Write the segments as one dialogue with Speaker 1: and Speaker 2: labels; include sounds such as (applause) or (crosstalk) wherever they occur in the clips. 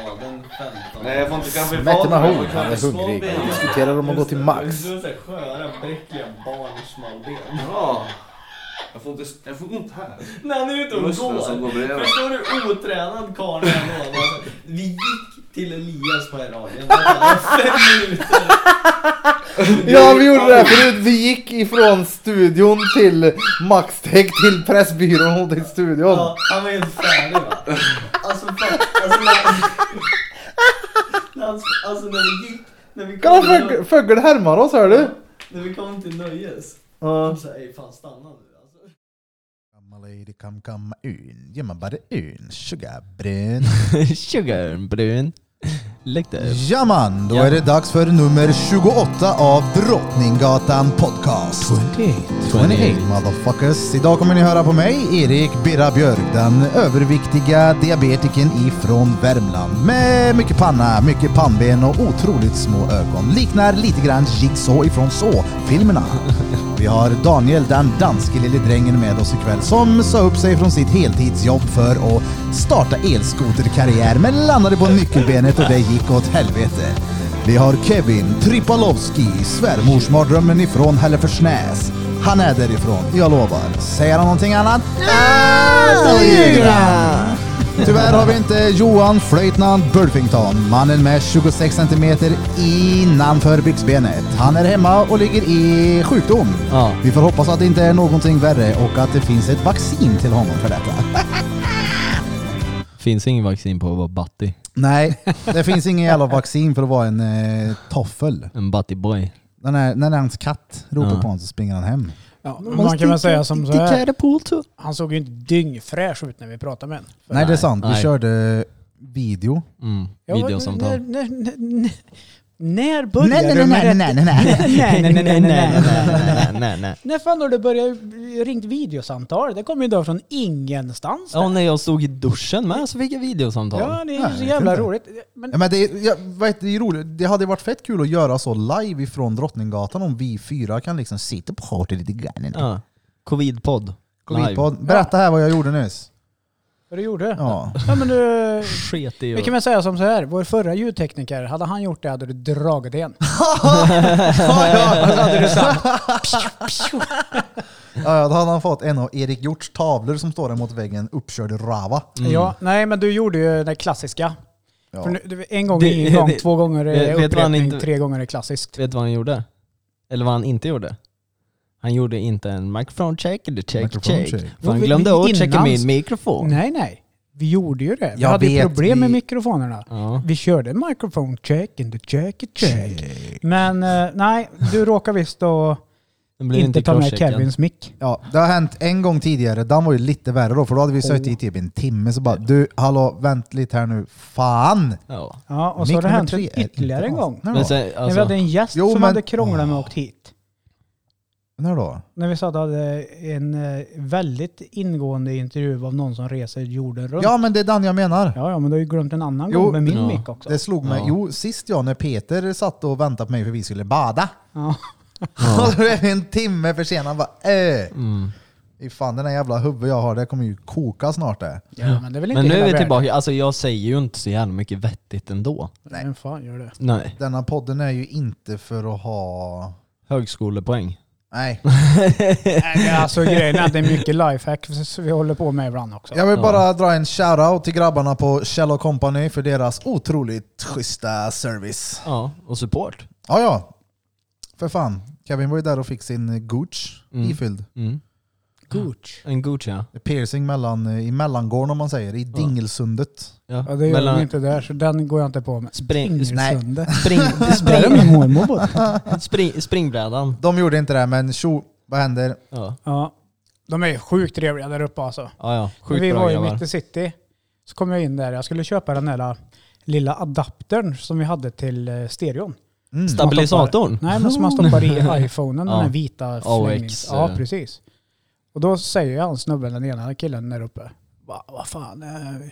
Speaker 1: Röven 15.
Speaker 2: Nej, jag får inte kaffe i
Speaker 3: Mätte
Speaker 2: fatet.
Speaker 3: med hon, han är hungrig. Jag diskuterar om att gå till Max.
Speaker 4: Du är sköra, bräckliga barnsmalben.
Speaker 2: Ja. Jag får inte, jag får ont här.
Speaker 4: När han är ute och
Speaker 2: Musten
Speaker 4: går.
Speaker 2: som går bredvid.
Speaker 4: Förstår du hur otränad karln han var? Alltså, Vi gick till Elias på radion. Det var Fem minuter.
Speaker 3: Ja, vi gjorde det här förut. Vi gick ifrån studion till Maxtech till Pressbyrån och till studion.
Speaker 4: Ja, han var helt färdig va? Alltså fan, alltså när... när han- Alltså när vi gick, när vi kom,
Speaker 3: Kolla
Speaker 4: till,
Speaker 3: Fögg- Föggel härmar oss, hör du?
Speaker 4: när vi kom till Nöjes.
Speaker 3: Ja.
Speaker 4: Han sa ej fan stanna nu alltså.
Speaker 5: Come my lady, come come in. Ge mig bara en sugarbrun.
Speaker 1: (laughs) Sugarbrun. Lägg det.
Speaker 5: Ja man, då är det dags för nummer 28 av Drottninggatan Podcast. 28 motherfuckers. Idag kommer ni höra på mig, Erik Birra Björk, den överviktiga diabetikern ifrån Värmland. Med mycket panna, mycket pannben och otroligt små ögon. Liknar lite grann Jigsaw ifrån Så-filmerna. Vi har Daniel, den danske lille drängen med oss ikväll, som sa upp sig från sitt heltidsjobb för att starta elskoterkarriär, men landade på nyckelbenet och det gick åt helvete. Vi har Kevin Tripalowski, svärmorsmardrömmen ifrån Hälleforsnäs. Han är därifrån, jag lovar. Säger han någonting annat? Ah, ljuger han. Tyvärr har vi inte Johan Flöjtnant Burfington, mannen med 26 cm innanför byxbenet. Han är hemma och ligger i sjukdom.
Speaker 1: Ja.
Speaker 5: Vi får hoppas att det inte är någonting värre och att det finns ett vaccin till honom för detta.
Speaker 1: Finns ingen vaccin på att vara batti.
Speaker 5: Nej, det finns ingen jävla vaccin för att vara en eh, toffel.
Speaker 1: En battiboy.
Speaker 5: Den här, när hans katt ropar
Speaker 1: Ja.
Speaker 5: på honom så springer han hem.
Speaker 6: Ja, men man kan väl säga som så här.
Speaker 1: Catapult.
Speaker 6: Han såg ju inte dyngfräsch ut när vi pratade med honom.
Speaker 5: Nej, det är sant. Vi
Speaker 1: Nej.
Speaker 5: körde video.
Speaker 1: Mm.
Speaker 6: Ja,
Speaker 1: Videosamtal.
Speaker 6: När, när, när, när började du med det?
Speaker 5: nej, nej, nej.
Speaker 6: (laughs) Nej, nej, nej, nej, nej, nej.
Speaker 1: nej, nej.
Speaker 6: När fan har du börjat ringt videosamtal? Det kommer ju då från ingenstans.
Speaker 1: (laughs) Ja, när jag stod i duschen med så fick jag videosamtal.
Speaker 6: Ja, det är
Speaker 5: jag
Speaker 6: ju så
Speaker 5: vet
Speaker 6: jävla
Speaker 5: inte.
Speaker 6: roligt. Men
Speaker 5: Ja, men det, är- jag vet, det är roligt. Det hade ju varit fett kul att göra så live ifrån Drottninggatan om vi fyra kan liksom sitta på party lite grann. Ja.
Speaker 1: Ja. Covidpodd.
Speaker 5: Covidpod. Berätta här vad jag gjorde nyss.
Speaker 6: vad du gjorde? Ja.
Speaker 5: Ja.
Speaker 6: men du,
Speaker 1: Sket i
Speaker 6: vi kan väl säga som så här. Vår förra ljudtekniker, hade han gjort det hade du dragit igen.
Speaker 5: ja, då hade han fått en av Erik Hjorts tavlor som står där mot väggen, uppkörd rava.
Speaker 1: Mm.
Speaker 6: Ja, nej men du gjorde ju det klassiska.
Speaker 5: Ja.
Speaker 6: För nu, du- en gång
Speaker 1: Det-
Speaker 6: är igång,
Speaker 1: det-
Speaker 6: två gånger
Speaker 1: vet-
Speaker 6: är
Speaker 1: vet man
Speaker 6: upprepning,
Speaker 1: inte-
Speaker 6: tre gånger är klassiskt.
Speaker 1: Vet du vad han gjorde? Eller vad han inte gjorde? Han gjorde inte en microphone check eller check
Speaker 5: Microphone
Speaker 1: check.
Speaker 5: check.
Speaker 1: För han
Speaker 6: Jo, vi-
Speaker 1: glömde
Speaker 6: vi-
Speaker 1: att checka
Speaker 6: innan-
Speaker 1: min mikrofon.
Speaker 6: Nej, nej. Vi gjorde ju det. Vi
Speaker 5: Jag
Speaker 6: hade ju
Speaker 5: vet,
Speaker 6: problem med
Speaker 5: vi-
Speaker 6: mikrofonerna.
Speaker 1: Ja.
Speaker 6: Vi körde microphone check and the check and check. Men eh, nej, du råkar visst då
Speaker 1: Den blev
Speaker 6: inte,
Speaker 1: inte
Speaker 6: ta med
Speaker 1: crosscheckad.
Speaker 6: Kevins mick.
Speaker 5: Ja, det har hänt en gång tidigare. Den var ju lite värre då, för då hade vi suttit i typ en timme så bara du, hallå, vänt lite här nu. Fan!
Speaker 1: Ja.
Speaker 6: Ja, och så
Speaker 5: Mick
Speaker 6: har det
Speaker 5: nummer
Speaker 6: hänt
Speaker 5: tre är
Speaker 6: ytterligare en
Speaker 5: inte
Speaker 6: gång.
Speaker 5: alls- När
Speaker 1: Men
Speaker 5: då?
Speaker 1: sen,
Speaker 6: När
Speaker 1: alltså,
Speaker 6: vi hade en gäst
Speaker 5: Jo,
Speaker 6: som
Speaker 5: men- Ah.
Speaker 6: hade krånglat med och åkt hit.
Speaker 5: När då?
Speaker 6: När vi sa att det hade en eh, väldigt ingående intervju av någon som reser jorden runt.
Speaker 5: Ja, men det är den jag menar.
Speaker 6: Ja, ja, men du har ju glömt en annan
Speaker 5: Jo,
Speaker 6: gång med min
Speaker 1: ja.
Speaker 6: mick också.
Speaker 5: Det slog mig.
Speaker 1: Ja.
Speaker 5: Jo, sist jag när Peter satt och väntade på mig för vi skulle bada.
Speaker 6: Ja.
Speaker 5: Och (laughs) då blev vi en timme försenad. Han bara äh.
Speaker 1: mm.
Speaker 5: I fan den här jävla huvudet jag har, det kommer ju koka snart det.
Speaker 6: ja, men det är väl inte
Speaker 1: Men nu
Speaker 6: hela
Speaker 1: är vi
Speaker 6: världen.
Speaker 1: tillbaka. Alltså jag säger ju inte så jävla mycket vettigt ändå.
Speaker 6: Nej, men fan gör det.
Speaker 1: Nej.
Speaker 5: Denna podden är ju inte för att ha...
Speaker 6: (laughs)
Speaker 1: Högskolepoäng.
Speaker 5: Nej.
Speaker 6: Nej, alltså grejen är att det är mycket lifehack som vi håller på med ibland också.
Speaker 5: Jag vill bara dra en shoutout till grabbarna på Kjell Company för deras otroligt schyssta service.
Speaker 1: Ja, och support.
Speaker 5: Ja, ja. För fan. Kevin var ju där och fick sin gooch
Speaker 1: Mm.
Speaker 5: ifylld.
Speaker 1: Mm.
Speaker 6: Gooch.
Speaker 1: En Gucci ja.
Speaker 5: Piercing mellan, eh, i mellangården om man säger, i Dingelsundet.
Speaker 1: ja.
Speaker 6: Ja, det gör
Speaker 1: Mellan-
Speaker 6: vi inte där, så den går jag inte på med.
Speaker 1: Spring-
Speaker 6: Springsunde. (laughs)
Speaker 1: Spring,
Speaker 6: Där är
Speaker 1: spring,
Speaker 6: min mormor
Speaker 1: (laughs)
Speaker 6: bott.
Speaker 1: spring, springbrädan.
Speaker 5: De gjorde inte det, men tjo, vad händer?
Speaker 1: Ja,
Speaker 6: Ja. De är ju sjukt trevliga där uppe alltså.
Speaker 1: ja. ja. Sjukt
Speaker 6: vi
Speaker 1: bra
Speaker 6: var ju
Speaker 1: grabbar.
Speaker 6: mitt i city. Så kom jag in där. Jag skulle köpa den där lilla adaptern som vi hade till eh, stereon.
Speaker 5: Mm.
Speaker 6: Stab-
Speaker 1: Stabilisatorn.
Speaker 6: Nej, men som man stoppar i iPhonen, den
Speaker 1: (laughs) Ja.
Speaker 6: här vita
Speaker 1: AOX,
Speaker 6: flängnings... Ja,
Speaker 1: eh.
Speaker 6: precis. Och då säger han snubben, den ena killen där uppe, Va, vad fan, eh,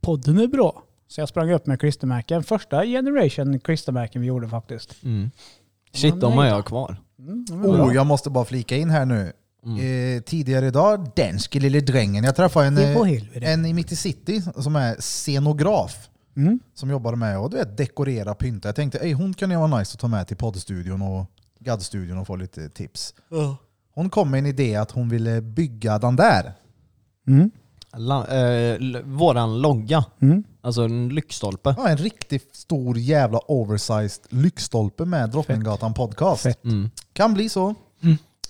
Speaker 6: podden är bra. Så jag sprang upp med klistermärken, första generation klistermärken vi gjorde faktiskt.
Speaker 1: Mm. Shit,
Speaker 6: Men
Speaker 1: de har
Speaker 6: nej.
Speaker 1: jag kvar.
Speaker 6: Mm, de är bra. Mm.
Speaker 5: Oh, jag måste bara flika in här nu. Eh, tidigare idag, danske lille drängen. Jag träffade en,
Speaker 6: Ge på
Speaker 5: eh,
Speaker 6: helvete.
Speaker 5: en i mitt i city som är scenograf.
Speaker 6: Mm.
Speaker 5: som jobbade med och du vet, dekorera, pynta. Jag tänkte, Ej, hon kan ju vara nice att ta med till poddstudion och gaddstudion och få lite tips. Hon kom med en idé att hon ville bygga den där.
Speaker 6: Mm.
Speaker 1: La, eh, l- våran logga,
Speaker 6: Mm.
Speaker 1: alltså en lyktstolpe.
Speaker 5: Ja, en riktigt stor jävla oversized lyktstolpe med Drottninggatan podcast.
Speaker 6: Fett. Mm.
Speaker 1: Mm.
Speaker 5: Kan bli så.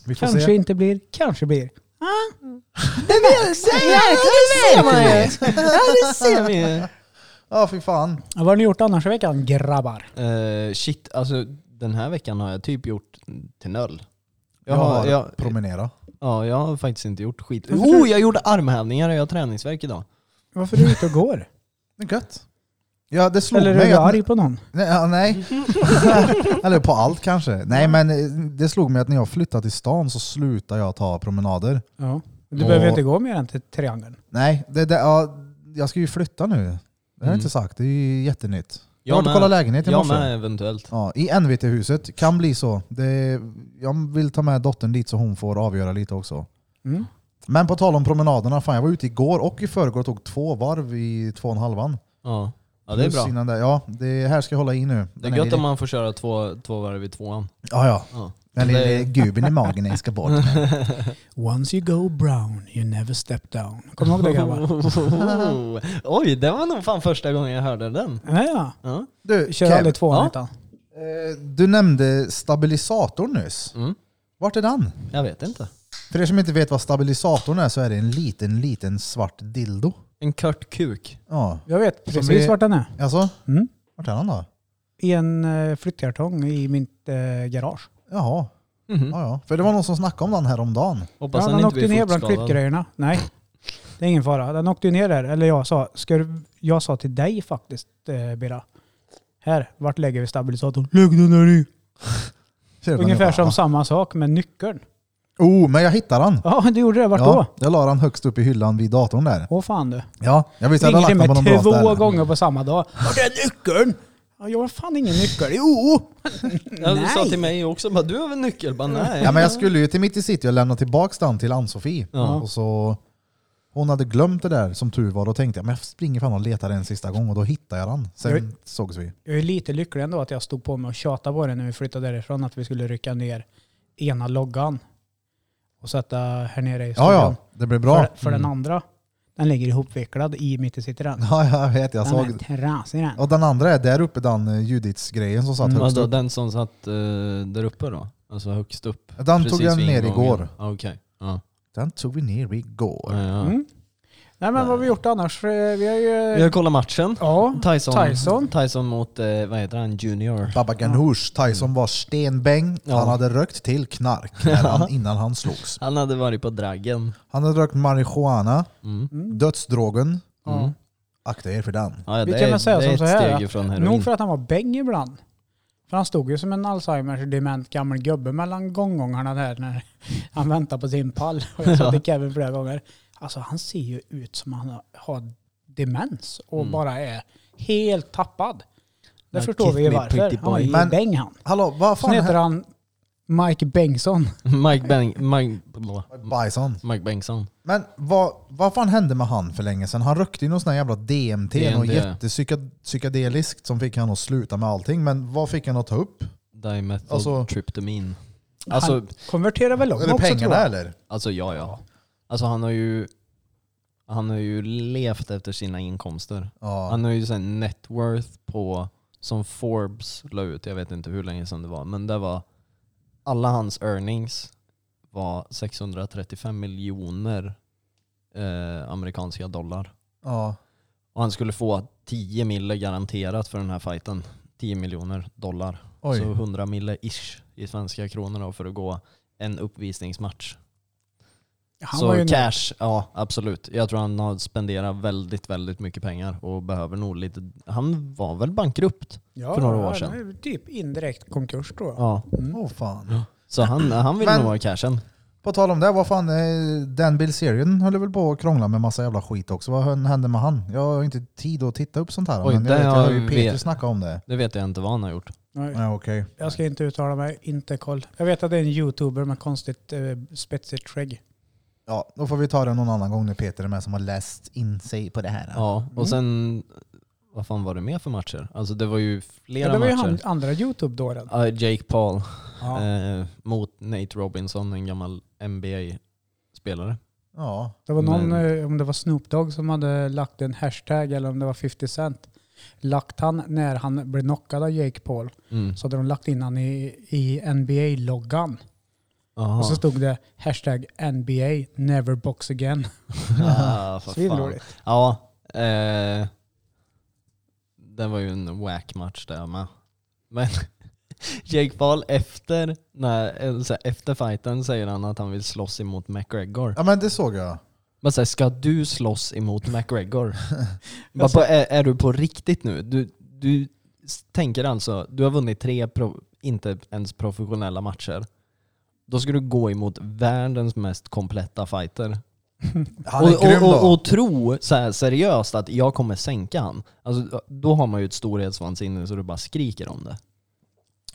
Speaker 5: Vi får
Speaker 6: Kanske
Speaker 5: se.
Speaker 6: inte blir, kanske blir.
Speaker 1: Det ser vi!
Speaker 5: Ja, fy fan.
Speaker 6: Vad har ni gjort annars i veckan grabbar?
Speaker 1: Eh, shit, alltså den här veckan har jag typ gjort till noll.
Speaker 5: Jag har
Speaker 1: jag,
Speaker 5: promenera.
Speaker 1: ja, jag har faktiskt inte gjort skit. Oh, jag gjorde armhävningar och jag har träningsvärk idag.
Speaker 6: Varför är du ute
Speaker 5: (laughs)
Speaker 6: och går?
Speaker 5: Det är gött. Ja, det slog
Speaker 6: Eller är
Speaker 5: mig
Speaker 6: du
Speaker 5: att...
Speaker 6: arg på någon?
Speaker 5: Nej, ja,
Speaker 6: (laughs)
Speaker 5: nej. Eller på allt kanske. Nej, men eh, det slog mig att när jag flyttade till stan så slutade jag ta promenader.
Speaker 6: Ja. Du
Speaker 5: Och-
Speaker 6: behöver ju inte gå mer än till triangeln.
Speaker 5: Nej, det, det, ja, jag ska ju flytta nu. Det har jag
Speaker 1: Mm.
Speaker 5: inte sagt. Det är ju jättenytt. Jag
Speaker 1: Jag
Speaker 5: har varit och
Speaker 1: med.
Speaker 5: kollat lägenhet i
Speaker 1: Jag
Speaker 5: morse.
Speaker 1: med eventuellt.
Speaker 5: Ja, I NVT-huset. Kan bli så. Det, jag vill ta med dottern dit så hon får avgöra lite också.
Speaker 6: Mm.
Speaker 5: Men på tal om promenaderna. Fan, jag var ute igår och i förrgår och tog två varv i två och en halvan.
Speaker 1: Ja, ja det är
Speaker 5: Plus
Speaker 1: bra.
Speaker 5: Innan det, ja, det här ska jag hålla i nu.
Speaker 1: Det
Speaker 5: Den
Speaker 1: är
Speaker 5: här
Speaker 1: gött
Speaker 5: lille-
Speaker 1: om man får köra två, två varv i tvåan. (laughs)
Speaker 5: Ja, ja.
Speaker 1: Ja.
Speaker 5: Den
Speaker 1: Det-
Speaker 5: lille guben i magen jag ska
Speaker 1: (laughs)
Speaker 5: bort.
Speaker 6: Once you go brown, you never step down. Kommer du ihåg det
Speaker 5: (laughs)
Speaker 6: grabbar?
Speaker 1: Oh, Oj, det var nog fan första gången jag hörde den.
Speaker 6: Ja, ja.
Speaker 1: Ja.
Speaker 5: Du,
Speaker 6: Kör
Speaker 5: Kev,
Speaker 6: aldrig tvåan
Speaker 1: Ja.
Speaker 6: utan.
Speaker 5: eh, du nämnde stabilisatorn nyss.
Speaker 1: Mm.
Speaker 5: Vart är den?
Speaker 1: Jag vet inte.
Speaker 5: För er som inte vet vad stabilisatorn är så är det en liten, liten svart dildo.
Speaker 1: En kört kuk.
Speaker 5: Ja,
Speaker 6: Jag vet
Speaker 5: Som
Speaker 6: precis
Speaker 5: vi-
Speaker 6: vart den är.
Speaker 5: alltså?
Speaker 6: Mm.
Speaker 5: Vart är den då?
Speaker 6: I en eh, flyttkartong i mitt eh, garage.
Speaker 5: Jaha,
Speaker 1: Mhm.
Speaker 5: ja, ja. För det var någon som snackade om den här om dagen.
Speaker 1: Hoppas
Speaker 6: Ja,
Speaker 1: han
Speaker 6: den
Speaker 1: inte
Speaker 6: åkte
Speaker 1: blir
Speaker 6: ner bland
Speaker 1: fotskadad.
Speaker 6: klippgrejerna. Nej, det är ingen fara. Den åkte ju ner där. Eller jag sa, ska du, jag sa till dig faktiskt, eh, Bira. Här, vart lägger vi stabilisatorn? Lägg den där i. Ungefär som samma sak med nyckeln.
Speaker 5: Oh, men jag hittade den!
Speaker 6: Ja, du gjorde det. Vart då?
Speaker 5: Jag la den högst upp i hyllan vid datorn där.
Speaker 6: Åh fan du.
Speaker 5: Ja, jag visste att jag
Speaker 6: Ringde till
Speaker 5: hade lagt
Speaker 6: mig
Speaker 5: den på någon bra
Speaker 6: två
Speaker 5: ställe.
Speaker 6: gånger på samma dag. Vart är nyckeln? Ja, jag har fan ingen nyckel. Jo!
Speaker 1: (laughs) Ja, du sa
Speaker 6: Nej.
Speaker 1: till mig också bara du har väl nyckel? Bara, nej.
Speaker 5: Ja, men jag skulle ju till mitt i city och lämna tillbaks den till Ann-Sofie.
Speaker 1: Ja.
Speaker 5: Och så, hon hade glömt det där som tur var. Då tänkte jag men jag springer fan och letar en sista gång och då hittade jag den. Sen
Speaker 6: Jag-
Speaker 5: sågs vi.
Speaker 6: Jag är lite lycklig ändå att jag stod på mig och tjatade på det när vi flyttade därifrån att vi skulle rycka ner ena loggan och sätta här nere i
Speaker 5: Ja,
Speaker 6: studion.
Speaker 5: ja, det blev bra. Mm.
Speaker 6: För, för den andra, den ligger ihopvecklad i mitt i cityrän.
Speaker 5: (laughs) Ja, jag vet. Jag
Speaker 6: Den är
Speaker 5: såg
Speaker 6: trasig den.
Speaker 5: Och den andra är där uppe, den eh, Judiths-grejen som satt
Speaker 6: Mm.
Speaker 5: högst
Speaker 1: Vadå,
Speaker 5: upp.
Speaker 1: den som satt eh, där uppe då? Alltså högst upp?
Speaker 5: Den tog
Speaker 1: precis
Speaker 5: jag
Speaker 1: vid
Speaker 5: ner
Speaker 1: ingången.
Speaker 5: igår.
Speaker 1: Ah, Okej. Ja.
Speaker 5: Den tog vi ner igår.
Speaker 1: Ja, ja.
Speaker 6: Mm. Nej men vad har vi gjort annars? Eh, Vi har ju...
Speaker 1: Vi har kollat matchen.
Speaker 5: Mm.
Speaker 6: Ja,
Speaker 1: Tyson,
Speaker 6: Tyson.
Speaker 1: Tyson mot, eh, vad heter han, Junior?
Speaker 5: Baba Ganoush, Tyson var stenbäng.
Speaker 1: Ja.
Speaker 5: Han hade rökt till
Speaker 1: (laughs)
Speaker 5: knark när han, innan han slogs.
Speaker 1: Han hade varit på Dragen.
Speaker 5: Han hade rökt marijuana,
Speaker 1: Mm.
Speaker 5: dödsdrogen.
Speaker 6: Ja.
Speaker 5: Akta er för den.
Speaker 1: Ja, ja,
Speaker 6: Vi
Speaker 1: det
Speaker 6: kan
Speaker 1: är,
Speaker 6: väl säga
Speaker 1: det
Speaker 6: som
Speaker 1: är
Speaker 6: så
Speaker 1: ett
Speaker 6: här,
Speaker 1: steg
Speaker 6: att
Speaker 1: ifrån heroin.
Speaker 6: Nog för att han var bäng ibland. För han stod ju som en Alzheimers dement gammal gubbe mellan gånggångarna där när (laughs) han väntade på sin pall.
Speaker 1: (laughs)
Speaker 6: Och jag sa till Kevin flera gånger, alltså han ser ju ut som han har demens och
Speaker 1: Mm.
Speaker 6: bara är helt tappad. Det
Speaker 1: Now
Speaker 6: förstår
Speaker 1: kiss
Speaker 6: vi ju
Speaker 1: me,
Speaker 6: varför.
Speaker 1: pretty
Speaker 6: Han var
Speaker 1: boy.
Speaker 6: ju
Speaker 5: Men-
Speaker 6: bäng han.
Speaker 5: Hallå, vad
Speaker 6: Sen
Speaker 5: fan
Speaker 6: heter
Speaker 5: hände?
Speaker 6: han Mike Bengtsson.
Speaker 1: (laughs) Mike, Beng- Mike,
Speaker 5: Bison.
Speaker 1: Mike Bengtsson.
Speaker 5: Men vad, vad fan hände med han för länge sedan? Han rökte ju någon sån här jävla DMT, något
Speaker 1: DMT.
Speaker 5: jättepsykedeliskt som fick han att sluta med allting. Men vad fick han att ta upp?
Speaker 1: Dimethyl
Speaker 5: Alltså-
Speaker 1: tryptamin. Alltså,
Speaker 6: han konverterar väl om
Speaker 5: Är det
Speaker 6: också tror
Speaker 5: pengarna
Speaker 6: jag.
Speaker 5: eller?
Speaker 1: alltså ja, ja. Alltså han har ju han har ju levt efter sina inkomster.
Speaker 5: Ja.
Speaker 1: Han har ju sen net worth på, som Forbes la ut, jag vet inte hur länge sedan det var, men det var alla hans earnings var 635 miljoner eh, amerikanska dollar.
Speaker 5: ja.
Speaker 1: Och han skulle få 10 mille garanterat för den här fighten. 10 miljoner dollar.
Speaker 5: Oj.
Speaker 1: Så 100 mille ish i svenska kronor då för att gå en uppvisningsmatch.
Speaker 6: Han
Speaker 1: så
Speaker 6: var ju
Speaker 1: cash, ja absolut. Jag tror han har spenderat väldigt, väldigt mycket pengar och behöver nog lite... Han var väl bankrupt?
Speaker 6: ja,
Speaker 1: för några år
Speaker 6: han
Speaker 1: sedan.
Speaker 6: är ju Typ indirekt konkurs tror jag.
Speaker 1: Ja.
Speaker 5: Åh fan.
Speaker 1: Så han, han vill
Speaker 5: Men-
Speaker 1: nog ha cashen.
Speaker 5: På tal om det, vad fan, eh, Dan Bilzerian höll väl på att krångla med massa jävla skit också. Vad hände med han? Jag har ju inte tid att titta upp sånt här. men
Speaker 1: Oj,
Speaker 5: jag,
Speaker 1: det
Speaker 5: vet, jag har ju
Speaker 1: har
Speaker 5: Peter
Speaker 1: vi-
Speaker 5: snackat om det.
Speaker 1: Det vet jag inte vad han har gjort.
Speaker 6: Nej.
Speaker 5: Ja, okej.
Speaker 6: Jag ska inte uttala mig, inte koll. Jag vet att det är en youtuber med konstigt eh, spetsigt skägg.
Speaker 5: Ja,
Speaker 6: Mm.
Speaker 5: då får vi ta det någon annan gång när Peter är med som har läst in sig på det här.
Speaker 1: Ja. Och sen vad fan var det mer för matcher? Alltså det var ju
Speaker 6: Ja,
Speaker 1: flera
Speaker 6: det var ju han,
Speaker 1: matcher.
Speaker 6: andra Youtube-dåren.
Speaker 1: Ja, Jake Paul
Speaker 6: Ja.
Speaker 1: eh, mot Nate Robinson, en gammal NBA-spelare.
Speaker 5: Ja.
Speaker 6: Det var någon,
Speaker 1: men-
Speaker 6: eh, om det var Snoop Dogg som hade lagt en hashtag eller om det var 50 Cent. Lagt han när han blev knockad av Jake Paul.
Speaker 1: Mm.
Speaker 6: Så hade de lagt in han i, i NBA-loggan.
Speaker 1: Aha.
Speaker 6: Och så stod det hashtag NBA never box again.
Speaker 1: ah, för fan.
Speaker 6: Svinroligt.
Speaker 1: Ja. Eh, det var ju en wack match där med. Men (laughs) Jake Paul efter, när, eller så här, efter fighten säger han att han vill slåss emot McGregor.
Speaker 5: ja, men det såg jag.
Speaker 1: Men säger ska du slåss emot McGregor? Bara, på, är, är du på riktigt nu? Du, du s- tänker alltså, du har vunnit tre pro, inte ens professionella matcher. Då ska du gå emot världens mest kompletta fighter
Speaker 5: Han är
Speaker 1: och,
Speaker 5: grym
Speaker 1: och, och,
Speaker 5: då.
Speaker 1: och tro så här seriöst att jag kommer sänka han. Alltså, då har man ju ett storhetsvansinne så du bara skriker om det.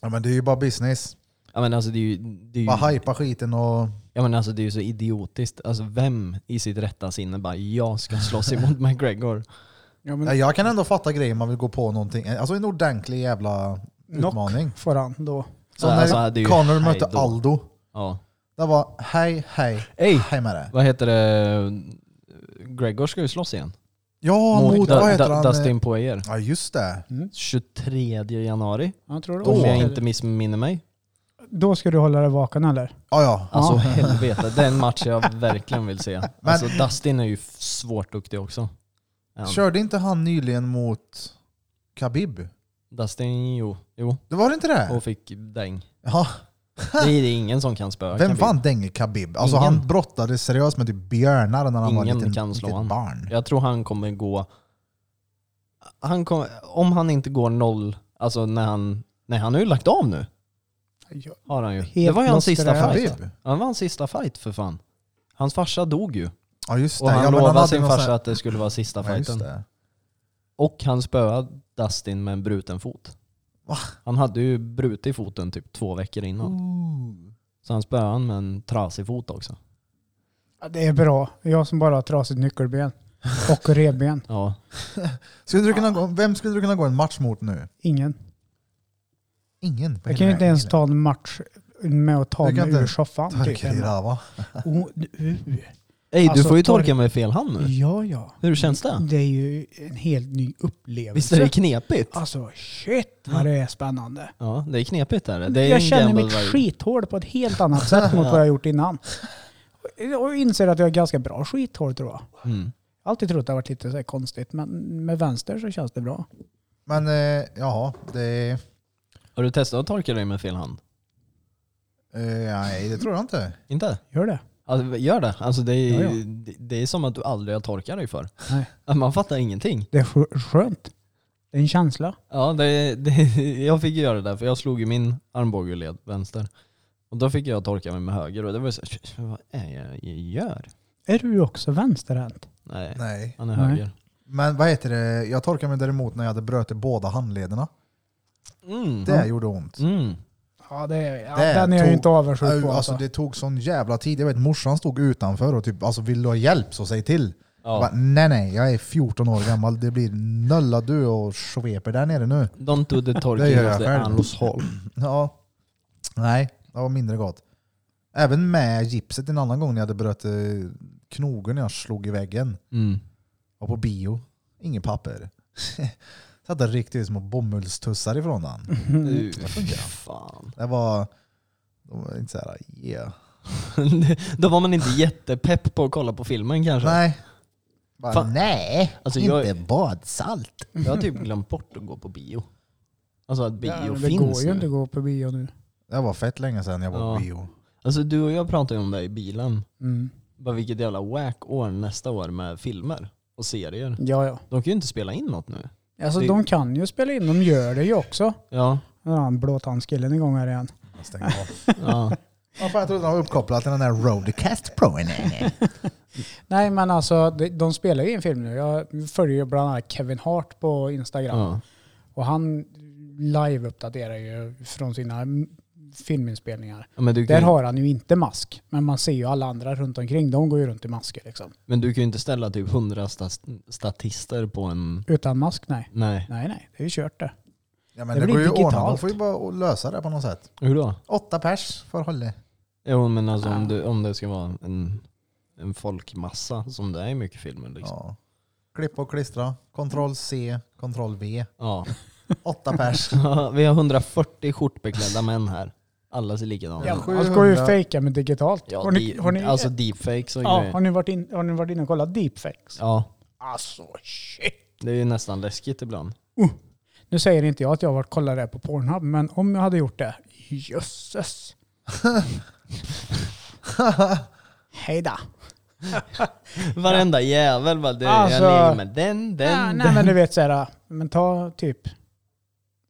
Speaker 5: Ja, men det är ju bara business.
Speaker 1: Jag menar, alltså, det är ju, det
Speaker 5: Bara
Speaker 1: är ju,
Speaker 5: hypa skiten och...
Speaker 1: jag menar, alltså, det är ju så idiotiskt. Alltså, vem i sitt rätta sinne bara jag ska slåss emot (laughs) McGregor?
Speaker 6: Ja,
Speaker 5: Ja,
Speaker 6: men
Speaker 5: jag kan ändå fatta grejer man vill gå på någonting. Alltså en ordentlig jävla utmaning.
Speaker 6: får han då.
Speaker 1: Så,
Speaker 5: Som när
Speaker 1: alltså, det är ju
Speaker 5: Connor
Speaker 1: hej
Speaker 5: mötte
Speaker 1: då.
Speaker 5: Aldo.
Speaker 1: Ja.
Speaker 5: Det var hej, hej,
Speaker 1: Hej,
Speaker 5: hej med dig.
Speaker 1: vad heter det? Gregor ska ju slåss igen.
Speaker 5: Ja, mot,
Speaker 1: Da-
Speaker 5: vad heter
Speaker 1: Da-
Speaker 5: han?
Speaker 1: Dustin Poirier.
Speaker 5: Ja just det.
Speaker 1: 23 januari,
Speaker 6: Jag tror det.
Speaker 1: om jag
Speaker 6: Åh.
Speaker 1: inte missminner mig.
Speaker 6: Då ska du hålla dig vaken eller?
Speaker 5: Ja, ja.
Speaker 1: Alltså
Speaker 6: Ja.
Speaker 1: helvete, det är en match jag verkligen vill se. Alltså Dustin är ju f- svårt duktig också. Ja.
Speaker 5: Körde inte han nyligen mot Khabib?
Speaker 1: Dustin, jo. jo.
Speaker 5: Det var det inte det?
Speaker 1: Och fick däng.
Speaker 5: Ja.
Speaker 1: Det är ingen som kan spöa
Speaker 5: Vem
Speaker 1: Khabib.
Speaker 5: vann dänge Khabib? Alltså
Speaker 1: Ingen.
Speaker 5: han brottades seriöst med typ björnar när han var
Speaker 1: Ingen
Speaker 5: liten,
Speaker 1: kan slå
Speaker 5: litet
Speaker 1: han.
Speaker 5: barn.
Speaker 1: Jag tror han kommer gå... Han kom, om han inte går noll, alltså när han... Nej, han har ju lagt av nu.
Speaker 6: Ja.
Speaker 1: Har han ju.
Speaker 6: Helt
Speaker 1: det var ju hans
Speaker 6: lost
Speaker 1: sista
Speaker 6: det här.
Speaker 1: fight.
Speaker 5: Khabib?
Speaker 1: Han var hans sista fight för fan. Hans farsa dog ju.
Speaker 5: Ja just det.
Speaker 1: Och han
Speaker 5: ja, men
Speaker 1: lovade
Speaker 5: hade
Speaker 1: sin
Speaker 5: någon sån
Speaker 1: farsa
Speaker 5: här-
Speaker 1: att det skulle vara sista
Speaker 5: Ja, just
Speaker 1: fighten.
Speaker 5: det.
Speaker 1: Och han spöade Dustin med en bruten fot.
Speaker 5: Va?
Speaker 1: Han hade ju brutit foten typ två veckor innan. Så han spöade han med en trasig fot också.
Speaker 6: Ja, Det är bra. Jag som bara har trasigt nyckelben och revben.
Speaker 1: Ja.
Speaker 5: Skulle du kunna gå, vem skulle du kunna gå en match mot nu?
Speaker 6: Ingen.
Speaker 5: Ingen. på
Speaker 6: Jag kan
Speaker 5: hela
Speaker 6: ju inte ens
Speaker 5: vägen.
Speaker 6: ta en match med att ta
Speaker 5: Du kan
Speaker 6: mig
Speaker 5: inte
Speaker 6: ur soffan. Typ.
Speaker 5: Torka i rava.
Speaker 6: Oh, uh.
Speaker 1: Ey,
Speaker 6: Alltså,
Speaker 1: du får ju
Speaker 6: torr-
Speaker 1: torka med fel hand nu.
Speaker 6: Ja, ja.
Speaker 1: Hur känns det?
Speaker 6: Det är ju en helt ny upplevelse.
Speaker 1: Mm. Visst är det knepigt?
Speaker 6: Alltså shit vad det är spännande.
Speaker 1: Ja, det är knepigt är det. det är
Speaker 6: jag
Speaker 1: en
Speaker 6: känner
Speaker 1: gamble
Speaker 6: mitt
Speaker 1: vibe.
Speaker 6: skithål på ett helt
Speaker 1: (laughs)
Speaker 6: annat sätt mot vad jag gjort innan. Och inser att jag har ganska bra skithål tror jag.
Speaker 1: Mm.
Speaker 6: Jag har alltid trott att det har varit lite så här konstigt men med vänster så känns det bra.
Speaker 5: Men eh, ja, det är...
Speaker 1: Har du testat att torka dig med fel hand?
Speaker 5: Eh, nej, det tror jag inte.
Speaker 1: Inte?
Speaker 6: Gör det?
Speaker 1: Alltså, gör det. Alltså, det, är,
Speaker 6: Ja, ja.
Speaker 1: Det, det är som att du aldrig har torkat dig för.
Speaker 6: Nej.
Speaker 1: Att Man fattar ingenting.
Speaker 6: Det är skö- skönt. Det är en känsla.
Speaker 1: Ja, det, det, jag fick ju göra det där för jag slog ju min armbåge i led vänster. Och då fick jag torka mig med höger och det var så här, vad är jag gör?
Speaker 6: Är du också vänsterhänt?
Speaker 1: Nej,
Speaker 5: Nej.
Speaker 1: han är
Speaker 6: Nej.
Speaker 1: höger.
Speaker 5: Men vad heter det? Jag torkade mig däremot när jag hade bröt i båda handlederna.
Speaker 1: Mm.
Speaker 5: Det gjorde ont.
Speaker 1: Mm.
Speaker 6: Ja, det är, ja,
Speaker 5: Det
Speaker 6: den är jag
Speaker 5: tog-
Speaker 6: ju inte avundsjuk på.
Speaker 5: Au, Alltså,
Speaker 6: Alltså.
Speaker 5: det tog sån jävla tid. Jag vet morsan stod utanför och typ alltså, vill du ha hjälp så säg till. Jag
Speaker 1: Ja.
Speaker 5: bara, nej nej, jag är 14 år gammal. Det blir nölla du och sveper där nere nu.
Speaker 1: Don't do the
Speaker 5: Det gör
Speaker 1: torking
Speaker 5: jag
Speaker 1: of the
Speaker 5: själv.
Speaker 1: Anlos Hall.
Speaker 5: Ja. Nej, det var mindre gott. Även med gipset en annan gång när jag hade bröt eh, knogen när jag slog i väggen.
Speaker 1: Mm.
Speaker 5: Var på bio. Inget papper. (laughs) Satt där riktigt små bomullstussar ifrån den.
Speaker 1: Mm. Du,
Speaker 5: funkar.
Speaker 1: fan.
Speaker 5: Det var... De var inte såhär yeah.
Speaker 1: Alltså. (laughs) Då var man inte jättepepp på att kolla på filmen kanske.
Speaker 5: Nej. Bara,
Speaker 1: Fan.
Speaker 5: Nej,
Speaker 1: Alltså,
Speaker 5: inte
Speaker 1: jag-
Speaker 5: badsalt.
Speaker 1: Jag har typ glömt bort att gå på bio. Alltså att bio
Speaker 6: Ja, men det
Speaker 1: finns
Speaker 6: går ju
Speaker 1: nu.
Speaker 6: inte att gå på bio nu.
Speaker 5: Det var fett länge sedan jag var på
Speaker 1: Ja.
Speaker 5: bio.
Speaker 1: Alltså du och jag pratade ju om det i bilen.
Speaker 6: Mm.
Speaker 1: Bara vilket jävla whack år nästa år med filmer och serier.
Speaker 6: Ja, ja.
Speaker 1: De kan ju inte spela in något nu.
Speaker 6: Alltså
Speaker 1: Det-
Speaker 6: de kan ju spela in, de gör det ju också.
Speaker 1: Ja.
Speaker 6: Nu har han blåtandskillen igång här igen.
Speaker 5: Jag stänger av.
Speaker 6: (laughs)
Speaker 1: ja.
Speaker 5: Ja, fan, jag trodde den var uppkopplad till den där Rodecast Pro. Nej, nej.
Speaker 6: Nej men alltså de, de spelar ju en film nu. Jag följer ju bland annat Kevin Hart på Instagram.
Speaker 1: ja.
Speaker 6: Och han live-uppdaterar ju från sina m- filminspelningar.
Speaker 1: Ja, men, du kan
Speaker 6: Där
Speaker 1: ju,
Speaker 6: har han ju inte mask, men man ser ju alla andra runt omkring. De går ju runt i masker liksom.
Speaker 1: men du kan ju inte ställa typ hundra stat- statister på en...
Speaker 6: Utan mask, nej.
Speaker 1: Nej.
Speaker 6: Nej, nej, det är ju kört det.
Speaker 5: Ja, men
Speaker 6: Det
Speaker 5: det,
Speaker 6: blir
Speaker 5: går ju att ordna. De
Speaker 6: digitalt.
Speaker 5: får ju bara lösa det på något sätt.
Speaker 1: Hur då?
Speaker 5: Åtta pers får hålla.
Speaker 1: Jo men alltså
Speaker 6: Ah.
Speaker 1: om, du, om det ska vara en, en folkmassa som det är i mycket filmer liksom.
Speaker 5: Ja. Klippa och klistra. Ctrl C, Ctrl V.
Speaker 1: Ja.
Speaker 5: Åtta
Speaker 1: (laughs)
Speaker 5: pers.
Speaker 1: Vi har 140 skjortbeklädda män här. Alla ser likadana
Speaker 5: Ja,
Speaker 1: ut.
Speaker 6: Man ska ju
Speaker 5: 700.
Speaker 6: fejka med digitalt.
Speaker 1: Ja,
Speaker 6: har, ni,
Speaker 1: di-
Speaker 6: har, ni,
Speaker 1: alltså deepfakes och
Speaker 6: ja,
Speaker 1: grejer.
Speaker 6: har, ni varit in, har ni varit inne och kollat deepfakes?
Speaker 1: Ja,
Speaker 6: Alltså shit.
Speaker 1: det är ju nästan läskigt ibland.
Speaker 6: Nu säger inte jag att jag har varit och kollat det på Pornhub, men om jag hade gjort det, jösses. Hejda.
Speaker 1: Varenda jävel bara, det,
Speaker 6: Alltså-
Speaker 1: jag ligger med den, den,
Speaker 6: Ja, nej
Speaker 1: den.
Speaker 6: men du vet såhär, men ta typ,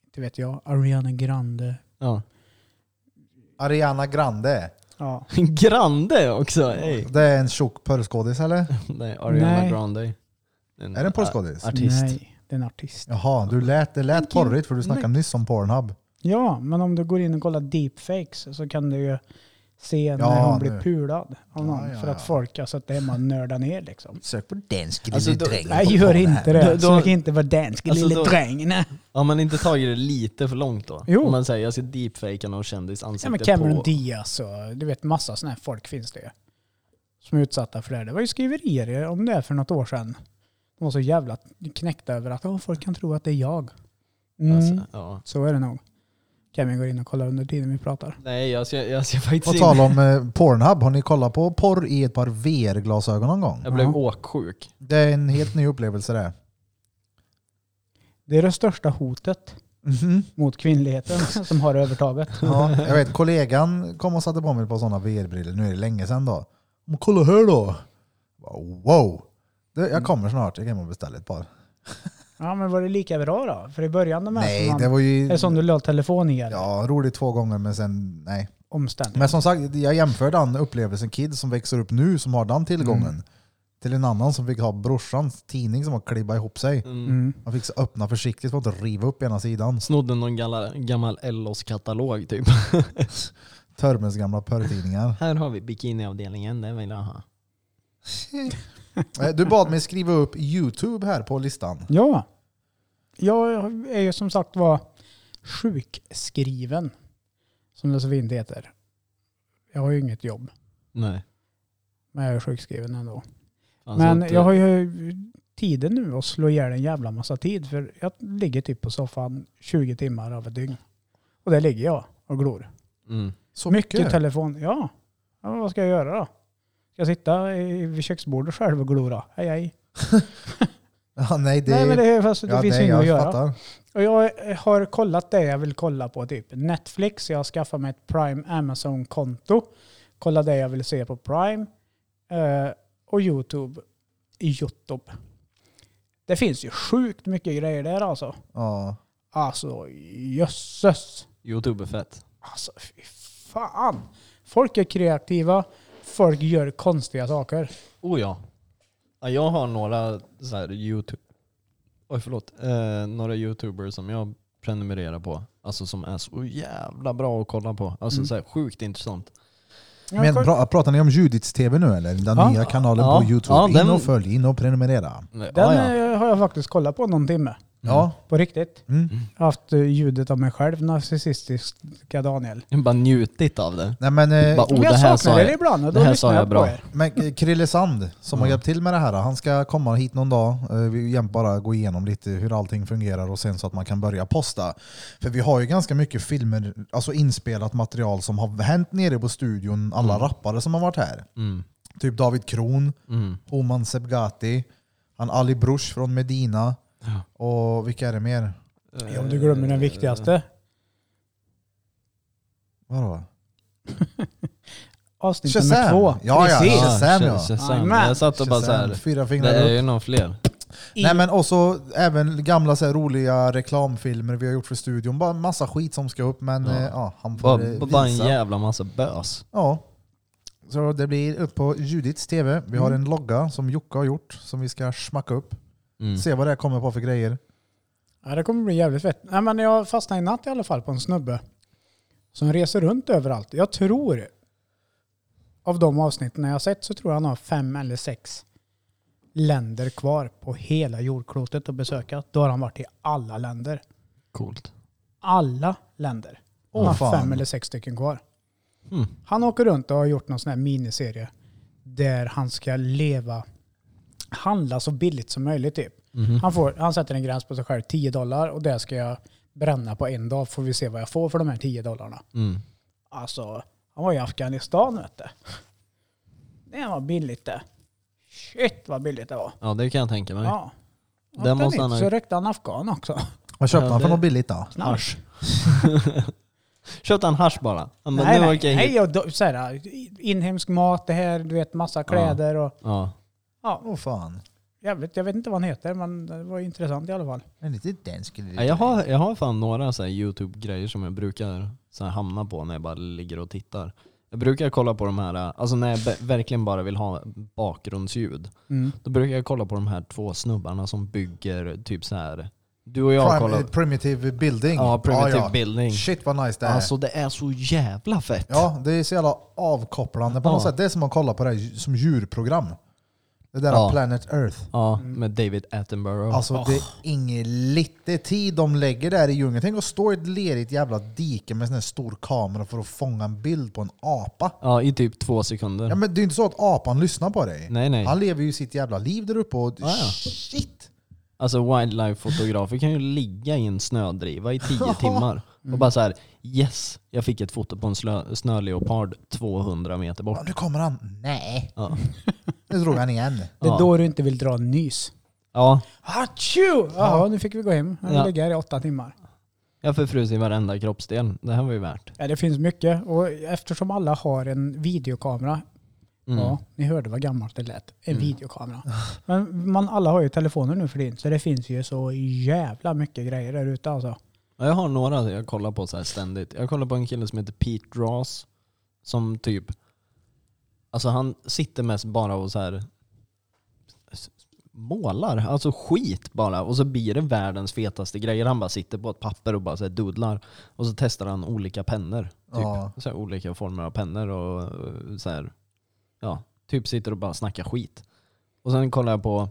Speaker 6: inte vet jag, Ariana Grande.
Speaker 1: Ja.
Speaker 5: Ariana Grande.
Speaker 6: Ja.
Speaker 1: (laughs) Grande också! Hey.
Speaker 5: Det är en tjock porrskådis eller?
Speaker 1: Nej, Ariana
Speaker 6: Nej.
Speaker 1: Grande. En,
Speaker 5: Är det en porrskådis?
Speaker 1: a- Artist.
Speaker 6: Nej, det är en artist.
Speaker 5: Jaha, du lät, det lät
Speaker 6: Thank you.
Speaker 5: porrigt för du snackade nyss om Pornhub.
Speaker 6: Ja, men om du går in och kollar deepfakes så kan du ju se när
Speaker 5: Ja,
Speaker 6: hon blir
Speaker 5: nu.
Speaker 6: pulad av någon.
Speaker 5: ja,
Speaker 6: för att
Speaker 5: ja.
Speaker 6: folk har suttit hemma och nördat
Speaker 5: (laughs)
Speaker 6: ner liksom.
Speaker 5: Sök på den
Speaker 1: Alltså, då- drängen
Speaker 6: Nej, gör inte det.
Speaker 1: Då- då-
Speaker 6: Sök inte på dansk
Speaker 1: Alltså,
Speaker 6: lille
Speaker 1: då-
Speaker 6: dräng. Nej.
Speaker 1: Har man inte tagit det lite för långt då?
Speaker 6: Jo.
Speaker 1: Om man säger jag ska deepfakea någon kändis
Speaker 6: Ja, men
Speaker 1: ansikte
Speaker 6: Cameron
Speaker 1: på...
Speaker 6: Diaz och du vet massa sådana här folk finns det ju. Som är utsatta för det här. Det var ju skriverier om det här för något år sedan. De var så jävla knäckta över att "Åh, folk kan tro att det är jag. Mm,
Speaker 1: Alltså, ja.
Speaker 6: Så är det nog. Kevin går in och kollar under tiden vi pratar.
Speaker 1: Nej, jag ska, jag ska faktiskt
Speaker 5: På
Speaker 1: in.
Speaker 5: tal om eh, Pornhub, har ni kollat på porr i ett par VR-glasögon någon gång?
Speaker 1: Jag blev
Speaker 6: Ja.
Speaker 1: åksjuk.
Speaker 5: Det är en helt ny upplevelse det.
Speaker 6: Det är det största hotet
Speaker 5: Mhm.
Speaker 6: mot kvinnligheten
Speaker 1: (laughs)
Speaker 6: som har övertaget.
Speaker 5: Ja, jag vet, kollegan kom och satte på mig på sådana VR-briller, nu är det länge sedan då. Men kolla här då! Wow! Du,
Speaker 6: Mm.
Speaker 5: jag kommer snart, jag kan bara beställa ett par.
Speaker 6: Ja men var det lika bra då? För i början de här
Speaker 5: Nej,
Speaker 6: som alltså man-
Speaker 5: det var ju...
Speaker 6: är det som du la telefon i eller?
Speaker 5: Ja, roligt två gånger men sen nej.
Speaker 6: Omständigt.
Speaker 5: Men som sagt, jag jämför den upplevelsen kids som växer upp nu som har den tillgången
Speaker 6: Mm.
Speaker 5: till en annan som fick ha brorsans tidning som har klibbat ihop sig.
Speaker 6: Mm.
Speaker 5: Man fick så öppna försiktigt för att inte riva upp ena sidan.
Speaker 1: Snodde någon gala, gammal Ellos-katalog
Speaker 6: (laughs)
Speaker 1: typ.
Speaker 5: Törmes gamla porrtidningar.
Speaker 1: Här har vi bikiniavdelningen, den vill jag ha.
Speaker 5: (laughs) Eh, du bad mig skriva upp YouTube här på listan.
Speaker 6: Ja. Jag är ju som sagt var sjukskriven. Som det så fint heter. Jag har ju inget jobb.
Speaker 1: Nej.
Speaker 6: Men jag är sjukskriven ändå.
Speaker 1: Alltså
Speaker 6: men
Speaker 1: inte-
Speaker 6: jag har ju tiden nu att slå ihjäl en jävla massa tid. För jag ligger typ på soffan 20 timmar av ett dygn. Och där ligger jag och glor.
Speaker 1: Mm.
Speaker 5: Så
Speaker 6: Mycket telefon. Ja. ja. men Vad ska jag göra då? Ska jag sitta i- vid köksbordet själv och glora? Hej hej.
Speaker 5: (laughs) Ja, nej, det,
Speaker 6: Nej men det, är- fast det
Speaker 5: ja,
Speaker 6: finns
Speaker 5: nej,
Speaker 6: ju inget
Speaker 5: jag
Speaker 6: att göra.
Speaker 5: fattar.
Speaker 6: Och jag har kollat det jag vill kolla på, typ Netflix. Jag har skaffat mig ett Prime Amazon-konto. Kolla det jag vill se på Prime. Eh, och YouTube. Youtube. Det finns ju sjukt mycket grejer där alltså.
Speaker 5: Ja.
Speaker 6: Alltså jösses.
Speaker 1: Youtube är fett.
Speaker 6: Alltså fy fan. Folk är kreativa. Folk gör konstiga saker.
Speaker 1: Oh ja. ja jag har några så här YouTube... Oj förlåt. Eh, några YouTubers som jag prenumererar på. Alltså som är så jävla bra att kolla på. Alltså
Speaker 6: Mm.
Speaker 1: så här sjukt intressant.
Speaker 6: Jag
Speaker 5: Men
Speaker 6: koll-
Speaker 5: pra, pratar ni om Judits TV nu eller? Den
Speaker 6: Ja.
Speaker 5: nya kanalen
Speaker 1: Ja.
Speaker 5: på YouTube.
Speaker 1: Ja,
Speaker 5: in
Speaker 1: den- Mm.
Speaker 5: och följ, in och prenumerera.
Speaker 1: Den
Speaker 6: Den
Speaker 1: ja, ja.
Speaker 6: eh, har jag faktiskt kollat på någon timme.
Speaker 5: Ja.
Speaker 6: På riktigt.
Speaker 5: Mm.
Speaker 6: Jag har haft eh, ljudet av mig själv, narcissistiska Daniel.
Speaker 1: Jag har bara njutit av det.
Speaker 5: Nej, men, eh,
Speaker 1: Bara,
Speaker 6: Men
Speaker 1: oh, det
Speaker 6: jag
Speaker 1: här
Speaker 6: saknar
Speaker 1: sa
Speaker 6: er
Speaker 1: jag.
Speaker 6: ibland och då
Speaker 1: det här
Speaker 6: lyssnar
Speaker 1: sa
Speaker 6: jag,
Speaker 1: jag bra.
Speaker 6: på er.
Speaker 5: Men eh, Krille Sand som har
Speaker 1: Mm.
Speaker 5: hjälpt till med det här, han ska komma hit någon dag. Eh, Vi jämt bara gå igenom lite hur allting fungerar och sen så att man kan börja posta. För vi har ju ganska mycket filmer, alltså inspelat material som har hänt nere på studion, alla rappare som har varit här.
Speaker 1: Mm.
Speaker 5: Typ David Kron,
Speaker 1: Mm.
Speaker 5: Homan Sebgati, han Ali Brush från Medina.
Speaker 1: Ja.
Speaker 5: Och vilka är det mer?
Speaker 6: Ja, du glömmer den viktigaste.
Speaker 5: Vadå?
Speaker 6: Avsnitt nummer två.
Speaker 5: Ja, ja,
Speaker 6: Precis.
Speaker 5: Shazam ja.
Speaker 1: Shazam.
Speaker 6: Jajamän.
Speaker 1: Jag satt och bara
Speaker 5: Shazam,
Speaker 1: såhär,
Speaker 5: fyra
Speaker 1: det
Speaker 5: fingrar upp.
Speaker 1: är ju någon fler.
Speaker 5: Nej men också även gamla så här, roliga reklamfilmer vi har gjort för studion. Bara massa skit som ska upp men
Speaker 1: Ja.
Speaker 5: ja, eh, ja han får
Speaker 1: Bara,
Speaker 5: eh,
Speaker 1: bara en
Speaker 5: visa.
Speaker 1: jävla massa bös.
Speaker 5: Ja. Så det blir upp på Judits TV. Vi har en logga som Jocke har gjort som vi ska smacka upp.
Speaker 1: Mm.
Speaker 5: Se vad det här kommer på för grejer.
Speaker 6: Ja, det kommer bli jävligt fett. Nej, men jag fastnade i natt i alla fall på en snubbe. Som reser runt överallt. Jag tror, av de avsnitten jag har sett så tror jag han har fem eller sex länder kvar på hela jordklotet att besöka. Då har han varit i alla länder.
Speaker 1: Coolt.
Speaker 6: Alla länder.
Speaker 5: Åh,
Speaker 6: Han har
Speaker 5: fan.
Speaker 6: fem eller sex stycken kvar.
Speaker 1: Mm.
Speaker 6: Han åker runt och har gjort någon sån här miniserie där han ska leva, handla så billigt som möjligt typ.
Speaker 1: Mhm.
Speaker 6: Han, får, han sätter en gräns på sig själv, 10 dollar och det ska jag bränna på en dag. Får vi se vad jag får för de här 10 dollarna.
Speaker 1: Mm.
Speaker 6: Alltså, han var i Afghanistan vet du. Det var billigt det. Shit vad billigt det var.
Speaker 1: Ja det kan jag tänka mig.
Speaker 6: Ja.
Speaker 1: Den
Speaker 6: Den
Speaker 1: måste
Speaker 6: måste
Speaker 1: han ha
Speaker 6: så
Speaker 1: gjort.
Speaker 6: rökte han afghan också.
Speaker 5: Vad köpte
Speaker 1: Ja,
Speaker 5: han för
Speaker 1: det-
Speaker 5: något billigt då?
Speaker 1: Hasch. Köpte han hasch bara? Han bara,
Speaker 6: nej,
Speaker 1: nu
Speaker 6: nej.
Speaker 1: åker jag hit.
Speaker 6: nej och då, så här, inhemsk mat, det här, du vet massa kläder och
Speaker 1: Ja.
Speaker 6: ja,
Speaker 5: Åh fan.
Speaker 6: jävligt. Jag vet inte vad han heter men det var intressant i alla fall.
Speaker 5: Men inte den skulle
Speaker 1: Ja, Jag har, jag har fan några så här YouTube-grejer som jag brukar så här hamna på när jag bara ligger och tittar. Jag brukar kolla på de här, alltså när jag be- verkligen bara vill ha bakgrundsljud.
Speaker 6: Mm.
Speaker 1: Då brukar jag kolla på de här två snubbarna som bygger typ så här. Du och jag kollar.
Speaker 5: Prim- primitive building.
Speaker 1: Ja, primitive
Speaker 5: Ja, ja.
Speaker 1: building.
Speaker 5: Shit vad nice det är.
Speaker 1: Alltså det är så jävla fett.
Speaker 5: Ja, det är så jävla avkopplande på
Speaker 1: Ja.
Speaker 5: något sätt. Det är som att kolla på det här som djurprogram. Det där
Speaker 1: Ja.
Speaker 5: Planet Earth.
Speaker 1: Ja, med David Attenborough.
Speaker 5: Alltså det
Speaker 1: Ah.
Speaker 5: är ingen lite tid de lägger där i djungeln. Tänk att stå i ett lerigt jävla dike med en sån här stor kamera för att fånga en bild på en apa.
Speaker 1: Ja, i typ två sekunder.
Speaker 5: Ja, men det är ju inte så att apan lyssnar på dig.
Speaker 1: Nej, nej.
Speaker 5: Han lever ju sitt jävla liv där uppe och
Speaker 1: Ja, ja.
Speaker 5: shit.
Speaker 1: Alltså wildlife-fotografer kan ju ligga i en snödriva i tio timmar och bara så här: yes, jag fick ett foto på en slö- snöleopard 200 meter bort.
Speaker 5: Ja, nu kommer han. Nej,
Speaker 1: Ja. Typ.
Speaker 5: nu drog han
Speaker 1: (laughs)
Speaker 5: igen.
Speaker 6: Det är
Speaker 1: Ja.
Speaker 6: då du inte vill dra en nys.
Speaker 1: Ja,
Speaker 6: Hachu! Jaha, nu fick vi gå hem. Jag
Speaker 1: Ja.
Speaker 6: ja. ligger här i åtta timmar.
Speaker 1: jag förfrus i varenda kroppsdel. Det här var ju värt.
Speaker 6: Ja, det finns mycket och eftersom alla har en videokamera,
Speaker 1: Mm.
Speaker 6: ja, ni hörde vad gammalt det lät, en videokamera. Men man, alla har ju telefoner nu för din, så det finns ju så jävla mycket grejer där ute alltså.
Speaker 1: Ja, Jag har några jag kollar på så här ständigt. Jag kollar på en kille som heter Pete Ross. Som typ... Alltså han sitter mest bara och så här s- målar. Alltså skit bara. Och så blir det världens fetaste grejer. Han bara sitter på ett papper och bara så här dudlar. Och så testar han olika pennor. Typ.
Speaker 5: Ja.
Speaker 1: Så här, olika former av pennor och eh, så här. Ja, typ sitter och bara snackar skit. Och sen kollar jag på...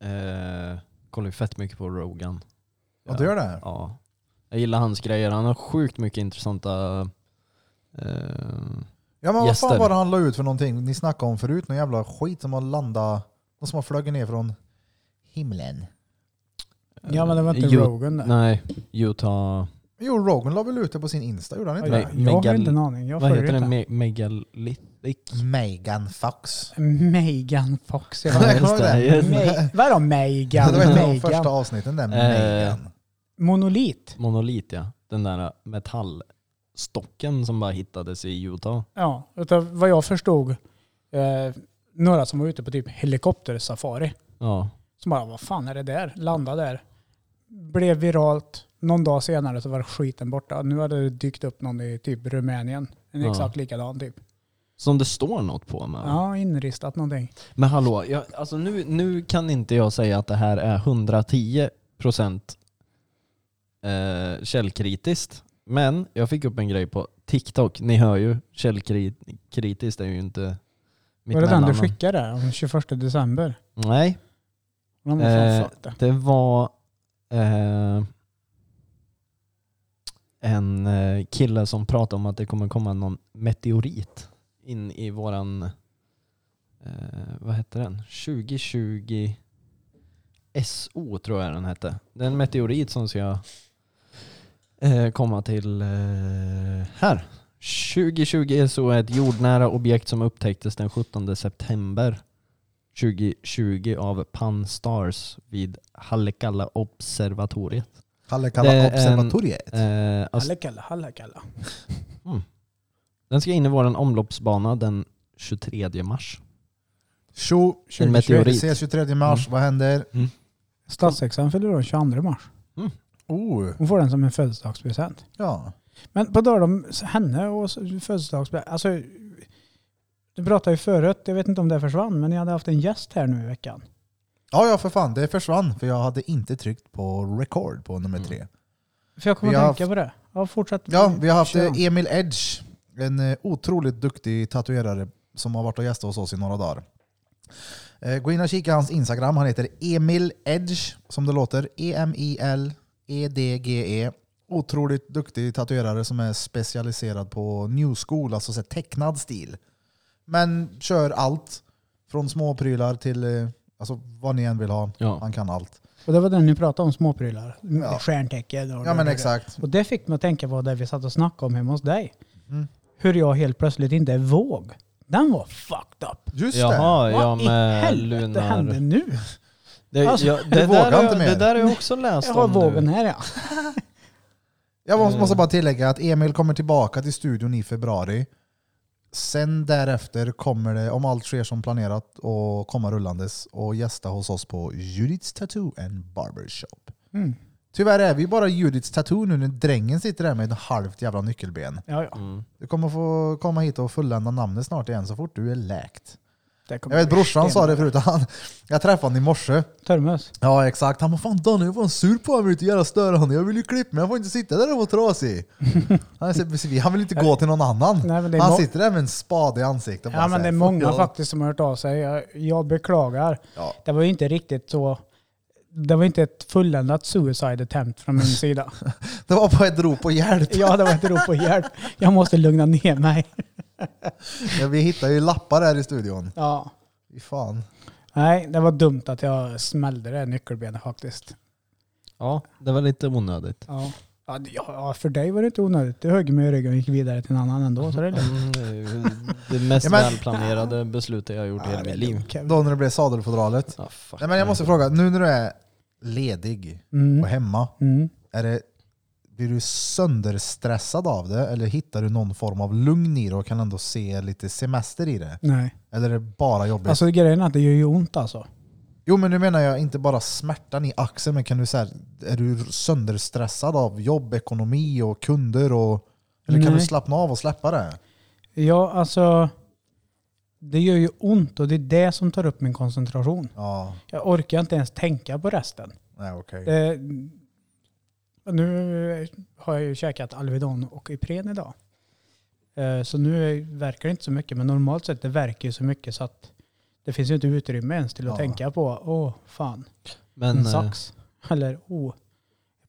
Speaker 1: Eh, kollar ju fett mycket på Rogan.
Speaker 5: Ja, du gör det?
Speaker 1: Ja. Jag gillar hans grejer. Han har sjukt mycket intressanta... Eh,
Speaker 5: Ja men vad
Speaker 1: Gäster.
Speaker 5: fan var det han la ut för någonting? Ni snackade om förut, någon jävla skit som har landat, någon som har flugit ner från himlen.
Speaker 6: Ja men det var inte
Speaker 1: Ju-
Speaker 6: Rogan där.
Speaker 1: Nej, Utah...
Speaker 5: Jo, Rogan la väl ut det på sin Insta, gjorde han inte
Speaker 1: Nej.
Speaker 5: det?
Speaker 6: Jag, jag har
Speaker 1: Megal-
Speaker 6: inte en aning, jag
Speaker 1: Vad
Speaker 6: följer
Speaker 1: heter den? Me-
Speaker 6: inte.
Speaker 1: megalithic?
Speaker 5: Megan
Speaker 1: (laughs)
Speaker 5: Fox.
Speaker 6: Megan Fox. Jag
Speaker 5: Ja,
Speaker 6: bara,
Speaker 5: just det,
Speaker 1: just det. Eh,
Speaker 6: Me- Vadå
Speaker 5: Det
Speaker 6: Megan?
Speaker 5: var ett av de första
Speaker 6: Megan?
Speaker 5: avsnitten där, Megan.
Speaker 6: Monolit?
Speaker 1: Monolit ja. Den där eh, metallstocken som bara hittades i Utah.
Speaker 6: Ja, utav vad jag förstod, eh, några som var ute på typ helikoptersafari.
Speaker 1: Ja.
Speaker 6: Som bara, vad fan är det där? Landa där. Blev viralt. Någon dag senare så var skiten borta. Nu hade det dykt upp någon i typ Rumänien. En
Speaker 1: Ja.
Speaker 6: exakt likadan typ.
Speaker 1: Som det står något på med.
Speaker 6: Ja, inristat någonting.
Speaker 1: Men hallå, jag, alltså nu, nu kan inte jag säga att det här är 110% eh, källkritiskt. Men jag fick upp en grej på TikTok. Ni hör ju, källkritiskt är ju inte mitt
Speaker 6: Var det den du
Speaker 1: mellannamn.
Speaker 6: skickade där, den 21 december?
Speaker 1: Nej,
Speaker 6: De har fan
Speaker 1: Eh,
Speaker 6: fuck det.
Speaker 1: det var eh, en eh, kille som pratade om att det kommer komma någon meteorit in i våran, eh, vad hette den? 2020 SO tror jag den hette. Det är en meteorit som ska eh, komma till eh, här. 2020 SO är ett jordnära objekt som upptäcktes den 17 september 2020 av Pan-STARRS vid Hallekalla-observatoriet. Det
Speaker 5: Hallekalla
Speaker 1: är en-
Speaker 5: observatoriet.
Speaker 1: Eh, alltså,
Speaker 6: Hallekalla, hallekalla.
Speaker 1: den ska in i vår omloppsbana den 23 mars.
Speaker 5: Tjo, vi
Speaker 1: En meteorit. Mm.
Speaker 5: ses 23 mars, vad händer?
Speaker 6: Statsexan fyller år den 22 mars.
Speaker 5: Oh,
Speaker 6: Hon får den som en födelsedagspresent.
Speaker 5: ja.
Speaker 6: Men på tal om henne och s- födelsedagspresent. Alltså, du pratade ju förut, jag vet inte om det försvann, men ni hade haft en gäst här nu i veckan.
Speaker 1: Mm.
Speaker 5: Ja, ja för fan, det försvann för jag hade inte tryckt på record på nummer tre.
Speaker 6: För jag kommer
Speaker 5: Vi
Speaker 6: att
Speaker 5: har
Speaker 6: tänka på det. Ja, fortsätt.
Speaker 5: Ja, vi har haft
Speaker 6: Mm. Kör.
Speaker 5: eh, Emil Edge, en eh, otroligt duktig tatuerare som har varit och gästat hos oss i några dagar. Eh, Gå in och kika hans Instagram, han heter Emil Edge, som det låter. E E-M-I-L-E-D-G-E. E. Otroligt duktig tatuerare som är specialiserad på new school, alltså så här tecknad stil. Men kör allt. Från små prylar till eh, alltså, vad ni än vill ha.
Speaker 1: Ja.
Speaker 5: Han kan allt.
Speaker 6: Och det var den ni pratade om, småprylar.
Speaker 5: Ja.
Speaker 6: Stjärntecken och
Speaker 5: Ja men
Speaker 6: det-
Speaker 5: exakt.
Speaker 6: Och det fick mig att tänka på det vi satt och snackade om hemma hos dig.
Speaker 5: Mm.
Speaker 6: Hur jag helt plötsligt inte är våg. Den var fucked up.
Speaker 5: Just det.
Speaker 1: Jaha, ja
Speaker 6: Vad i
Speaker 1: med
Speaker 6: helvete hände
Speaker 1: lunar...
Speaker 6: nu?
Speaker 1: Det,
Speaker 6: Alltså,
Speaker 1: ja, det,
Speaker 5: vågar
Speaker 1: där har
Speaker 5: inte
Speaker 1: jag,
Speaker 5: mer.
Speaker 1: det där har jag också läst
Speaker 6: Jag har
Speaker 1: om nu.
Speaker 6: vågen här ja.
Speaker 5: Jag måste,
Speaker 1: Eh.
Speaker 5: måste bara tillägga att Emil kommer tillbaka till studion i februari. Sen därefter kommer det, om allt sker som planerat, att komma rullandes och gästa hos oss på Judiths Tattoo and Barbershop.
Speaker 6: Mm.
Speaker 5: Tyvärr är vi bara Judiths Tattoo nu när drängen sitter där med ett halvt jävla nyckelben.
Speaker 6: ja, ja.
Speaker 1: Mm.
Speaker 5: Du kommer få komma hit och fullända namnet snart igen så fort du är läkt.
Speaker 6: Det kommer
Speaker 5: Jag vet
Speaker 6: bli
Speaker 5: brorsan sa
Speaker 6: sten-
Speaker 5: det förut, han, jag träffade honom i morse.
Speaker 6: Törmus.
Speaker 5: Ja exakt, han bara fan Danne jag var sur på mig ute jävla stör han. Jag vill ju klippa mig, jag får inte sitta där och vara
Speaker 6: (laughs)
Speaker 5: trasig. Han, är så precis- han vill inte gå till någon annan.
Speaker 6: Nej, men det är
Speaker 5: han
Speaker 6: mo-
Speaker 5: sitter där med en spade i ansiktet. och bara
Speaker 6: Ja men
Speaker 5: så
Speaker 6: det
Speaker 5: här,
Speaker 6: är
Speaker 5: "Fuck
Speaker 6: många
Speaker 5: jag."
Speaker 6: faktiskt som har hört av sig. Jag, jag beklagar.
Speaker 5: Ja.
Speaker 6: Det var ju inte riktigt så... Det var inte ett fulländat suicide attempt
Speaker 5: (laughs)
Speaker 6: från min sida.
Speaker 5: Det var bara ett rop på hjälp.
Speaker 6: Ja, det var
Speaker 5: (laughs)
Speaker 6: ett rop på hjälp. Jag måste lugna ner mig.
Speaker 5: Ja, Vi hittar ju lappar här i studion.
Speaker 6: Ja.
Speaker 5: Fy fan.
Speaker 6: Nej, det var dumt att jag smällde det nyckelbenet faktiskt.
Speaker 1: Ja, det var lite onödigt.
Speaker 6: Ja. Ja, det- ja, för dig var det inte onödigt. Du högg mig i ryggen och gick vidare till en annan ändå. Så det är lugnt.
Speaker 1: Mm, det är ju det mest
Speaker 5: Ja, men-
Speaker 1: välplanerade beslutet jag har gjort i hela
Speaker 6: det är
Speaker 1: mitt liv.
Speaker 6: lugnt, Kevin.
Speaker 5: Då när det blev sadelfodralet.
Speaker 1: Ja, fuck
Speaker 5: Nej men jag
Speaker 1: me.
Speaker 5: måste fråga, nu när du är ledig och
Speaker 6: Mm.
Speaker 5: hemma,
Speaker 6: Mm.
Speaker 5: är det, blir du sönderstressad av det? Eller hittar du någon form av lugn i det och kan ändå se lite semester i det?
Speaker 6: Nej.
Speaker 5: Eller är det bara jobbigt?
Speaker 6: Alltså grejen är att det gör ju ont alltså.
Speaker 5: Jo men nu menar jag inte bara smärtan i axeln, men kan du säga, är du sönderstressad av jobb, ekonomi och kunder? Och, eller kan
Speaker 6: Nej.
Speaker 5: du slappna av och släppa det?
Speaker 6: Ja, alltså. Det gör ju ont och det är det som tar upp min koncentration.
Speaker 5: Ja,
Speaker 6: Jag orkar inte ens tänka på resten.
Speaker 5: nej okej.
Speaker 6: Det, Eh, nu har jag ju käkat Alvedon och Ipren idag. Eh, Så nu är- verkar det inte så mycket, men normalt sett det verkar ju så mycket så att det finns ju inte utrymme ens till att
Speaker 5: Ja.
Speaker 6: tänka på, åh fan,
Speaker 1: Men,
Speaker 6: en
Speaker 5: Mm.
Speaker 1: eh,
Speaker 6: sax. (laughs) Eller, åh,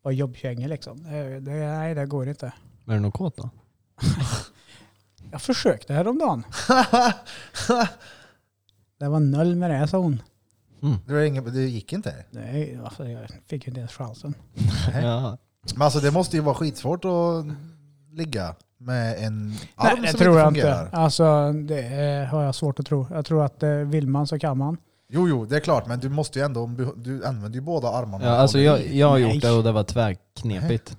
Speaker 6: vad jobbkängor liksom. Eh, Det, nej, det går inte.
Speaker 1: Är du nog kåt då?
Speaker 6: Jag
Speaker 1: (laughs)
Speaker 6: försökte häromdagen. det var noll med det, sa hon.
Speaker 5: Det, var ingen, det gick inte.
Speaker 6: Nej, alltså, jag fick ju inte ens chansen.
Speaker 1: Ja.
Speaker 5: Men alltså det måste ju vara skitsvårt att ligga med en arm
Speaker 6: Nej, det
Speaker 5: som
Speaker 6: tror
Speaker 5: inte
Speaker 6: jag
Speaker 5: fungerar.
Speaker 6: inte. Alltså, det eh, har jag svårt att tro. Jag tror att eh, vill man så kan man.
Speaker 5: Jo, jo, det är klart, men du måste ju ändå, du använder ju båda armarna.
Speaker 1: Ja, alltså jag, jag har
Speaker 6: Nej.
Speaker 1: gjort det och det var tvärknepigt.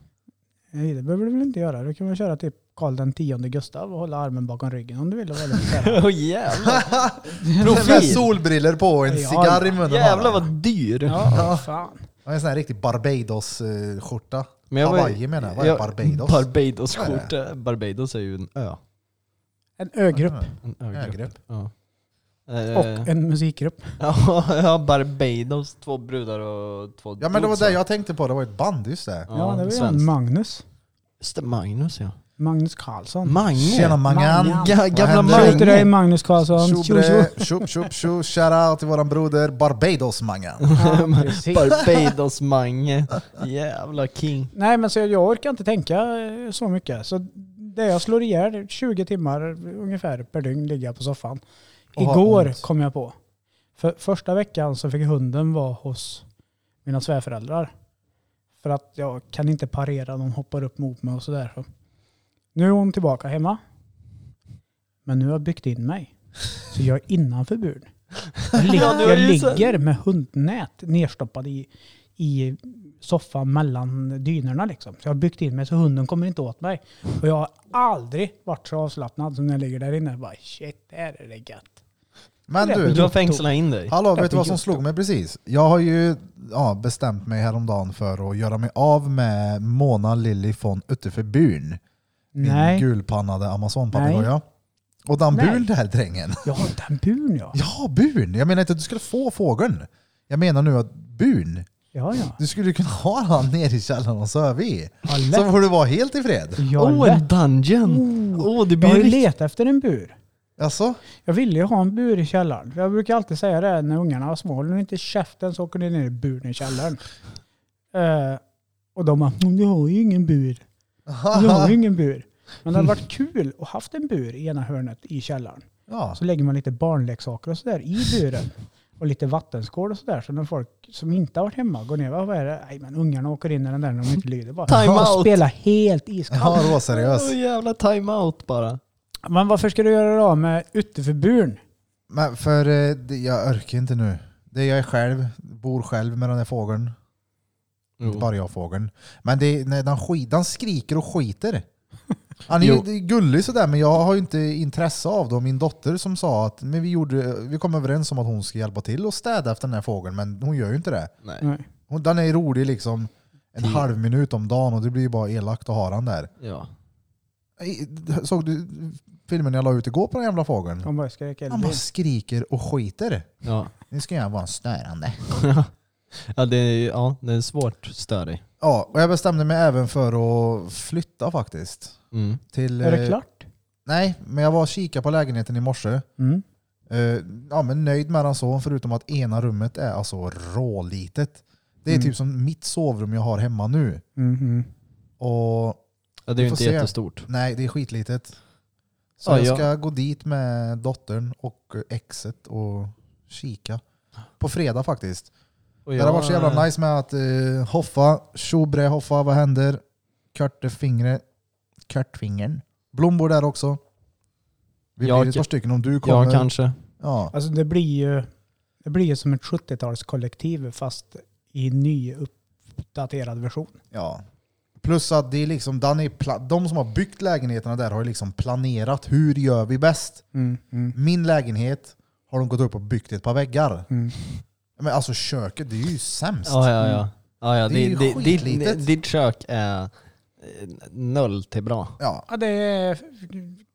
Speaker 6: Nej, Eh, det behöver du väl inte göra. Du kan väl köra typ Karl den tionde Gustav och hålla armen bakom ryggen om du vill. och vara lite
Speaker 1: (laughs)
Speaker 6: så här.
Speaker 1: Åh jävlar!
Speaker 5: (laughs) Med
Speaker 1: Profil!
Speaker 5: solbriller på och en
Speaker 6: Ja,
Speaker 5: cigarr i munnen.
Speaker 1: Jävlar vad dyr!
Speaker 6: Ja, fan.
Speaker 5: Jag har en sån här riktig Barbados-skjorta.
Speaker 1: Men jag var-
Speaker 5: Hawaii menar jag, vad är
Speaker 1: jag-
Speaker 5: Barbados?
Speaker 1: Barbados
Speaker 5: Vad är det?
Speaker 1: skjorta. Barbados är ju en ö.
Speaker 6: En ögrupp
Speaker 1: En
Speaker 5: Ögrupp.
Speaker 1: ögrupp. Ja. Eh,
Speaker 6: och en musikgrupp.
Speaker 1: (laughs) Ja, ja, Barbados. Två brudar och två
Speaker 5: Ja men det var
Speaker 1: dosor.
Speaker 5: det jag tänkte på, det var ett band just det.
Speaker 6: Ja, det var ju
Speaker 1: svenskt.
Speaker 6: han Magnus.
Speaker 1: Just det, Magnus ja.
Speaker 6: Magnus Karlsson.
Speaker 1: Mange!
Speaker 5: Tjena Mangan!
Speaker 6: Mangan.
Speaker 1: Ja, gamla
Speaker 5: Vad händer?
Speaker 6: Tjo till
Speaker 1: Mange!
Speaker 6: dig Magnus Karlsson. Tjo tjo. (laughs)
Speaker 5: Tjobre, tjo tjo tjo, shoutout till våran broder Barbados Mangan.
Speaker 6: Ja, precis.
Speaker 1: Barbados Mange. Jävla king.
Speaker 6: Nej men så jag, jag orkar inte tänka eh, så mycket. Så det jag slår ihjäl 20 timmar ungefär per dygn ligga på soffan.
Speaker 5: Och ha
Speaker 6: Igår
Speaker 5: ont.
Speaker 6: kom jag på. För första veckan så fick hunden vara hos mina svärföräldrar. För att jag kan inte parera, de hoppar upp mot mig och sådär. Så. Nu är hon tillbaka hemma. Men nu har jag byggt in mig. Så jag är innanför buren. Jag, lig-
Speaker 1: (laughs) Ja, du har
Speaker 6: jag
Speaker 1: ju så-
Speaker 6: ligger med hundnät nerstoppad i, i soffan mellan dynorna. Liksom. Så jag har byggt in mig så hunden kommer inte åt mig. Och jag har aldrig varit så avslappnad som när jag ligger där inne. Jag Bara, Shit, här är det gött.
Speaker 5: Men
Speaker 1: Du
Speaker 5: du,
Speaker 1: har fängslat in dig.
Speaker 5: hallå vet du vad som slog mig precis? Jag har ju ja, bestämt mig häromdagen för att göra mig av med Mona Lilly von Utteförbyn. Min
Speaker 6: Nej.
Speaker 5: gulpannade amazonpapegoja. Och den
Speaker 6: Nej.
Speaker 5: bul där drängen.
Speaker 6: Ja, den buren ja.
Speaker 5: Ja, bun! Jag menar inte att du skulle få fågeln. Jag menar nu att bun.
Speaker 6: Ja, ja.
Speaker 5: Du skulle kunna ha han nere i källaren och sova i.
Speaker 6: Ja,
Speaker 5: Så
Speaker 6: lätt.
Speaker 5: får du vara helt i fred.
Speaker 6: Ja,
Speaker 1: Åh,
Speaker 6: lätt. Oh.
Speaker 1: en dungeon! Åh, det
Speaker 6: Jag
Speaker 1: blir
Speaker 6: har ju
Speaker 1: riktigt...
Speaker 6: letat efter en bur.
Speaker 5: Alltså,
Speaker 6: Jag ville ju ha en bur i källaren. Jag brukar alltid säga det när ungarna var små. Håller ni inte käften så åker ni ner i buren i källaren. Eh, och de bara, "Men du har ju ingen bur. Du har ju ingen bur. Men det hade varit kul att haft en bur i ena hörnet i källaren.
Speaker 5: ja.
Speaker 6: Så lägger man lite barnleksaker och sådär i buren. Och lite vattenskål och sådär. Så när folk som inte har varit hemma går ner, "Vad- vad är det? Nej men ungarna åker in i den där när de inte lyder bara.
Speaker 1: Time
Speaker 6: och
Speaker 1: out.
Speaker 6: spela helt iskallt.
Speaker 5: Ja, det var seriös.
Speaker 1: Åh, jävla time-out bara.
Speaker 6: Men varför ska du göra det av med utanförburen?
Speaker 5: Men för eh, det- jag orkar inte nu. Det är jag är själv, bor själv med den där fågeln. Inte Mm. bara jag fågeln. Men det, är- när den, skit, den skriker och skiter. Han är ju
Speaker 1: Jo.
Speaker 5: det är gullig sådär men jag har ju inte intresse av det. Och Min dotter som sa att men vi, gjorde, vi kom överens om att hon ska hjälpa till och städa efter den här fågeln men hon gör ju inte det.
Speaker 1: Nej.
Speaker 6: Nej.
Speaker 5: Hon, den är rolig liksom en
Speaker 1: Tio.
Speaker 5: halv minut om dagen och det blir ju bara elakt att ha den där.
Speaker 1: Ja.
Speaker 5: Ej, Såg du filmen jag la ut igår på den jävla fågeln?
Speaker 6: De bara skrek
Speaker 5: Han
Speaker 6: elbil.
Speaker 5: bara skriker och skiter.
Speaker 1: Ja.
Speaker 5: Nu ska jag vara störande.
Speaker 1: (laughs) ja, det är, ja, det är svårt störig.
Speaker 5: Ja, och jag bestämde mig även för att flytta faktiskt.
Speaker 1: Mm.
Speaker 5: Till,
Speaker 6: Är det
Speaker 5: eh,
Speaker 6: klart?
Speaker 5: Nej, men jag var och kikade på lägenheten i morse.
Speaker 6: Mm.
Speaker 5: Eh, ja, men nöjd med den så, förutom att ena rummet är alltså rålitet. Det är
Speaker 6: Mm.
Speaker 5: typ som mitt sovrum jag har hemma nu.
Speaker 6: Mhm.
Speaker 5: Och
Speaker 1: Ja, det är
Speaker 5: Vi
Speaker 1: ju
Speaker 5: får
Speaker 1: inte
Speaker 5: se.
Speaker 1: jättestort.
Speaker 5: nej, det är skitlitet. Så
Speaker 1: Ja,
Speaker 5: jag
Speaker 1: jag-
Speaker 5: ska gå dit med dottern och exet och kika. På fredag faktiskt.
Speaker 1: Och
Speaker 5: Det har varit så jävla nice med att eh, Hoffa, Tjobre Hoffa, vad händer? Körtefingre, Körtfingern. Blom bor där också. Vi
Speaker 1: Jag
Speaker 5: blir ett
Speaker 1: kan-
Speaker 5: par stycken om du kommer.
Speaker 1: Ja, kanske.
Speaker 5: Ja.
Speaker 6: Alltså det blir ju det blir ju som ett 70-talskollektiv fast i ny uppdaterad version.
Speaker 5: Ja. Plus att det är liksom, den är pla- de som har byggt lägenheterna där har ju liksom planerat hur gör vi bäst.
Speaker 6: Mm. Mm.
Speaker 5: Min lägenhet har de gått upp och byggt ett par väggar.
Speaker 6: Mm.
Speaker 5: Men alltså köket, det är ju sämst.
Speaker 1: Ja, ja, ja. ja, ja
Speaker 5: Det är
Speaker 1: det,
Speaker 5: ju
Speaker 1: det,
Speaker 5: skitlitet.
Speaker 1: ditt, ditt kök är eh, noll till bra.
Speaker 5: Ja,
Speaker 6: Ja, det är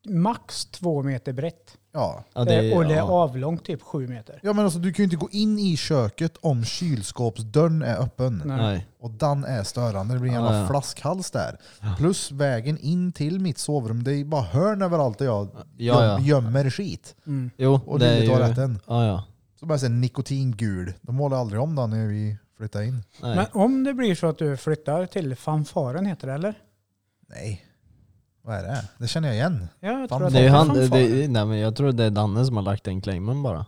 Speaker 6: max två meter brett.
Speaker 5: ja.
Speaker 1: Ja, det,
Speaker 6: Eh, och det är
Speaker 1: ja.
Speaker 6: avlångt typ sju meter.
Speaker 5: ja men alltså, du kan ju inte gå in i köket om kylskåpsdörren är öppen.
Speaker 1: Nej.
Speaker 5: Och den är störande, det blir en
Speaker 1: Ja,
Speaker 5: jävla
Speaker 1: ja.
Speaker 5: flaskhals där.
Speaker 1: Ja.
Speaker 5: Plus vägen in till mitt sovrum, det är bara hörn överallt där jag
Speaker 1: Ja,
Speaker 5: göm-
Speaker 1: ja.
Speaker 5: gömmer skit.
Speaker 6: Mm.
Speaker 1: Jo,
Speaker 5: Och
Speaker 1: det
Speaker 5: det
Speaker 1: är
Speaker 5: i
Speaker 1: ju...
Speaker 5: toaletten.
Speaker 1: Ja, ja.
Speaker 5: Så bara säga nikotingul. De målar aldrig om den när vi flyttar in.
Speaker 1: Nej.
Speaker 6: Men om det blir så att du flyttar till fanfaren heter det eller?
Speaker 5: Nej. Vad är det? Det känner jag igen.
Speaker 6: Ja, jag
Speaker 5: Fan,
Speaker 6: tror att
Speaker 1: det är ju
Speaker 6: heter
Speaker 1: han, det,
Speaker 6: fanfaren.
Speaker 1: det- nej, men jag tror det är Danne som har lagt den claimen bara.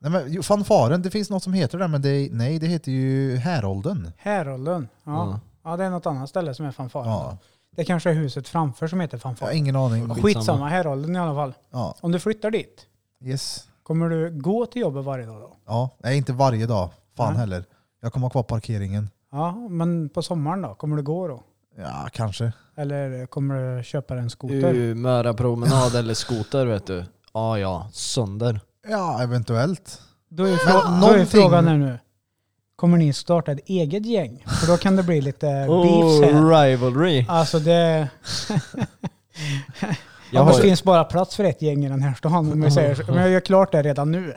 Speaker 5: Nej men jo, fanfaren, det finns något som heter det men det, nej det heter ju härolden.
Speaker 6: Härolden. Ja.
Speaker 1: Ja.
Speaker 6: ja, det är något annat ställe som är fanfaren.
Speaker 5: Ja.
Speaker 6: Det kanske är huset framför som heter
Speaker 5: Jag har
Speaker 6: fanfaren.
Speaker 5: ingen aning.
Speaker 1: Skit.
Speaker 6: Skitsamma, härolden i alla fall.
Speaker 5: Ja.
Speaker 6: Om du flyttar dit,
Speaker 5: Yes.
Speaker 6: kommer du gå till jobbet varje dag då?
Speaker 5: Ja. Nej inte varje dag. Fan
Speaker 6: Nej.
Speaker 5: heller. Jag kommer ha kvar parkeringen.
Speaker 6: Ja, men på sommaren då? Kommer du gå då?
Speaker 5: Ja kanske.
Speaker 6: Eller kommer du köpa en skoter?
Speaker 1: U, Mörapromenad eller skoter vet du. Ja, ja. Sönder.
Speaker 5: Ja eventuellt.
Speaker 6: Då är,
Speaker 5: Men
Speaker 6: frå- då är
Speaker 5: någonting-
Speaker 6: frågan här nu. Kommer ni starta ett eget gäng? För då kan det bli lite beefs här.
Speaker 1: Oh, rivalry.
Speaker 6: Alltså det,
Speaker 1: Jag
Speaker 6: det
Speaker 1: har,
Speaker 6: finns bara plats för ett gäng i den här stan. Om jag, säger, så. om jag gör klart det redan nu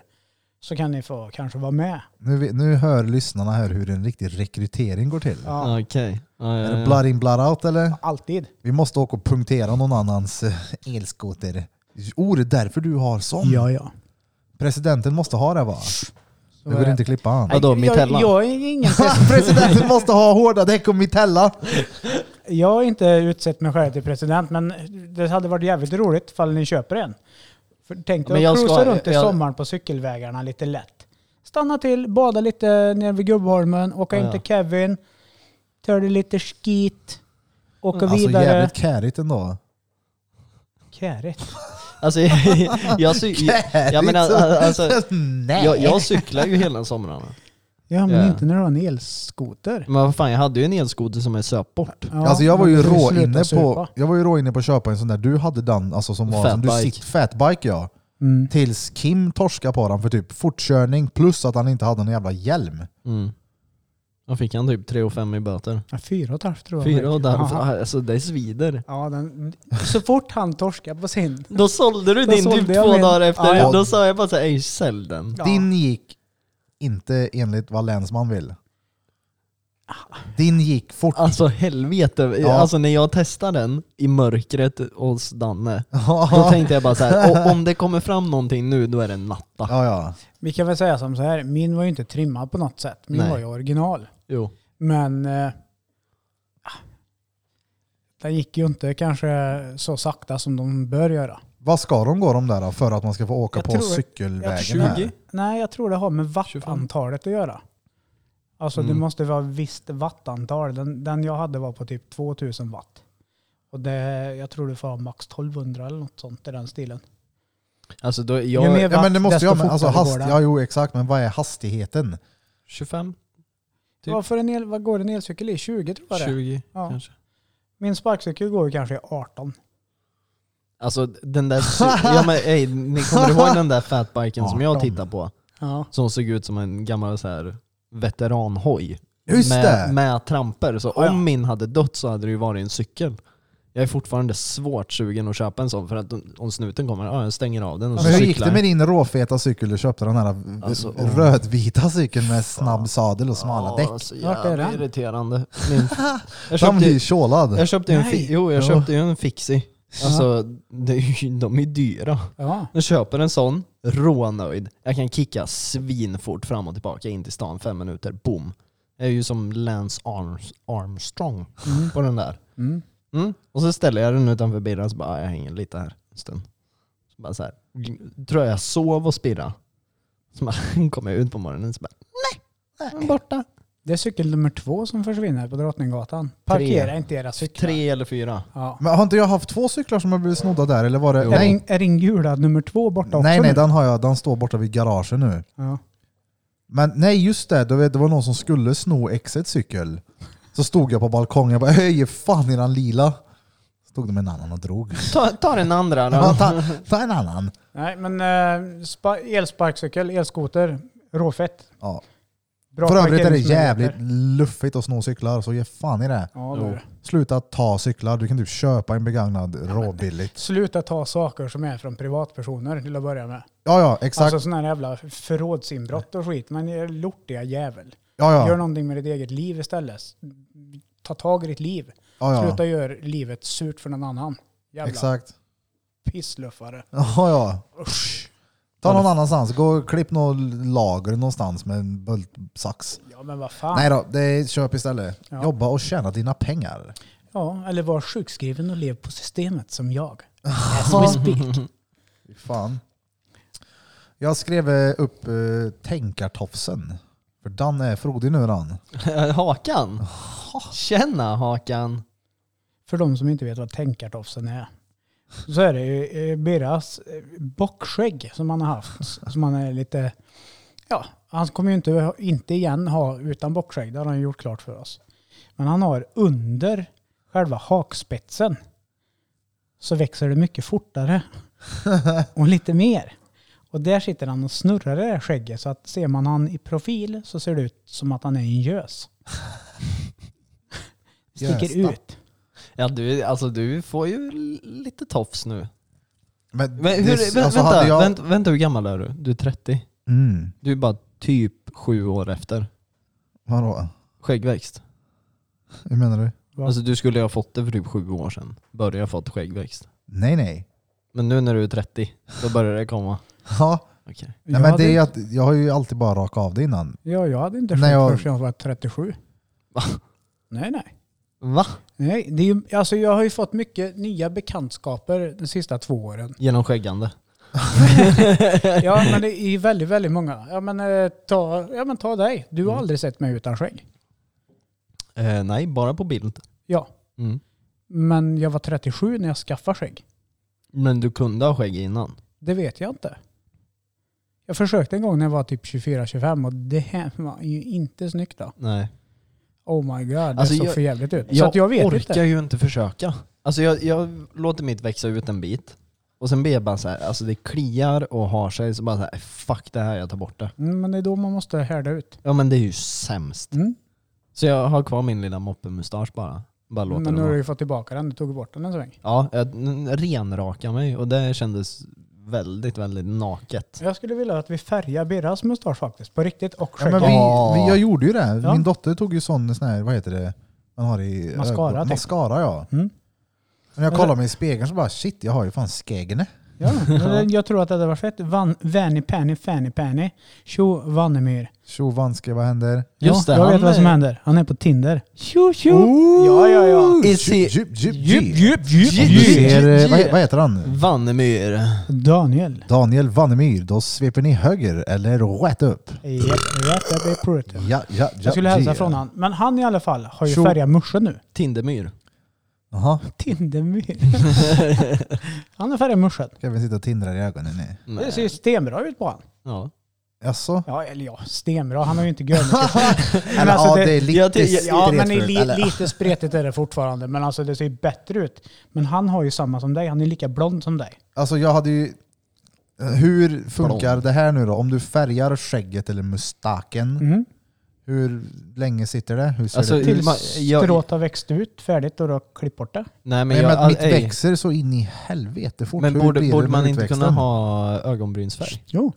Speaker 6: så kan ni få kanske vara med.
Speaker 5: Nu, vi- nu hör lyssnarna här hur en riktig rekrytering går till.
Speaker 6: Ja,
Speaker 1: Okej. Ja,
Speaker 5: Är det
Speaker 1: ja, ja.
Speaker 5: blood in blood out eller?
Speaker 6: Alltid.
Speaker 5: Vi måste åka och punktera någon annans eh, elskoter. Oh, det är därför du har sån.
Speaker 6: Ja, ja.
Speaker 5: Presidenten måste ha det va?
Speaker 6: Så
Speaker 5: Det
Speaker 6: är
Speaker 5: går
Speaker 6: det.
Speaker 5: inte att klippa han.
Speaker 1: Vadå,
Speaker 6: Nej,
Speaker 1: Mitella?
Speaker 6: Jag, jag, är ingen,
Speaker 5: (laughs) Presidenten måste ha hårda däck och Mitella.
Speaker 6: jag har inte utsett mig själv till president, men det hade varit jävligt roligt ifall ni köper en. För tänk
Speaker 1: Men
Speaker 6: dig
Speaker 1: jag
Speaker 6: att cruisa
Speaker 1: ska-
Speaker 6: runt i
Speaker 1: jag-
Speaker 6: sommaren på cykelvägarna lite lätt. Stanna till, bada lite nere vid Gubbholmen, åka
Speaker 1: Ja,
Speaker 6: in
Speaker 1: ja.
Speaker 6: till Kevin, ta det lite skit, åka
Speaker 5: Alltså
Speaker 6: vidare.
Speaker 5: jävligt kärigt ändå.
Speaker 6: Kärigt.
Speaker 1: Alltså, (laughs) jag, jag, cy- jag, jag menar, alltså,
Speaker 5: (laughs) Nej.
Speaker 1: jag, jag cyklar ju hela somrarna.
Speaker 6: Ja, men
Speaker 1: Ja.
Speaker 6: inte när du har en elskoter.
Speaker 1: Men vad fan, jag hade ju en elskoter som är söp bort.
Speaker 6: Ja,
Speaker 5: alltså jag var
Speaker 6: men
Speaker 5: ju
Speaker 6: du
Speaker 5: rå
Speaker 6: slutar
Speaker 5: inne på
Speaker 6: supa.
Speaker 5: jag var ju rå inne på att köpa en sån där du hade den, alltså som var som du
Speaker 1: Fatbike.
Speaker 5: sitt fatbike ja.
Speaker 6: Mm.
Speaker 5: Tills Kim torskade på den för typ fortkörning plus att han inte hade någon jävla hjälm.
Speaker 1: Mm. Då fick han typ 3 och fem i böter.
Speaker 6: Ja, fyra och ett halvt tror jag.
Speaker 1: Fyra och därför,
Speaker 6: Jaha.
Speaker 1: alltså det svider.
Speaker 6: Ja, den, så fort han torskar på sin.
Speaker 1: Då sålde du
Speaker 6: Då
Speaker 1: din
Speaker 6: sålde
Speaker 1: typ
Speaker 6: jag
Speaker 1: två
Speaker 6: min.
Speaker 1: dagar efter,
Speaker 6: Ja,
Speaker 5: ja.
Speaker 1: då sa jag bara såhär, ej sälj den.
Speaker 6: Ja.
Speaker 5: Din gick inte enligt vad länsman vill. Din gick fort.
Speaker 1: Alltså helvete.
Speaker 5: Ja.
Speaker 1: Alltså när jag testade den i mörkret hos Danne, då
Speaker 5: (laughs) ja,
Speaker 1: tänkte jag bara så här, (laughs) "O- om det kommer fram någonting nu då är det natta.
Speaker 5: ja.
Speaker 6: Vi kan väl säga som så här, min var ju inte trimmad på något sätt. Min
Speaker 1: Nej.
Speaker 6: var ju original.
Speaker 1: Jo.
Speaker 6: Men eh, ah, den gick ju inte kanske så sakta som de bör göra.
Speaker 5: Vad ska de gå de där då, för att man ska få åka
Speaker 6: Jag
Speaker 5: på
Speaker 6: tror-
Speaker 5: cykelvägen
Speaker 6: jag
Speaker 5: här?
Speaker 6: Nej, jag tror det har med wattantalet att göra. Alltså det
Speaker 1: Mm.
Speaker 6: måste vara visst wattantal. Den, den jag hade var på typ 2000 watt. Och det, jag tror du får ha max 1200 eller något sånt i den stilen.
Speaker 1: Alltså då,
Speaker 6: Ju
Speaker 1: jag
Speaker 6: mer-
Speaker 5: Ja men det måste
Speaker 6: Desto
Speaker 5: ju ha med, alltså
Speaker 6: fortare går
Speaker 5: hast,
Speaker 6: den.
Speaker 5: ja jo exakt, men vad är hastigheten?
Speaker 1: 25, Typ.
Speaker 6: Vad, för en el, vad går en elcykel i? 20 tror jag det är.
Speaker 1: 20
Speaker 6: Ja.
Speaker 1: kanske.
Speaker 6: Min sparkcykel går ju kanske i 18.
Speaker 1: Alltså den där, sy- ja, men, ey, ni kommer ihåg den där fatbiken som jag
Speaker 5: 18.
Speaker 1: tittade på?
Speaker 6: Ja.
Speaker 1: Som såg ut som en gammal så här veteranhoj.
Speaker 5: Just
Speaker 1: med,
Speaker 5: det!
Speaker 1: med tramper. Så
Speaker 6: Ja, ja.
Speaker 1: om min hade dött så hade det ju varit en cykel. Jag är fortfarande svårt sugen att köpa en sån för att om snuten kommer, ja jag stänger av den och
Speaker 5: Men
Speaker 1: så
Speaker 5: hur gick
Speaker 1: cyklar
Speaker 5: det
Speaker 1: jag.
Speaker 5: med din råfeta cykel du köpte? Den här
Speaker 1: Alltså,
Speaker 5: r- rödvita cykeln med snabb sadel och smala däck.
Speaker 1: Ja, så
Speaker 6: Vart är
Speaker 1: jävla
Speaker 6: den?
Speaker 1: irriterande.
Speaker 5: (laughs)
Speaker 1: Min, jag,
Speaker 5: Den
Speaker 1: köpte,
Speaker 5: blir tjålad.
Speaker 1: jag, köpte ju en fi,
Speaker 6: Nej.
Speaker 1: jo, jag
Speaker 5: Ja.
Speaker 1: köpte ju en fixie. Alltså det är ju, de är dyra.
Speaker 6: Ja.
Speaker 1: Jag köper en sån, rånöjd. Jag kan kicka svinfort fram och tillbaka in till stan, fem minuter, boom. Jag är ju som Lance Arms, Armstrong
Speaker 6: Mm.
Speaker 1: på den där.
Speaker 6: Mm.
Speaker 1: Mm. Och så ställer jag den utanför bilen och så bara, "Ah, jag hänger lite här en stund. Så bara så här, tror jag sov och spirra. Så bara, (laughs) kommer jag ut på morgonen och så bara, nej, den är borta.
Speaker 6: Det är cykel nummer två som försvinner på Drottninggatan. Parkera inte era cyklar.
Speaker 1: Tre eller fyra.
Speaker 6: Ja.
Speaker 5: Men har inte jag haft två cyklar som har blivit snodda där? Eller var det?
Speaker 6: Är, din, är din gula nummer två borta också
Speaker 5: Nej, nej,
Speaker 6: nu?
Speaker 5: den har jag. Den står borta vid garagen nu.
Speaker 6: Ja.
Speaker 5: Men nej, just det. Det var- det var någon som skulle sno exets cykel. Så stod jag på balkongen och bara "Hej, ge fan i den lila. Stod det med en annan och drog.
Speaker 1: Ta, ta den andra
Speaker 5: Ja,
Speaker 1: då.
Speaker 5: (laughs) ta, ta en annan.
Speaker 6: Nej, men eh, spa, elsparkcykel, elskoter, råfett.
Speaker 5: Ja.
Speaker 6: Bra
Speaker 5: För övrigt är det
Speaker 6: parkeringsmöjligheter.
Speaker 5: jävligt luffigt att sno cyklar, så ge fan i det.
Speaker 6: Ja, det är det.
Speaker 5: Sluta ta cyklar. Du kan typ köpa en begagnad råbilligt.
Speaker 6: Sluta ta saker som är från privatpersoner till att börja med.
Speaker 5: Ja, ja, exakt.
Speaker 6: Alltså sådana här jävla förrådsinbrott och skit. Men är lortiga jävel.
Speaker 5: Ja,
Speaker 6: Gör
Speaker 5: ja.
Speaker 6: någonting med ditt eget liv istället. Ta tag i ditt liv.
Speaker 5: ja,
Speaker 6: Sluta
Speaker 5: ja.
Speaker 6: göra livet surt för någon annan. Jävla
Speaker 5: Exakt.
Speaker 6: pissluffare.
Speaker 5: Ja, ja. Ta någon annanstans. Gå och klipp något lager någonstans med en bultsax.
Speaker 6: Ja men vad fan.
Speaker 5: Nej då, det är köp istället.
Speaker 6: Ja.
Speaker 5: Jobba och tjäna dina pengar.
Speaker 6: Ja, eller var sjukskriven och lev på systemet som jag. As we speak.
Speaker 5: Fy Fan. Jag skrev eh, upp eh, tänkartofsen. För Dan är frodig nu Dan.
Speaker 1: (laughs) Hakan. Tjena Hakan.
Speaker 6: För de som inte vet vad tänkartofsen är. Så är det ju eh, Birras eh, bockskägg som han har haft. Som han är lite... Ja, han kommer ju inte, inte igen ha utan bockskägg. Det har han ju gjort klart för oss. Men han har under själva hakspetsen så växer det mycket fortare. Och lite mer. Och där sitter han och snurrar det där skägget. Så att ser man han i profil så ser det ut som att han är en gös. Sticker
Speaker 5: Gösta.
Speaker 6: ut.
Speaker 1: Ja du, alltså, du får ju lite tofs nu.
Speaker 5: Men,
Speaker 1: Men hur,
Speaker 5: det-
Speaker 1: vä-
Speaker 5: alltså,
Speaker 1: vänta,
Speaker 5: hade jag-
Speaker 1: vänta, vänta, hur gammal är du? Du är 30.
Speaker 5: Mm,
Speaker 1: Du är bara typ sju år efter.
Speaker 5: vadå?
Speaker 1: Skäggväxt.
Speaker 5: Hur menar du?
Speaker 1: Alltså du skulle ju ha fått det för typ sju år sedan. Börja fått skäggväxt.
Speaker 5: Nej nej. (laughs)
Speaker 1: Men nu när du är 30, då börjar det komma.
Speaker 5: Ja,
Speaker 1: Okej.
Speaker 5: nej, men det är ju att, jag har ju alltid bara rakat av det innan.
Speaker 6: Ja, jag hade inte
Speaker 5: Nej,
Speaker 6: skägg
Speaker 5: jag-
Speaker 6: förrän jag var 37.
Speaker 1: Va?
Speaker 6: Nej, nej.
Speaker 1: Va?
Speaker 6: nej det är ju, alltså jag har ju fått mycket nya bekantskaper de sista
Speaker 1: (laughs)
Speaker 6: två åren.
Speaker 1: Genom skäggande.
Speaker 6: Ja, men det är ju väldigt, väldigt många. Ja, men, eh, ta, ja, men ta dig. Du har
Speaker 1: Mm.
Speaker 6: aldrig sett mig utan skägg.
Speaker 1: Eh, nej, bara på bild.
Speaker 6: Ja,
Speaker 1: Mm.
Speaker 6: men jag var 37 när jag skaffade skägg.
Speaker 1: Men du kunde ha skägg innan.
Speaker 6: Det vet jag inte. Jag försökte en gång när jag var typ 24-25 och det här var ju inte snyggt då.
Speaker 1: Nej.
Speaker 6: Oh my god, det
Speaker 1: Alltså,
Speaker 6: såg
Speaker 1: jag-
Speaker 6: för jävligt ut. Så
Speaker 1: Jag,
Speaker 6: att jag vet
Speaker 1: orkar
Speaker 6: inte.
Speaker 1: ju inte försöka. Alltså jag, jag låter mitt växa ut en bit. Och sen blir jag bara så här, alltså det kliar och har sig. Så bara så här, fuck det här, jag tar bort det.
Speaker 6: Mm, men det är då man måste härda ut.
Speaker 1: Ja men det är ju sämst.
Speaker 6: Mm.
Speaker 1: Så jag har kvar min lilla moppemustasch bara. Bara låter
Speaker 6: Men
Speaker 1: den
Speaker 6: nu har
Speaker 1: vara.
Speaker 6: du ju fått tillbaka den, du tog bort den en sväng.
Speaker 1: Ja, jag n- renrakade mig och det kändes väldigt, väldigt naket.
Speaker 6: Jag skulle vilja att vi färgar Birras mustasch faktiskt. På riktigt. Och
Speaker 5: Ja, men
Speaker 6: skägget.
Speaker 5: vi,
Speaker 1: Ja.
Speaker 5: vi, jag gjorde ju det.
Speaker 6: Ja.
Speaker 5: Min dotter tog ju sån, sån här, vad heter det, man har i
Speaker 6: Mascara,
Speaker 5: ögon-
Speaker 6: typ.
Speaker 5: Mascara ja.
Speaker 6: Mm.
Speaker 5: När jag kollade mig i spegeln så bara shit, jag har ju fan skäggene.
Speaker 6: Ja, men jag tror att det hade varit fett. Van, Vanny Penny Fanny Penny. Tjo Vannemyr.
Speaker 5: Tjo Vanske, vad händer?
Speaker 1: Just
Speaker 6: ja,
Speaker 1: det,
Speaker 6: jag
Speaker 1: han
Speaker 6: vet vad som
Speaker 1: är-
Speaker 6: händer. Han är på Tinder. Tjo tjo! Ja, ja, ja.
Speaker 1: Is he-
Speaker 5: Djup, djup,
Speaker 6: Djup,
Speaker 5: djup.
Speaker 6: djup, djup,
Speaker 5: Du
Speaker 1: djup.
Speaker 6: djup.
Speaker 5: ser, eh, vad,
Speaker 1: djup.
Speaker 5: vad heter han?
Speaker 1: Vannemyr.
Speaker 6: Daniel.
Speaker 5: Daniel Vannemyr, då sveper ni höger eller rätt upp.
Speaker 6: Japp, Rätt upp i prutten.
Speaker 5: Ja, ja, ja.
Speaker 6: Jag skulle hälsa
Speaker 5: ja.
Speaker 6: från han. Men han i alla fall har ju
Speaker 5: Tjo.
Speaker 6: färgat morse nu.
Speaker 1: Tindermyr.
Speaker 5: Jaha,
Speaker 6: Tindermyr. (laughs) han har färgat morsen.
Speaker 5: Kevin sitter och tindrar i ögonen. Nej.
Speaker 6: Det
Speaker 1: Nej.
Speaker 6: ser ju stenbra ut på han.
Speaker 1: Ja.
Speaker 5: Jaså?
Speaker 6: Ja, eller ja, stenbra. Han har ju
Speaker 1: (laughs)
Speaker 6: inte görmycket.
Speaker 5: Eller
Speaker 6: alltså,
Speaker 5: ja,
Speaker 6: det-
Speaker 5: det är lite
Speaker 1: jag ty- jag-
Speaker 6: Ja, men
Speaker 5: spretfullt,
Speaker 6: li-
Speaker 5: eller?
Speaker 6: lite spretigt är det fortfarande. Men alltså det ser ju bättre ut. Men han har ju samma som dig. Han är lika blond som dig.
Speaker 5: Alltså jag hade ju... Hur funkar
Speaker 1: Blond.
Speaker 5: det här nu då? Om du färgar skägget eller mustaken,
Speaker 6: Mm.
Speaker 5: hur länge sitter det? Hur ser
Speaker 1: Alltså,
Speaker 5: det ut?
Speaker 6: Tills
Speaker 1: ma- jag-
Speaker 6: strået har växt ut färdigt och du har klippt bort det.
Speaker 1: Nej men,
Speaker 5: Nej, men
Speaker 1: jag,
Speaker 5: att mitt
Speaker 1: ej.
Speaker 5: växer så in i helvete fort.
Speaker 1: men
Speaker 5: Hur blir
Speaker 1: borde,
Speaker 5: det
Speaker 1: borde
Speaker 5: med
Speaker 1: man inte
Speaker 5: utväxten?
Speaker 1: kunna ha ögonbrynsfärg?
Speaker 6: Jo.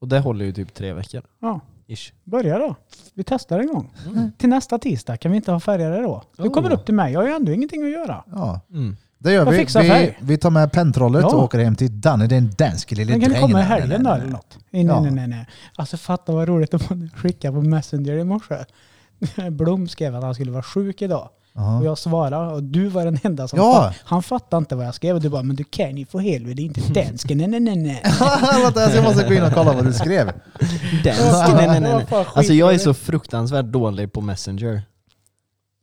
Speaker 1: Och det håller ju typ tre veckor.
Speaker 6: Ja,
Speaker 1: Ish.
Speaker 6: börja då. Vi testar en gång.
Speaker 1: Mm.
Speaker 6: Till nästa tisdag kan vi inte ha färgare då. Du kommer
Speaker 1: Oh.
Speaker 6: upp till mig. Jag har ju ändå ingenting att göra.
Speaker 5: Ja,
Speaker 1: Mm.
Speaker 5: det gör
Speaker 6: Jag
Speaker 5: vi.
Speaker 6: fixar
Speaker 5: Vi,
Speaker 6: färg.
Speaker 5: vi tar med penntrollet
Speaker 6: Ja.
Speaker 5: och åker hem till Danne den danske lille
Speaker 6: Men kan du
Speaker 5: drängen.
Speaker 6: komma i helgen då eller något? Nej,
Speaker 5: Ja.
Speaker 6: nej, nej, nej. Alltså fatta vad roligt om man skickade på Messenger i morse. (laughs) Blom skrev att han skulle vara sjuk idag.
Speaker 5: Jaha.
Speaker 6: Och
Speaker 5: (laughs)
Speaker 6: jag svarade och du var den enda som
Speaker 5: Ja.
Speaker 6: fatt, Han fattade inte vad jag skrev och du bara men du kan ju för helvete inte dansken, nej nej
Speaker 5: (laughs)
Speaker 6: nej nej.
Speaker 5: Vänta, alltså jag måste gå in och kolla vad du skrev.
Speaker 6: (laughs)
Speaker 1: Dansk? Nej, nej, nej, nej.
Speaker 6: Vad fan, skit
Speaker 1: Alltså jag är
Speaker 6: i det.
Speaker 1: så fruktansvärt dålig på Messenger.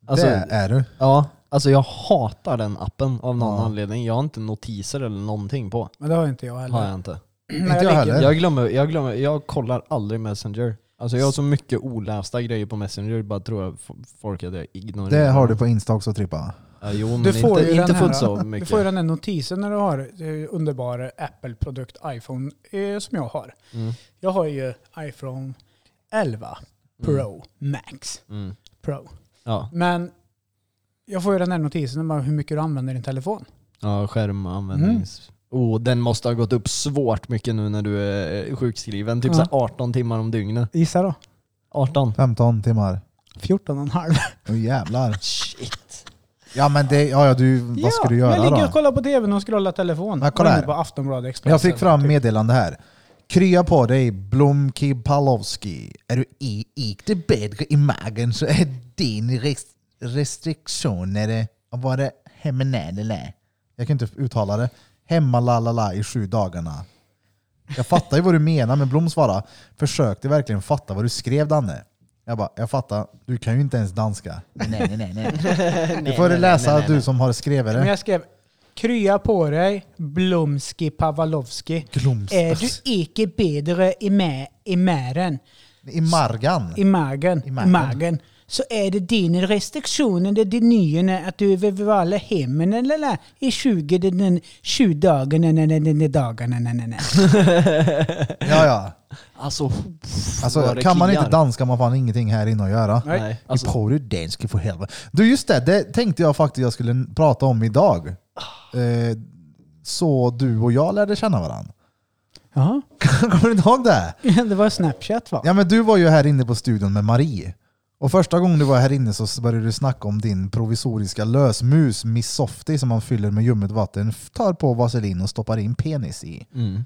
Speaker 1: Alltså,
Speaker 5: det är du.
Speaker 1: ja, alltså jag hatar den appen av någon
Speaker 5: Ja.
Speaker 1: anledning. Jag har inte notiser eller någonting på.
Speaker 6: Men det har inte jag heller.
Speaker 1: Har jag inte.
Speaker 5: Inte jag
Speaker 6: ligger-
Speaker 5: heller.
Speaker 1: Jag glömmer, jag glömmer, jag kollar aldrig Messenger. Alltså jag har så mycket olästa grejer på Messenger, bara tror jag f- folk att jag ignorerar.
Speaker 5: Det har du på Insta också Trippa.
Speaker 1: Ja, jo, men
Speaker 6: Du får,
Speaker 1: inte,
Speaker 6: ju
Speaker 1: inte
Speaker 6: den
Speaker 1: fullt så
Speaker 6: här, du
Speaker 1: mycket.
Speaker 6: får ju den här notisen när du har eh, underbar Apple-produkt iPhone eh, som jag har.
Speaker 1: Mm.
Speaker 6: Jag har ju iPhone 11 Pro Max
Speaker 1: Mm.
Speaker 6: Pro.
Speaker 1: Ja.
Speaker 6: Men jag får ju den här notisen om bara hur mycket du använder din telefon.
Speaker 1: ja, skärmanvändnings...
Speaker 6: Mm.
Speaker 1: Oh, den måste ha gått upp svårt mycket nu när du är eh, sjukskriven. Typ
Speaker 6: Ja.
Speaker 1: så här 18 timmar om dygnet.
Speaker 6: Gissa då?
Speaker 1: 18.
Speaker 5: 15 timmar.
Speaker 6: 14,5.
Speaker 5: Åh jävlar.
Speaker 1: Shit.
Speaker 5: Ja men det, ja, ja du, vad ska du
Speaker 6: Jag
Speaker 5: göra
Speaker 6: ligger och
Speaker 5: då?
Speaker 6: kollar på tvn och scrollar telefon.
Speaker 5: Ja, kolla
Speaker 6: Var inne
Speaker 5: här.
Speaker 6: På Aftonbladet Expressen.
Speaker 5: Jag fick fram
Speaker 6: typ.
Speaker 5: meddelande här. Krya på dig Blomki Palowski. Är du i- inte bättre i magen så är din res restriktioner att vara hemmanalala. Jag kan inte uttala det. Hemmalalala i sju dagarna. Jag fattar ju vad du menar men Blom svarar. Försökte verkligen fatta vad du skrev Danne. Jag bara, jag fattar. Du kan ju inte ens danska. Nej, nej, (laughs) nej. nej. Du får läsa du som har skrivit
Speaker 6: Men
Speaker 5: det.
Speaker 6: jag skrev Krya på dig, Blomski Pavlovski.
Speaker 5: Glomstas.
Speaker 6: Är du icke bättre i, mä, i mären,
Speaker 5: I margan.
Speaker 6: i magen,
Speaker 5: I
Speaker 6: i
Speaker 5: magen.
Speaker 6: magen. så är det dina restriktioner, det är din nyheter att du behöver vara hemma eller, eller, i 20, den- den 20 dagarna, nej, nej, nej, nej, dagarna. nej, nej, nej.
Speaker 5: Ja, ja.
Speaker 1: Alltså,
Speaker 5: Alltså,
Speaker 1: vad det
Speaker 5: kan man inte
Speaker 1: kliar.
Speaker 5: danska man fan ingenting här inne att göra.
Speaker 1: Nej. Alltså,
Speaker 5: Vi på du danska för helvete. Du just det, det tänkte jag faktiskt jag skulle prata om idag.
Speaker 6: Ah.
Speaker 5: Eh, så du och jag lärde känna varandra.
Speaker 6: Jaha,
Speaker 5: (laughs) Kommer du inte ihåg det?
Speaker 6: (laughs) det var Snapchat va?
Speaker 5: Ja men du var ju här inne på studion med Marie. Och första gången du var här inne så började du snacka om din provisoriska lösmus Miss Softie som man fyller med ljummet vatten, f- tar på vaselin och stoppar in penis i.
Speaker 1: mm.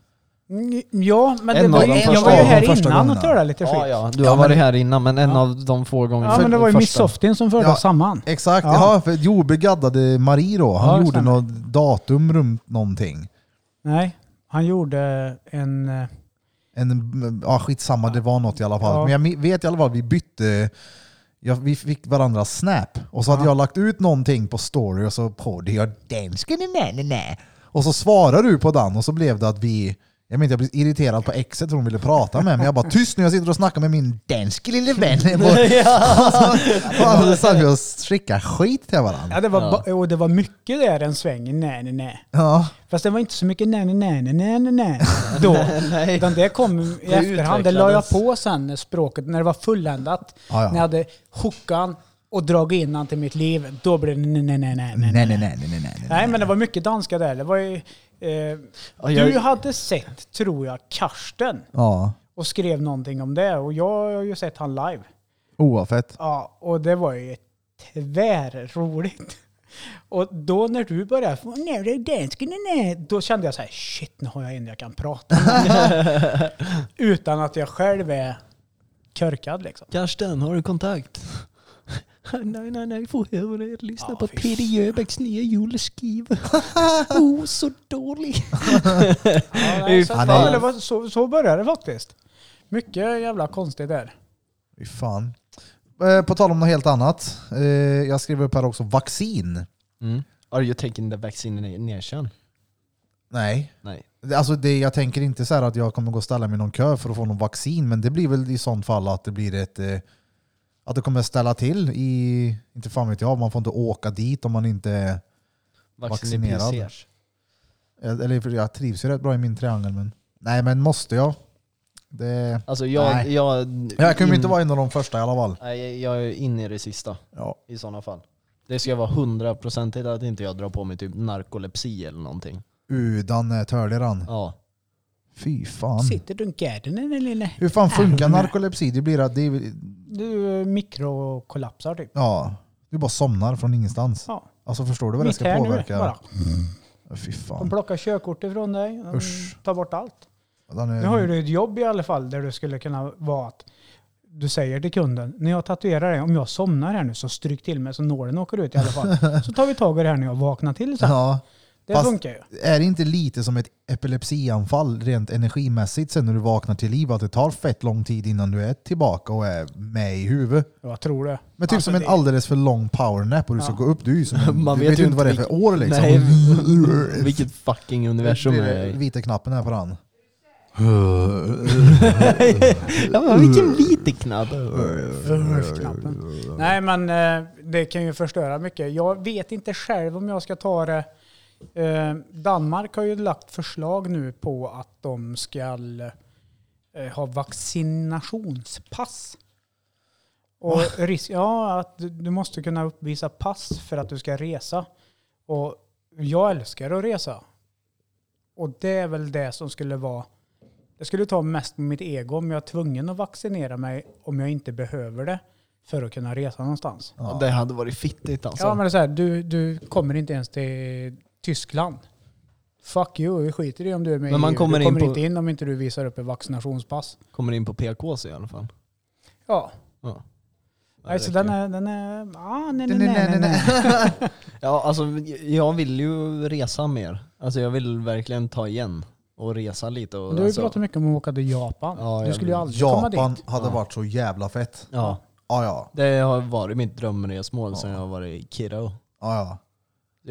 Speaker 6: Mm, Ja, men det
Speaker 1: En
Speaker 6: var,
Speaker 1: av de
Speaker 6: jag
Speaker 1: första-
Speaker 6: var ju
Speaker 1: av de
Speaker 6: här
Speaker 5: första
Speaker 6: innan
Speaker 5: gångerna.
Speaker 6: och talade lite skit.
Speaker 1: Ja,
Speaker 6: Ja,
Speaker 1: ja, du har
Speaker 5: men-
Speaker 1: varit här innan men en av de få gångerna.
Speaker 6: men det var ju
Speaker 1: första.
Speaker 6: Miss Softin som förde
Speaker 5: Ja,
Speaker 6: oss samman.
Speaker 5: Exakt, ja.
Speaker 6: Ja.
Speaker 5: för jo, begaddade Marie då. Han
Speaker 6: Ja, det
Speaker 5: gjorde
Speaker 6: stämmer.
Speaker 5: något datum runt någonting.
Speaker 6: Nej, han gjorde en... eh,
Speaker 5: En, ja, skitsamma, det var något i alla fall.
Speaker 6: Ja.
Speaker 5: Men jag mi- vet i alla fall, vi bytte... Ja, vi fick varandra snap. Och så hade
Speaker 6: Ja.
Speaker 5: jag lagt ut någonting på story och så på det jag den ska ni nä, nä, nä. Och så svarar du på den och så blev det att vi... Jag menar, jag blev irriterad på exet för hon ville prata med mig. Jag bara tyst nu, jag sitter och snackar med min danske lille vän.
Speaker 6: (laughs)
Speaker 5: (laughs) Och så satt vi och skickade skit till varandra.
Speaker 6: Ja, det var,
Speaker 1: Ja.
Speaker 6: ba- Och det var mycket där en sväng, nej, nej, nej.
Speaker 5: Ja.
Speaker 6: Fast det var inte så mycket nej, nej, nej, nej, nej,
Speaker 1: (laughs)
Speaker 6: nej, nej då.
Speaker 1: Nej.
Speaker 6: Utan det kom i efterhand. Det la jag
Speaker 1: utvecklades.
Speaker 6: på sen när språket, när det var fulländat.
Speaker 5: Ja, ja.
Speaker 6: När jag hade hookan, och dragit in han till mitt liv, då blir det nej, nej, nej, nej, nej.
Speaker 5: Nej, nej, nej, nej, nej, nej.
Speaker 6: Nej, men det var mycket danska där. Det var ju, eh,
Speaker 1: Ja, jag-
Speaker 6: Du hade sett, tror jag, Karsten
Speaker 5: Ja.
Speaker 6: och skrev någonting om det. Och jag har ju sett han live.
Speaker 5: Oavsett.
Speaker 6: Ja, och det var ju tvärroligt. Och då när du började, nej, det är dansken, nej, nej, då kände jag så här, shit, nu har jag en jag kan prata (laughs) med." Utan att jag själv är körkad liksom.
Speaker 1: Karsten, har du (laughs) kontakt? nej, nej, nej, får jag det. Lyssna
Speaker 6: Ja,
Speaker 1: på
Speaker 6: fy
Speaker 1: Peder
Speaker 6: fan.
Speaker 1: Jöbäcks nya (laughs) julskiva. oh, så dålig.
Speaker 6: Ja, nej, så,
Speaker 5: Fan, nej.
Speaker 6: det var, så, så började det faktiskt. Mycket jävla konstigt där.
Speaker 5: Fy fan. Eh, På tal om något helt annat. Eh, Jag skriver upp här också vaccin.
Speaker 1: Mm. Are you taking the vaccination?
Speaker 5: Nej.
Speaker 1: Nej.
Speaker 5: Alltså det, jag tänker inte så här att jag kommer gå och ställa mig i någon kö för att få någon vaccin, men det blir väl i sånt fall att det blir ett... eh, Att det kommer ställa till i... Inte fan vet jag, man får inte åka dit om man inte... är- Vaccinerad. Eller jag trivs ju rätt bra i min triangel, men... Nej, men måste jag? Det...
Speaker 1: Alltså jag...
Speaker 5: Nej.
Speaker 1: Jag,
Speaker 5: Jag kommer
Speaker 1: in-
Speaker 5: inte vara en av de första i alla fall.
Speaker 1: Nej, jag är inne i det sista
Speaker 5: Ja.
Speaker 1: i sådana fall. Det ska vara hundraprocentigt att inte jag drar på mig typ narkolepsi eller någonting.
Speaker 5: Udan är törlig han. (laughs)
Speaker 1: Ja.
Speaker 5: Fy fan.
Speaker 6: Sitter du i garden eller lille?
Speaker 5: Hur fan funkar narkolepsi? Det blir att... Det är, väl-
Speaker 6: Du eh, mikrokollapsar typ.
Speaker 5: ja, du bara somnar från ingenstans.
Speaker 6: Ja.
Speaker 5: Alltså förstår du vad det
Speaker 6: Mitt
Speaker 5: ska
Speaker 6: här nu
Speaker 5: påverka?
Speaker 6: bara.
Speaker 5: Fy
Speaker 6: De
Speaker 5: fan.
Speaker 6: plockar körkort ifrån dig. De
Speaker 5: Usch.
Speaker 6: tar bort allt.
Speaker 5: Den är-
Speaker 6: Nu har ju du ett jobb i alla fall där du skulle kunna vara att du säger till kunden, när jag tatuerar dig, om jag somnar här nu så stryk till mig så nålen åker ut i alla
Speaker 5: (laughs)
Speaker 6: fall. Så tar vi tag i det här när jag vaknar till sen.
Speaker 5: Ja,
Speaker 6: det
Speaker 5: fast-
Speaker 6: funkar ju.
Speaker 5: är det inte lite som ett epilepsianfall rent energimässigt sen när du vaknar till liv? Att det tar fett lång tid innan du är tillbaka och är med i huvudet?
Speaker 6: Jag tror det.
Speaker 5: Men typ
Speaker 6: Alltså,
Speaker 5: som en
Speaker 6: det-
Speaker 5: alldeles för lång powernap och du ska
Speaker 6: Ja.
Speaker 5: gå upp. Du, är ju
Speaker 6: (laughs)
Speaker 5: som en,
Speaker 1: Man
Speaker 5: du
Speaker 1: vet
Speaker 5: vet
Speaker 1: ju
Speaker 5: ju inte vad det är
Speaker 1: inte
Speaker 5: för år liksom. (laughs)
Speaker 1: Nej, vilket fucking universum
Speaker 5: Det
Speaker 1: är
Speaker 5: är
Speaker 1: jag i.
Speaker 5: Vita knappen här på den.
Speaker 1: ja, men vilken vit knapp.
Speaker 6: Knappen. Nej men eh, det kan ju förstöra mycket. Jag vet inte själv om jag ska ta det. Eh, Danmark har ju lagt förslag nu på att de ska eh, ha vaccinationspass. Och risk, ja, att du- du måste kunna uppvisa pass för att du ska resa. Och jag älskar att resa. Och det är väl det som skulle vara... Det skulle ta mest på mitt ego om jag är tvungen att vaccinera mig om jag inte behöver det för att kunna resa någonstans.
Speaker 1: Ja, Det hade varit fittigt alltså.
Speaker 6: Ja men det är så här, du, du kommer inte ens till Tyskland. Fuck you, vi skiter i om du är med
Speaker 1: Men man
Speaker 6: i EU.
Speaker 1: kommer
Speaker 6: Du
Speaker 1: in
Speaker 6: kommer
Speaker 1: på-
Speaker 6: inte in om inte du visar upp ett vaccinationspass.
Speaker 1: Kommer in på PKs i alla fall.
Speaker 6: Ja,
Speaker 1: Ja. Ja, det
Speaker 6: alltså
Speaker 1: räcker.
Speaker 6: den är... Den är ah, nej, nej,
Speaker 5: Den är-
Speaker 6: nej, nej, nej.
Speaker 1: Ja, alltså jag vill ju resa mer. Alltså jag vill verkligen ta igen och resa lite. Och,
Speaker 6: Du har ju
Speaker 1: alltså,
Speaker 6: pratat mycket om att åka till Japan.
Speaker 1: Ja,
Speaker 6: du
Speaker 1: jag
Speaker 6: skulle ju
Speaker 1: vill-
Speaker 6: aldrig komma
Speaker 5: Japan
Speaker 6: dit.
Speaker 5: hade
Speaker 1: Ja.
Speaker 5: varit så jävla fett.
Speaker 1: Ja,
Speaker 5: Ja, ja.
Speaker 1: det har varit mitt drömresmål sedan
Speaker 5: Ja.
Speaker 1: jag var i Kirao.
Speaker 5: ja, ja.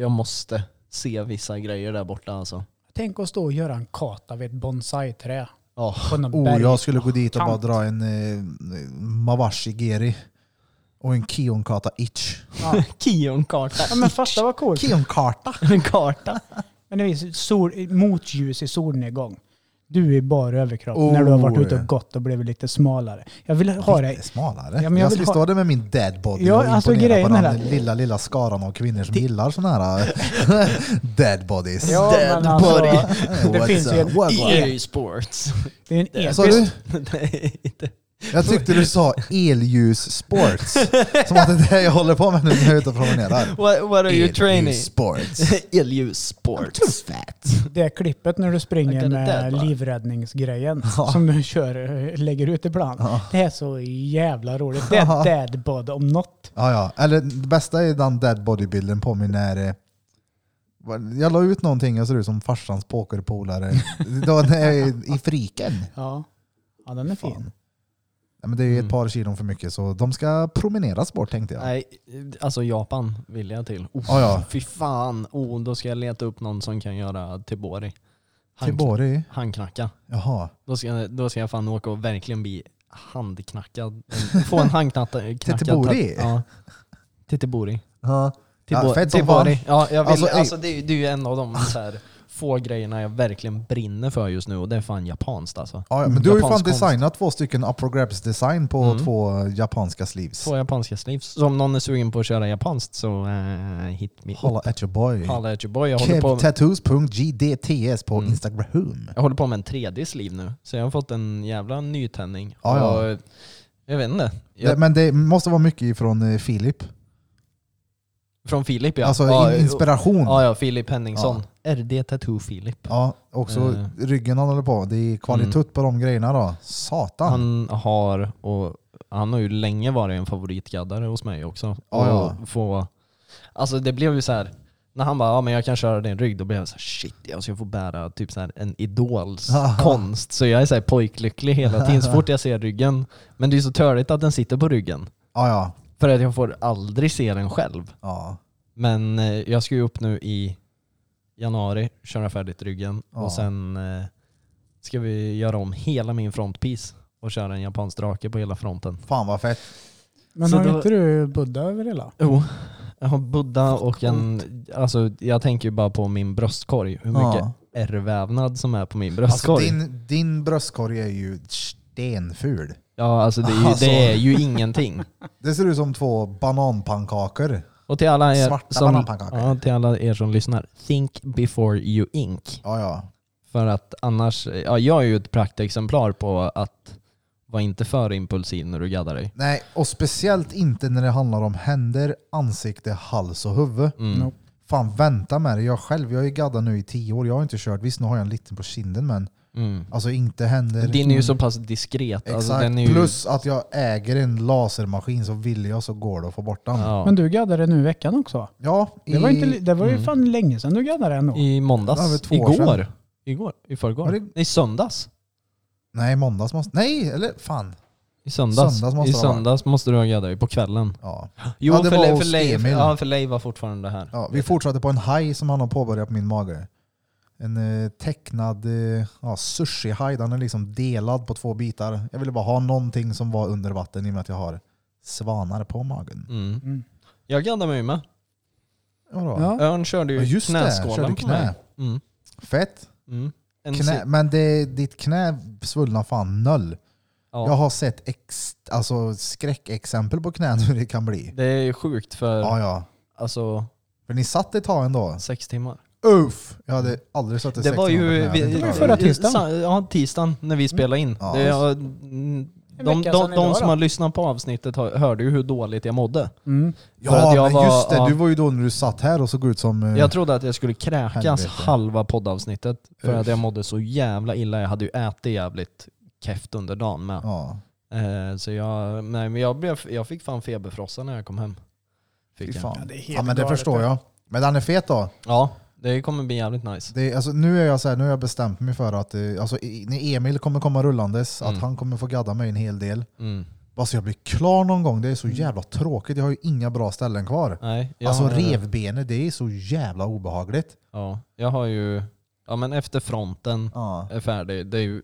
Speaker 1: Jag måste se vissa grejer där borta alltså.
Speaker 6: Tänk att stå och göra en kata vid ett bonsai-trä
Speaker 1: Ja,
Speaker 6: på någon
Speaker 5: Oh,
Speaker 6: berg.
Speaker 5: jag skulle gå dit och bara
Speaker 6: Kant.
Speaker 5: dra en eh, Mawashi-geri och en Kionkata Itch.
Speaker 6: Ja.
Speaker 1: Kionkarta.
Speaker 6: Ja, men fatta vad coolt. (laughs)
Speaker 5: Kionkata?
Speaker 1: En (laughs) karta.
Speaker 6: Men det finns sol, motljus i solnedgång. Du är bara överkropp när du har varit
Speaker 5: Oh.
Speaker 6: ute och gått och blivit lite smalare. Jag vill ha
Speaker 5: Lite
Speaker 6: dig
Speaker 5: smalare.
Speaker 6: Ja, men
Speaker 5: jag
Speaker 6: jag vill
Speaker 5: skulle
Speaker 6: ha-
Speaker 5: stå där med min dead body
Speaker 6: Ja,
Speaker 5: och
Speaker 6: alltså,
Speaker 5: imponera på
Speaker 6: grejen är
Speaker 5: den
Speaker 6: det-
Speaker 5: lilla, lilla skaran av kvinnor som gillar såna här eh, (laughs) dead bodies. Eh,
Speaker 6: Ja,
Speaker 1: Dead
Speaker 6: men alltså,
Speaker 1: body.
Speaker 6: Det finns ju en el. (laughs)
Speaker 1: E-sports.
Speaker 6: Det är en
Speaker 5: Vad sa
Speaker 6: episk.
Speaker 5: du?
Speaker 1: E (laughs) Nej, inte.
Speaker 5: Jag tyckte du sa elljussports. Som att det är det jag håller på med nu när jag är ute och
Speaker 6: (laughs)
Speaker 5: promenerar.
Speaker 1: What, what are you training? (laughs)
Speaker 5: Elljussports.
Speaker 1: Eljus sports.
Speaker 6: Det klippet när du
Speaker 1: Jag
Speaker 6: springer
Speaker 1: kan inte äta.
Speaker 6: med livräddningsgrejen
Speaker 5: Ja.
Speaker 6: som du kör, lägger ut ibland. Det är så jävla roligt. Det är dead bod om något.
Speaker 5: Ja, ja. Eller det bästa är den dead bodybilden på mig när eh, vad- jag la ut någonting jag ser ut som farsans pokerpolare. (laughs) Det var när jag är I friken.
Speaker 6: Ja, ja den är fin.
Speaker 5: Fan. Ja, men det är ju ett par kilon för mycket så de ska promeneras bort tänkte jag.
Speaker 1: Mm. Nej, alltså Japan vill jag till. Oh,
Speaker 5: Ja, ja.
Speaker 1: Fy fan. Oh, då ska jag leta upp någon som kan göra tibori. Han-
Speaker 5: Tibori?
Speaker 1: Handknacka.
Speaker 5: Jaha.
Speaker 1: Då ska, då ska jag fan åka och verkligen bli handknackad. En- Få en
Speaker 5: (laughs)
Speaker 1: handknackad...
Speaker 5: Titibori?
Speaker 1: Ja. Titibori.
Speaker 5: Ja. Ja,
Speaker 1: Tibor,
Speaker 5: fett som
Speaker 1: Tibori. Ja, jag vill,
Speaker 5: Alltså,
Speaker 1: alltså,
Speaker 5: ey.
Speaker 1: det, är ju- det är ju en av de så här få grejerna jag verkligen brinner för just nu och det är fan japanskt alltså.
Speaker 5: Ja, ja, men du har ju fan
Speaker 1: Japansk konst.
Speaker 5: designat två stycken Upper Grabs design på
Speaker 1: Mm.
Speaker 5: två japanska sleeves.
Speaker 1: Två japanska sleeves. Så om någon är sugen på att köra japanskt så eh, hit me
Speaker 5: Holla at your boy.
Speaker 1: up. Halla at your boy. Jag håller, på,
Speaker 5: Kevtattoos.gdts på
Speaker 1: Mm.
Speaker 5: Instagram.
Speaker 1: jag håller på med en 3D-sleeve nu. Så jag har fått en jävla nytändning.
Speaker 5: Ja, ja.
Speaker 1: Och, eh, jag vet inte.
Speaker 5: Det-
Speaker 1: Jag,
Speaker 5: Men det måste vara mycket ifrån eh, Filip.
Speaker 1: från Filip ja.
Speaker 5: Alltså
Speaker 1: ja,
Speaker 5: in- inspiration.
Speaker 1: Ja, ja. Filip Henningsson. RD Tattoo Filip.
Speaker 5: Ja, också
Speaker 1: Eh.
Speaker 5: ryggen han håller på. Det är kvalitet på de grejerna då. Satan.
Speaker 1: Han har, och han har ju länge varit en favoritgaddare hos mig också.
Speaker 5: Ja, ja.
Speaker 1: Och få, alltså det blev ju så här. När han bara, ja men jag kan köra din rygg, då blev jag så här, shit jag ska få bära typ så här en idols
Speaker 5: (laughs)
Speaker 1: konst. Så jag är så här pojklycklig hela tiden så fort jag ser ryggen. Men det är ju så törligt att den sitter på ryggen.
Speaker 5: Ja, ja.
Speaker 1: För att jag får aldrig se den själv.
Speaker 5: ja.
Speaker 1: Men eh, jag ska ju upp nu i januari, köra färdigt ryggen
Speaker 5: Ja.
Speaker 1: och sen eh, ska vi göra om hela min frontpiece och köra en japansk drake på hela fronten.
Speaker 5: Fan vad fett.
Speaker 6: Men
Speaker 1: Så
Speaker 6: har
Speaker 1: då-
Speaker 6: inte du Buddha över hela?
Speaker 1: Jo, jag har Buddha och en, alltså jag tänker ju bara på min bröstkorg, hur mycket
Speaker 5: Ja.
Speaker 1: ärrvävnad som är på min
Speaker 5: Alltså,
Speaker 1: bröstkorg.
Speaker 5: din, din bröstkorg är ju stenful.
Speaker 1: Ja alltså det är, ju,
Speaker 5: Alltså.
Speaker 1: det är ju ingenting.
Speaker 5: Det ser ut som två bananpannkakor.
Speaker 1: Och till alla er,
Speaker 5: Svarta
Speaker 1: som,
Speaker 5: bananpannkakor.
Speaker 1: ja, till alla er som lyssnar, think before you ink.
Speaker 5: Ja, ja.
Speaker 1: För att annars, ja jag är ju ett praktexemplar på att vara inte för impulsiv när du gaddar dig.
Speaker 5: Nej, och speciellt inte när det handlar om händer, ansikte, hals och huvud.
Speaker 1: Mm.
Speaker 6: Nope.
Speaker 5: Fan vänta med det. Jag själv, jag är gaddad nu i tio år. Jag har inte kört. Visst nu har jag en liten på kinden men
Speaker 1: Mm.
Speaker 5: alltså inte händer.
Speaker 1: Din är ju så pass diskret.
Speaker 5: liksom- Exakt.
Speaker 1: Alltså, den är ju,
Speaker 5: Plus att jag äger en lasermaskin så vill jag så går det att få bort den. Ja,
Speaker 1: ja,
Speaker 6: Men du gaddade nu i veckan också? Det var,
Speaker 5: i-
Speaker 6: inte, li- det var ju
Speaker 1: Mm.
Speaker 6: fan länge sedan du gaddade ändå.
Speaker 1: I
Speaker 5: Ja, det
Speaker 1: måndags,
Speaker 5: var två år
Speaker 1: igår, igår, i
Speaker 5: Var
Speaker 1: förrgår,
Speaker 5: det-
Speaker 1: i söndags.
Speaker 5: Nej, måndags måste... Nej, eller fan.
Speaker 1: I söndags,
Speaker 5: Söndags måste
Speaker 1: I
Speaker 5: det vara.
Speaker 1: söndags måste du ha gaddat dig, på kvällen.
Speaker 5: Ja.
Speaker 1: Jo,
Speaker 5: Ja, det
Speaker 1: för,
Speaker 5: var
Speaker 1: Leif-
Speaker 5: hos
Speaker 1: för, Leif,
Speaker 5: Emil.
Speaker 1: ja, för Leif var fortfarande här.
Speaker 5: Ja, vi fortsatte på en haj som han har påbörjat på min mage. En eh, tecknad eh, ja, sushi-haj. Den är liksom delad på två bitar. Jag ville bara ha någonting som var under vatten i och med att jag har svanar på magen.
Speaker 1: Mm.
Speaker 6: Mm.
Speaker 1: Jag gaddade mig med.
Speaker 5: Vadå?
Speaker 6: Ja.
Speaker 1: Örn körde ju
Speaker 5: Ja, just det,
Speaker 1: knäskålen
Speaker 5: körde
Speaker 1: på
Speaker 5: knä.
Speaker 1: mig. Mm.
Speaker 5: Fett.
Speaker 1: Mm. En
Speaker 5: Knä,
Speaker 1: si-
Speaker 5: men det, ditt knä svullnar fan noll.
Speaker 1: ja.
Speaker 5: Jag har sett ex, alltså, skräckexempel på knän hur det kan bli.
Speaker 1: Det är sjukt för
Speaker 5: Ja, ja.
Speaker 1: alltså,
Speaker 5: För ni satt ett tag ändå.
Speaker 1: sex timmar.
Speaker 5: Uff! Jag hade aldrig suttit
Speaker 1: Det
Speaker 5: sex
Speaker 1: var
Speaker 5: timmar på
Speaker 1: ju
Speaker 5: knä. hade
Speaker 1: vi,
Speaker 5: inte
Speaker 6: var ju
Speaker 5: klarat
Speaker 6: förra
Speaker 5: det.
Speaker 6: tisdagen.
Speaker 1: Sa- Ja, tisdagen Mm. när vi spelade in.
Speaker 5: Ja.
Speaker 1: Det, ja, mm,
Speaker 6: En
Speaker 1: de
Speaker 6: vecka
Speaker 1: de,
Speaker 6: sedan idag
Speaker 1: de som
Speaker 6: då.
Speaker 1: har lyssnat på avsnittet har- hörde ju hur dåligt jag mådde.
Speaker 6: Mm.
Speaker 1: För
Speaker 5: Ja,
Speaker 1: att jag
Speaker 5: men
Speaker 1: var-
Speaker 5: just det.
Speaker 1: ja.
Speaker 5: Du var ju då när du satt här och såg ut som... eh,
Speaker 1: Jag trodde att jag skulle kräkas
Speaker 5: Helvete.
Speaker 1: halva poddavsnittet för
Speaker 5: Uff.
Speaker 1: att jag mådde så jävla illa. Jag hade ju ätit jävligt keft under dagen med.
Speaker 5: ja.
Speaker 1: Eh, så jag, nej, men jag, blev, jag fick fan feberfrossa när jag kom hem.
Speaker 5: Fy
Speaker 1: Fick jag.
Speaker 5: fan.
Speaker 6: det är helt
Speaker 5: Ja, men det
Speaker 6: galet,
Speaker 5: förstår
Speaker 6: det.
Speaker 5: jag. Men den är fet då.
Speaker 1: Ja, det kommer bli jävligt nice.
Speaker 5: Det, är- alltså, nu, är jag så här, nu har jag bestämt mig för att eh, alltså, i- när Emil kommer komma rullandes, att
Speaker 1: Mm.
Speaker 5: han kommer få gadda mig en hel del.
Speaker 1: Mm.
Speaker 5: Alltså jag blir klar någon gång. Det är så jävla tråkigt. Jag har ju inga bra ställen kvar.
Speaker 1: Nej, Mm. jag
Speaker 5: alltså
Speaker 1: har-
Speaker 5: revbenet, det är så jävla obehagligt.
Speaker 1: Ja, jag har ju, ja men efter fronten
Speaker 5: Ja.
Speaker 1: är färdig. Det är ju,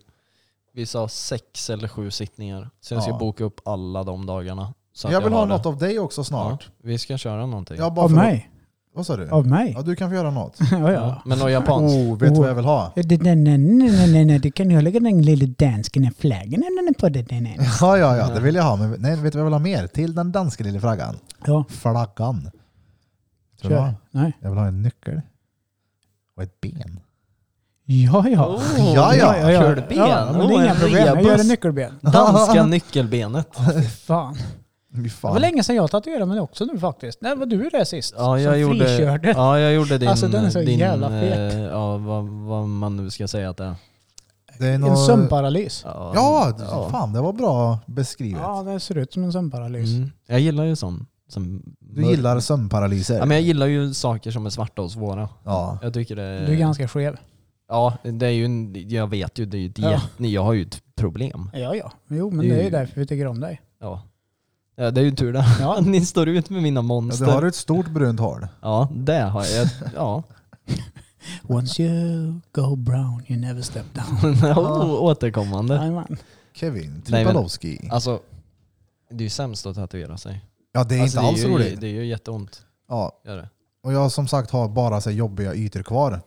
Speaker 1: vi sa sex eller sju sittningar. Så jag ska
Speaker 5: Ja.
Speaker 1: boka upp alla de dagarna. Så
Speaker 5: Jag,
Speaker 1: att
Speaker 5: vill
Speaker 1: har
Speaker 5: ha
Speaker 1: det.
Speaker 5: något av dig också snart.
Speaker 1: Ja, vi ska köra någonting.
Speaker 5: Ja. bara
Speaker 6: Av
Speaker 5: för-
Speaker 6: mig?
Speaker 5: Vad sa du?
Speaker 6: Av mig?
Speaker 5: Ja, du kan få göra något.
Speaker 6: (laughs) Ja,
Speaker 1: Ja,
Speaker 6: ja.
Speaker 1: Men något japanskt.
Speaker 5: Oh, vet du vad jag vill ha?
Speaker 6: Det- Nej, nej, nej, nej, nej, nej, du kan ju lägga den lilla dansken i flaggan när den är på det. Nej, nej.
Speaker 5: Ja, ja, ja, det vill jag ha. Men nej, vet du vad jag vill ha mer? Till den danska lilla flaggan.
Speaker 6: Ja,
Speaker 5: Flaggan. Tror du
Speaker 6: kör.
Speaker 5: vad?
Speaker 6: Nej.
Speaker 5: Jag vill ha en nyckel. Och ett ben.
Speaker 6: Ja, ja.
Speaker 5: Ja, ja.
Speaker 6: ja, ja.
Speaker 1: Kölben.
Speaker 6: Ja, men det
Speaker 1: Oh,
Speaker 6: är inga
Speaker 1: en
Speaker 6: problem. Jag gör
Speaker 1: rebus.
Speaker 6: en nyckelben.
Speaker 1: (laughs)
Speaker 5: (laughs)
Speaker 1: Danska nyckelbenet.
Speaker 6: (laughs) Fan.
Speaker 5: Fy
Speaker 6: Det var
Speaker 5: Fan.
Speaker 6: länge sedan jag tatuerade mig också nu faktiskt. När var du det sist?
Speaker 1: Ja, jag
Speaker 6: som
Speaker 1: gjorde,
Speaker 6: frikörde?
Speaker 1: ja, jag gjorde din...
Speaker 6: Alltså, den är så
Speaker 1: din,
Speaker 6: jävla fet.
Speaker 1: eh, Ja, vad, vad man nu ska säga att det är.
Speaker 5: Det är
Speaker 6: (laughs) En
Speaker 5: nå-
Speaker 6: sömnparalys.
Speaker 1: Ja,
Speaker 5: Ja,
Speaker 1: ja.
Speaker 5: fan det var bra beskrivet.
Speaker 6: Ja, det ser ut som en sömnparalys.
Speaker 1: Mm. Jag gillar ju sånt. Som
Speaker 5: Du gillar sömnparalyser.
Speaker 1: Ja, men jag gillar ju saker som är svarta och svåra.
Speaker 5: Ja.
Speaker 1: Jag tycker det...
Speaker 6: Du är ganska skev.
Speaker 1: Ja, det är ju... en- Jag vet ju, det är ju ett
Speaker 6: Ja.
Speaker 1: jätte, Jag har ju ett problem.
Speaker 6: Ja, ja. Jo, men
Speaker 1: Du-
Speaker 6: det är ju därför vi tycker om dig.
Speaker 1: Ja. ja, det är ju tur det.
Speaker 6: Ja.
Speaker 1: (laughs) Ni står ut med mina
Speaker 5: Ja,
Speaker 1: monster.
Speaker 5: du har ett stort brunt hår.
Speaker 1: Ja, det har jag. Ja. (laughs)
Speaker 6: Once you go brown you never step (laughs) down.
Speaker 1: oh, återkommande.
Speaker 6: Jajamän.
Speaker 5: Kevin
Speaker 1: Nej, men-
Speaker 5: Tripalowski.
Speaker 1: Alltså, det är ju sämst att tatuera sig.
Speaker 5: Ja, det är
Speaker 1: alltså,
Speaker 5: inte alls
Speaker 1: det är ju,
Speaker 5: roligt.
Speaker 1: Det gör jätteont.
Speaker 5: Ja,
Speaker 1: Gör det.
Speaker 5: och jag som sagt har bara så här jobbiga ytor kvar.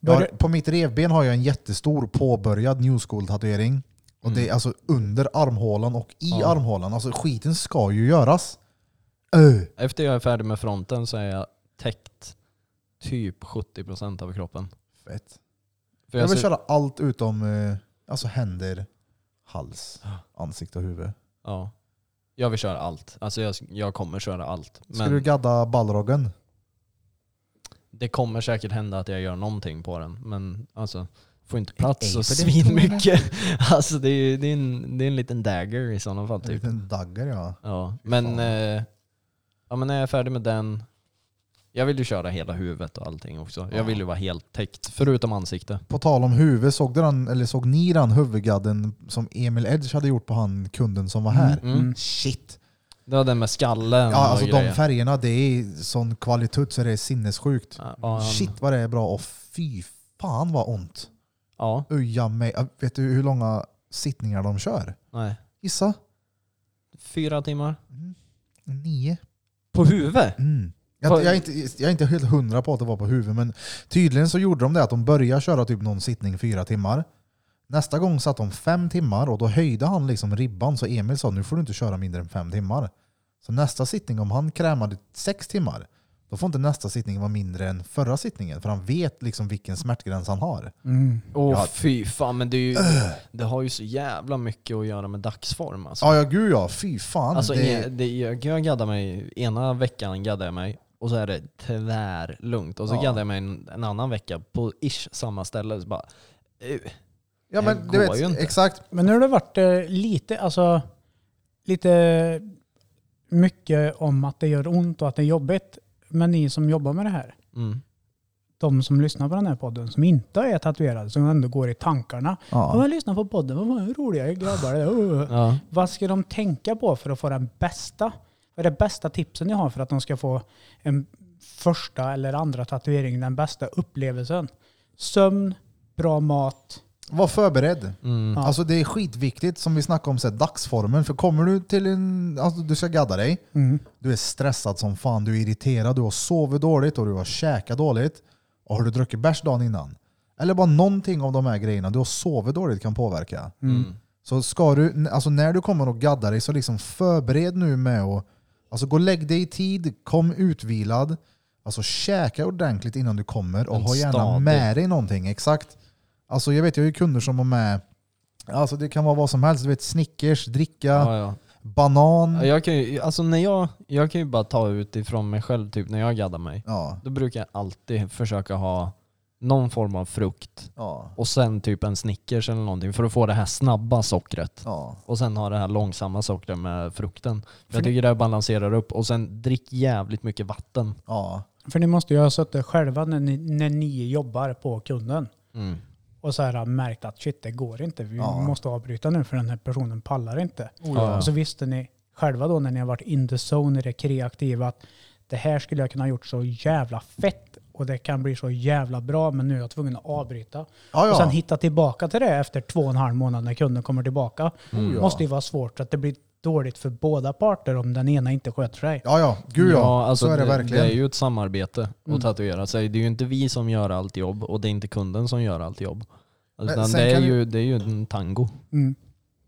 Speaker 5: Jag har,
Speaker 6: Börjar-
Speaker 5: på mitt revben har jag en jättestor påbörjad new school tatuering. Och det är alltså under armhålan och i
Speaker 1: Mm. Ja.
Speaker 5: armhålan. Alltså skiten ska ju göras. Öh.
Speaker 1: Efter jag är färdig med fronten så är jag täckt typ 70% av kroppen.
Speaker 5: Fett.
Speaker 1: För
Speaker 5: Jag
Speaker 1: jag
Speaker 5: vill
Speaker 1: ser,
Speaker 5: köra allt utom eh, alltså händer, hals, ansikte och huvud.
Speaker 1: ja, jag vill köra allt. Alltså jag, jag kommer köra allt.
Speaker 5: Ska
Speaker 1: Men
Speaker 5: du gadda ballroggen?
Speaker 1: det kommer säkert hända att jag gör någonting på den. Men alltså, får inte
Speaker 5: Ej,
Speaker 1: plats och
Speaker 5: för det-
Speaker 1: svin mycket. (laughs) Alltså det är, det, är en, det är en liten dagger i sådana fall.
Speaker 5: En
Speaker 1: Typ.
Speaker 5: liten dagger ja.
Speaker 1: Ja, men,
Speaker 5: fan.
Speaker 1: eh, ja, men när jag är färdig med den. Jag vill ju köra hela huvudet och allting också. Jag vill ju vara helt täckt, förutom ansikte.
Speaker 5: På tal om huvud, såg, du den, eller såg ni den huvudgadden som Emil Edge hade gjort på han kunden som var här?
Speaker 1: Mm.
Speaker 5: Shit!
Speaker 1: Det var den med skallen
Speaker 5: Ja, alltså
Speaker 1: och
Speaker 5: de färgerna, det är sån kvalitet så det är sinnessjukt.
Speaker 1: Ja, ja, han-
Speaker 5: Shit vad det är bra och fy fan vad ont.
Speaker 1: Ja,
Speaker 5: Uja mig. Ja, Vet du hur långa sittningar de kör?
Speaker 1: nej.
Speaker 5: Gissa? Mm.
Speaker 1: Fyra timmar.
Speaker 5: Nio.
Speaker 1: På huvudet?
Speaker 5: Mm. Jag,
Speaker 1: Vad-
Speaker 5: jag, är inte, jag är inte helt hundra på att det var på huvudet, men tydligen så gjorde de det att de började köra typ någon sittning fyra timmar. Nästa gång satt de fem timmar och då höjde han liksom ribban så Emil sa nu får du inte köra mindre än fem timmar. Så nästa sittning, om han krämade sex timmar, då får inte nästa sittning vara mindre än förra sittningen för han vet liksom vilken smärtgräns han har.
Speaker 6: Mm.
Speaker 1: Åh
Speaker 5: Ja.
Speaker 1: fy fan, men det, är ju, det har ju så jävla mycket att göra med dagsform alltså.
Speaker 5: Ja, ja gud ja, fy fan.
Speaker 1: alltså
Speaker 5: det,
Speaker 1: det... Det, jag, jag gaddar mig, ena veckan gaddar jag mig och så är det tvärlugnt. Och så
Speaker 5: Ja.
Speaker 1: gaddar jag mig en, en annan vecka på ish samma ställe. Så bara, eh,
Speaker 5: ja, men,
Speaker 1: det
Speaker 5: du
Speaker 1: går
Speaker 5: vet,
Speaker 1: ju inte.
Speaker 5: Exakt.
Speaker 6: Men nu har det varit eh, lite, alltså, lite mycket om att det gör ont och att det är jobbigt. Men ni som jobbar med det här,
Speaker 1: mm.
Speaker 6: de som lyssnar på den här podden, som inte är tatuerade, som ändå går i tankarna. Ja.
Speaker 5: Ja.
Speaker 6: Jag lyssnar på podden, vad fan, hur roliga är grabbar det där. (laughs) Uh.
Speaker 1: ja.
Speaker 6: Vad ska de tänka på för att få den bästa? Vad är det bästa tipsen ni har för att de ska få en första eller andra tatuering, den bästa upplevelsen? Sömn, bra mat.
Speaker 5: Var förberedd.
Speaker 1: Mm.
Speaker 6: Ja.
Speaker 5: Alltså det är skitviktigt som vi snackade om, så här, dagsformen. För kommer du till en, alltså du ska gadda dig,
Speaker 6: Mm.
Speaker 5: du är stressad som fan, du är irriterad, du har sovit dåligt och du har käkat dåligt. Och har du druckit bärs dagen innan? Eller bara någonting av de här grejerna, du har sovit dåligt kan påverka.
Speaker 1: Mm.
Speaker 5: Så ska du, alltså när du kommer och gaddar dig, så liksom förbered nu med att alltså gå och lägg dig i tid, kom utvilad, alltså käka ordentligt innan du kommer och
Speaker 1: En
Speaker 5: ha gärna
Speaker 1: stadig-
Speaker 5: med dig någonting. Exakt. Alltså jag vet, jag har ju kunder som har med, alltså det kan vara vad som helst, du vet Snickers, dricka,
Speaker 1: Ja, ja.
Speaker 5: banan.
Speaker 1: Ja, Jag, kan ju, alltså när jag, jag kan ju bara ta ut ifrån mig själv typ när jag gaddar mig.
Speaker 5: Ja,
Speaker 1: Då brukar jag alltid försöka ha någon form av frukt
Speaker 5: ja,
Speaker 1: och sen typ en Snickers eller någonting för att få det här snabba sockret.
Speaker 5: ja.
Speaker 1: Och sen ha det här långsamma sockret med frukten. Jag tycker det balanserar upp. Och sen drick jävligt mycket vatten.
Speaker 5: ja.
Speaker 6: För ni måste ju ha suttit själva när ni, när ni jobbar på kunden och så här har märkt att shit det går inte, vi
Speaker 5: Ja.
Speaker 6: måste avbryta nu för den här personen pallar inte.
Speaker 1: Oh, ja.
Speaker 6: Och så visste ni själva då när ni har varit in the zone i det kreativa att det här skulle jag kunna ha gjort så jävla fett och det kan bli så jävla bra men nu är jag tvungen att avbryta.
Speaker 5: ja,
Speaker 6: Och
Speaker 5: ja.
Speaker 6: sen hitta tillbaka till det efter två och en halv månad när kunden kommer tillbaka.
Speaker 1: Mm.
Speaker 5: Oh, ja.
Speaker 6: måste ju vara svårt så att det blir dåligt för båda parter om den ena inte sköter sig.
Speaker 5: ja, ja. Gud ja.
Speaker 1: alltså
Speaker 5: så är det, verkligen.
Speaker 1: Det är ju ett samarbete att
Speaker 6: Mm.
Speaker 1: tatuera sig. Det är ju inte vi som gör allt jobb och det är inte kunden som gör allt jobb. Utan
Speaker 5: sen
Speaker 1: det, är
Speaker 5: kan
Speaker 1: ju, det är ju en tango.
Speaker 6: Mm.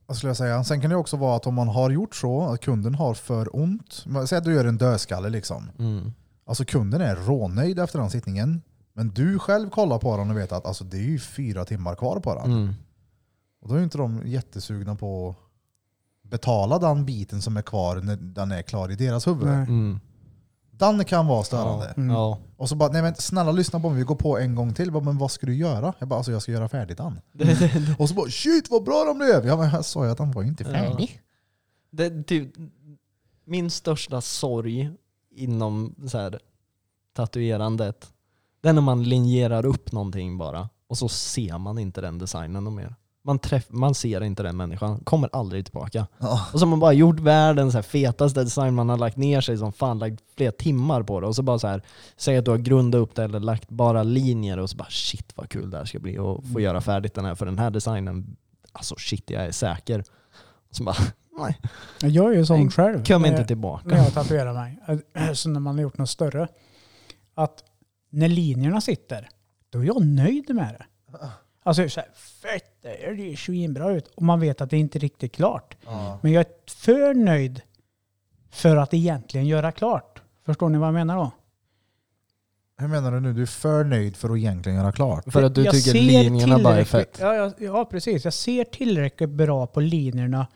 Speaker 5: Vad skulle jag säga? Sen kan det också vara att om man har gjort så, att kunden har för ont. Säg att du gör en dödskalle liksom.
Speaker 1: Mm.
Speaker 5: Alltså kunden är rånöjd efter den sittningen. Men du själv kollar på den och vet att alltså, det är ju fyra timmar kvar på den.
Speaker 1: Mm.
Speaker 5: Och då är ju inte de jättesugna på att betala den biten som är kvar när den är klar i deras huvud.
Speaker 6: Nej.
Speaker 1: Mm.
Speaker 5: Den kan vara störande.
Speaker 6: Mm.
Speaker 1: Ja.
Speaker 5: Och så bara, nej men snälla lyssna på mig, vi går på en gång till. Jag Bara, men vad ska du göra? Jag bara, alltså jag ska göra färdigt den.
Speaker 1: (laughs)
Speaker 5: och så bara, shit vad bra den blev! Ja men jag sa ju att den var ju inte färdig.
Speaker 1: Det, typ, min största sorg inom så här, tatuerandet, det är när man linjerar upp någonting bara och så ser man inte den designen och mer. Man, träff, man ser inte den människan, kommer aldrig tillbaka.
Speaker 5: Ja.
Speaker 1: Och så har man bara gjort världens så här, fetaste design, man har lagt ner sig som fan, lagt flera timmar på det. Och så bara så här, säg att du har grundat upp det eller lagt bara linjer och så bara shit vad kul det här ska bli och få göra färdigt den här för den här designen, alltså shit jag är säker. Och så bara, nej.
Speaker 6: Jag är ju sån
Speaker 1: Nej,
Speaker 6: själv.
Speaker 1: Kom
Speaker 6: När-
Speaker 1: inte tillbaka.
Speaker 6: när jag eh, tatuerar mig. Så när man har gjort något större. Att när linjerna sitter, då är jag nöjd med det. Alltså jag är så här, fett, det här ser ju svinbra ut. Och man vet att det inte är riktigt klart.
Speaker 3: Ja.
Speaker 6: Men jag är för nöjd för att egentligen göra klart. Förstår ni vad jag menar då?
Speaker 5: Hur menar du nu? Du är för nöjd för att egentligen göra klart?
Speaker 1: För att du
Speaker 6: eh, Jag
Speaker 1: tycker
Speaker 6: ser
Speaker 1: linjerna bara är
Speaker 6: tillräckligt-
Speaker 1: fett.
Speaker 6: Ja, ja, ja, precis. Jag ser tillräckligt bra på linjerna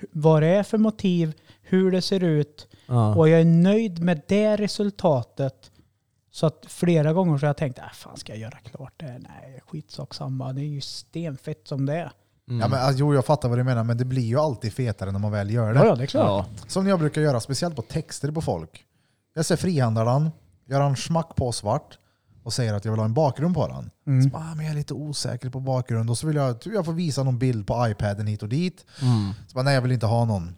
Speaker 6: hu- vad det är för motiv, hur det ser ut
Speaker 1: Ja.
Speaker 6: och jag är nöjd med det resultatet. Så att flera gånger så har jag tänkt, äh, fan ska jag göra klart det? här? Nej, skitsak samma. Det är ju stenfett som det är.
Speaker 1: Mm.
Speaker 5: Ja, men, alltså, jo, jag fattar vad du menar, men det blir ju alltid fetare när man väl gör det.
Speaker 6: Ja, ja det är klart.
Speaker 1: ja.
Speaker 5: Som jag brukar göra, speciellt på texter på folk. Jag ser frihandlaren, gör han smack på svart och säger att jag vill ha en bakgrund på den.
Speaker 1: Mm.
Speaker 5: Så bara, ah, men jag är lite osäker på bakgrund och så vill jag, tror jag får visa någon bild på iPaden hit och dit.
Speaker 1: Mm.
Speaker 5: Så bara, nej jag vill inte ha någon.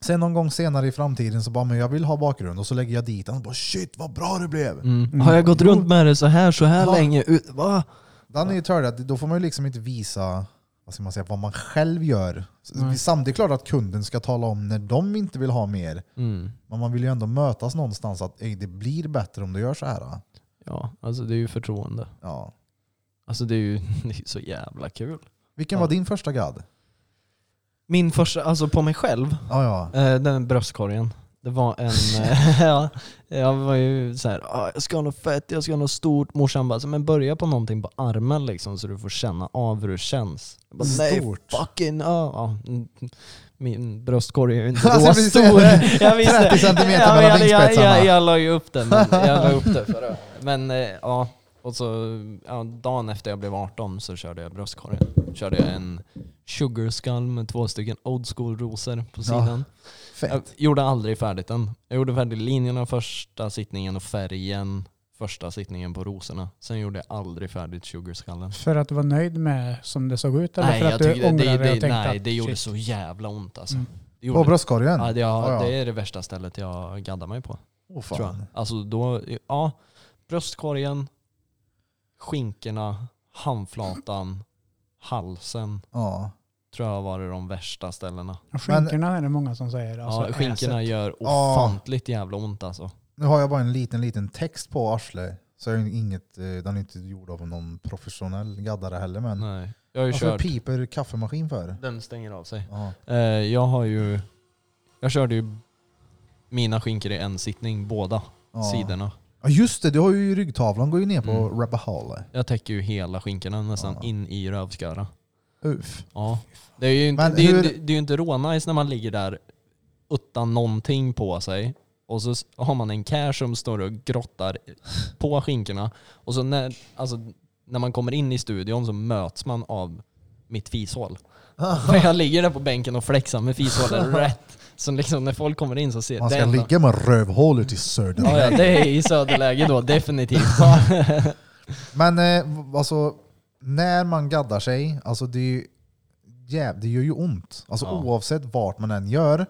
Speaker 5: Sen någon gång senare i framtiden så bara, men jag vill ha bakgrund och så lägger jag dit den och bara shit vad bra det blev.
Speaker 1: Mm. Har jag gått runt med det så här så här
Speaker 5: Ja.
Speaker 1: länge? Ut, va?
Speaker 5: Den är ju törd att då får man ju liksom inte visa vad, ska man, säga, vad man själv gör.
Speaker 6: Nej.
Speaker 5: Samtidigt är det klart att kunden ska tala om när de inte vill ha mer.
Speaker 1: Mm.
Speaker 5: Men man vill ju ändå mötas någonstans att "Ey, det blir bättre om du gör så här. då."
Speaker 1: Ja, alltså det är ju förtroende.
Speaker 5: Ja.
Speaker 1: Alltså det är ju (laughs) det är ju så jävla kul.
Speaker 5: Vilken
Speaker 1: Ja.
Speaker 5: var din första gadd?
Speaker 1: Min första, alltså på mig själv,
Speaker 5: Ja, ja.
Speaker 1: eh, den bröstkorgen. Det var en, eh, (laughs) ja, jag var ju såhär, ah, jag ska ha något fett, jag ska ha något stort. Morsan bara, så, men börja på någonting på armen liksom så du får känna av hur det känns. Jag bara, Nej
Speaker 5: (laughs) Stort.
Speaker 1: fucking, ah. ja. mm, Min bröstkorg
Speaker 5: (laughs)
Speaker 1: är ju inte
Speaker 5: Alltså, Jag
Speaker 1: då
Speaker 5: skulle säga
Speaker 1: stor.
Speaker 5: det.
Speaker 1: (laughs)
Speaker 5: (laughs)
Speaker 1: Jag visste-
Speaker 5: 30 centimeter
Speaker 1: Ja, men
Speaker 5: mellan
Speaker 1: jag, jag,
Speaker 5: vingspetsarna.
Speaker 1: jag, jag la ju upp det, men, jag la upp det
Speaker 5: (laughs)
Speaker 1: förra Men eh, ja, och så ja, dagen efter jag blev 18 så körde jag bröstkorgen. Körde jag en sugar skull med två stycken old school rosor på sidan. Jag
Speaker 5: Fett.
Speaker 1: gjorde aldrig färdigt den. Jag gjorde färdigt linjerna första sittningen och färgen första sittningen på rosorna. Sen gjorde jag aldrig färdigt sugarskallen.
Speaker 6: För att du var nöjd med som det såg ut eller
Speaker 1: Nej,
Speaker 6: för
Speaker 1: jag
Speaker 6: att du
Speaker 1: tyckte,
Speaker 6: ångrade
Speaker 1: det, det,
Speaker 6: dig och
Speaker 1: det,
Speaker 6: tänkte
Speaker 1: nej,
Speaker 6: att,
Speaker 1: det gjorde
Speaker 6: shit.
Speaker 1: så jävla ont alltså.
Speaker 6: Mm.
Speaker 1: Det
Speaker 5: På
Speaker 1: gjorde,
Speaker 5: bröstkorgen?
Speaker 1: ja, det, ja,
Speaker 5: Ja, ja.
Speaker 1: det är det värsta stället jag gaddar mig på.
Speaker 5: Åh,
Speaker 1: Tror jag.
Speaker 5: fan.
Speaker 1: Alltså då, ja. Bröstkorgen, skinkorna, handflatan, halsen.
Speaker 5: Ja.
Speaker 1: Tror jag var det de värsta ställena.
Speaker 6: Och Skinkorna är det många som säger.
Speaker 1: Ja,
Speaker 6: Alltså,
Speaker 1: skinkorna
Speaker 6: äset.
Speaker 1: gör
Speaker 5: Ja.
Speaker 1: ofantligt jävla ont alltså.
Speaker 5: Nu har jag bara en liten, liten text på arslet. Så jag har inget, eh, den är inte gjord av någon professionell gaddare heller. Men
Speaker 6: Mm.
Speaker 1: Nej. Jag
Speaker 6: Alltså,
Speaker 1: har ju
Speaker 5: varför
Speaker 1: kört.
Speaker 5: Alltså, piper kaffemaskin för?
Speaker 1: Den stänger av sig.
Speaker 5: Ja.
Speaker 1: Eh, jag har ju... Jag körde ju mina skinkor i en sittning, båda
Speaker 5: Ja.
Speaker 1: sidorna.
Speaker 5: Ja just det, du har ju ryggtavlan går ju ner på
Speaker 1: Mm.
Speaker 5: mm. Rabbit Hole.
Speaker 1: Jag täcker ju hela skinkorna nästan
Speaker 5: Ja.
Speaker 1: in i rövsköra.
Speaker 5: Uff.
Speaker 1: Ja. Det är ju inte,
Speaker 5: Men
Speaker 1: det är ju,
Speaker 5: hur-
Speaker 1: inte- det är ju inte rånice när man ligger där utan någonting på sig och så s- har man en care som står och grottar på skinkorna. Och så när, alltså, när man kommer in i studion så möts man av
Speaker 5: (laughs)
Speaker 1: mitt fishål. För jag ligger där på bänken och flexar med fishålet rätt. Så liksom när folk kommer in så ser
Speaker 5: Man ska
Speaker 1: det enda-
Speaker 5: ligga med rövhålet i söder.
Speaker 1: Ja, ja, det är i söderläge då, definitivt. Ja.
Speaker 5: Men eh, v- alltså, när man gaddar sig, alltså det, är ju, jäv, det gör ju ont. Alltså
Speaker 1: Ja.
Speaker 5: oavsett vart man än gör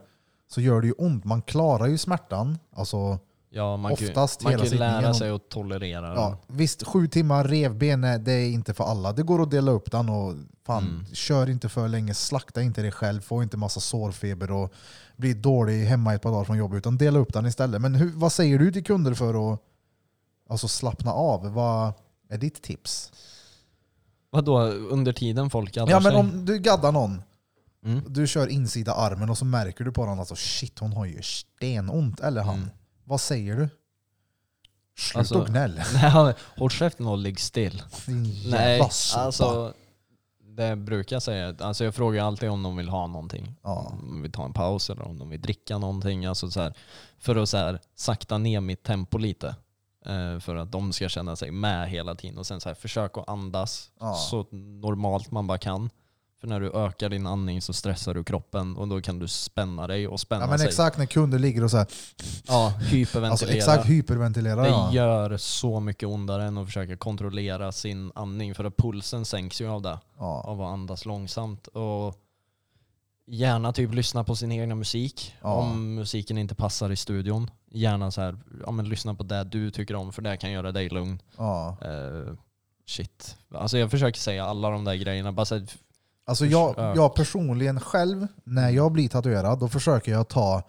Speaker 5: så gör det ju ont. Man klarar ju smärtan. Alltså,
Speaker 1: Ja, man kan ju-
Speaker 5: Oftast
Speaker 1: man
Speaker 5: hela
Speaker 1: kan ju lära
Speaker 5: sittningen.
Speaker 1: sig att tolerera
Speaker 5: ja, visst, sju timmar revben, eh, det är inte för alla. Det går att dela upp den och fan,
Speaker 1: Mm.
Speaker 5: kör inte för länge, slakta inte dig själv, få inte massa sårfeber och bli dålig hemma ett par dagar från jobbet, utan dela upp den istället. Men hur, vad säger du till kunder för att alltså, slappna av? Vad är ditt tips?
Speaker 1: Vadå, under tiden folk gaddar
Speaker 5: Ja men
Speaker 1: sig?
Speaker 5: om du gaddar någon,
Speaker 1: Mm.
Speaker 5: du kör insida armen och så märker du på den alltså shit hon har ju stenont, eller han.
Speaker 1: Mm.
Speaker 5: Vad säger du? Sluta
Speaker 1: Alltså-
Speaker 5: och gnäll. (laughs)
Speaker 1: Nej, håll käften och ligg still.
Speaker 5: Din
Speaker 1: Nej,
Speaker 5: jävla sopa.
Speaker 1: alltså det brukar jag säga. Alltså jag frågar alltid om de vill ha någonting.
Speaker 5: Ja.
Speaker 1: Om de vill ta en paus eller om de vill dricka någonting. Alltså så här, för att så här, sakta ner mitt tempo lite. Eh, För att de ska känna sig med hela tiden. Och sen så här, försök att andas
Speaker 5: Ja.
Speaker 1: så normalt man bara kan. För när du ökar din andning så stressar du kroppen och då kan du spänna dig och spänna
Speaker 5: Ja men
Speaker 1: sig.
Speaker 5: exakt när kunder ligger och så här,
Speaker 1: Ja,
Speaker 5: alltså
Speaker 1: hyperventilera.
Speaker 5: exakt hyperventilerar.
Speaker 1: Det
Speaker 5: Ja.
Speaker 1: gör så mycket ondare än att försöka kontrollera sin andning för att pulsen sänks ju av det.
Speaker 5: Ja.
Speaker 1: Av att andas långsamt och gärna typ lyssna på sin egna musik
Speaker 5: Ja.
Speaker 1: om musiken inte passar i studion. Gärna så här, ja men lyssna på det du tycker om för det kan göra dig lugn.
Speaker 5: Ja.
Speaker 1: Eh, shit. Alltså jag försöker säga alla de där grejerna. Bara så här,
Speaker 5: Alltså jag,
Speaker 1: Försök.
Speaker 5: jag personligen själv, när jag blir tatuerad, då försöker jag ta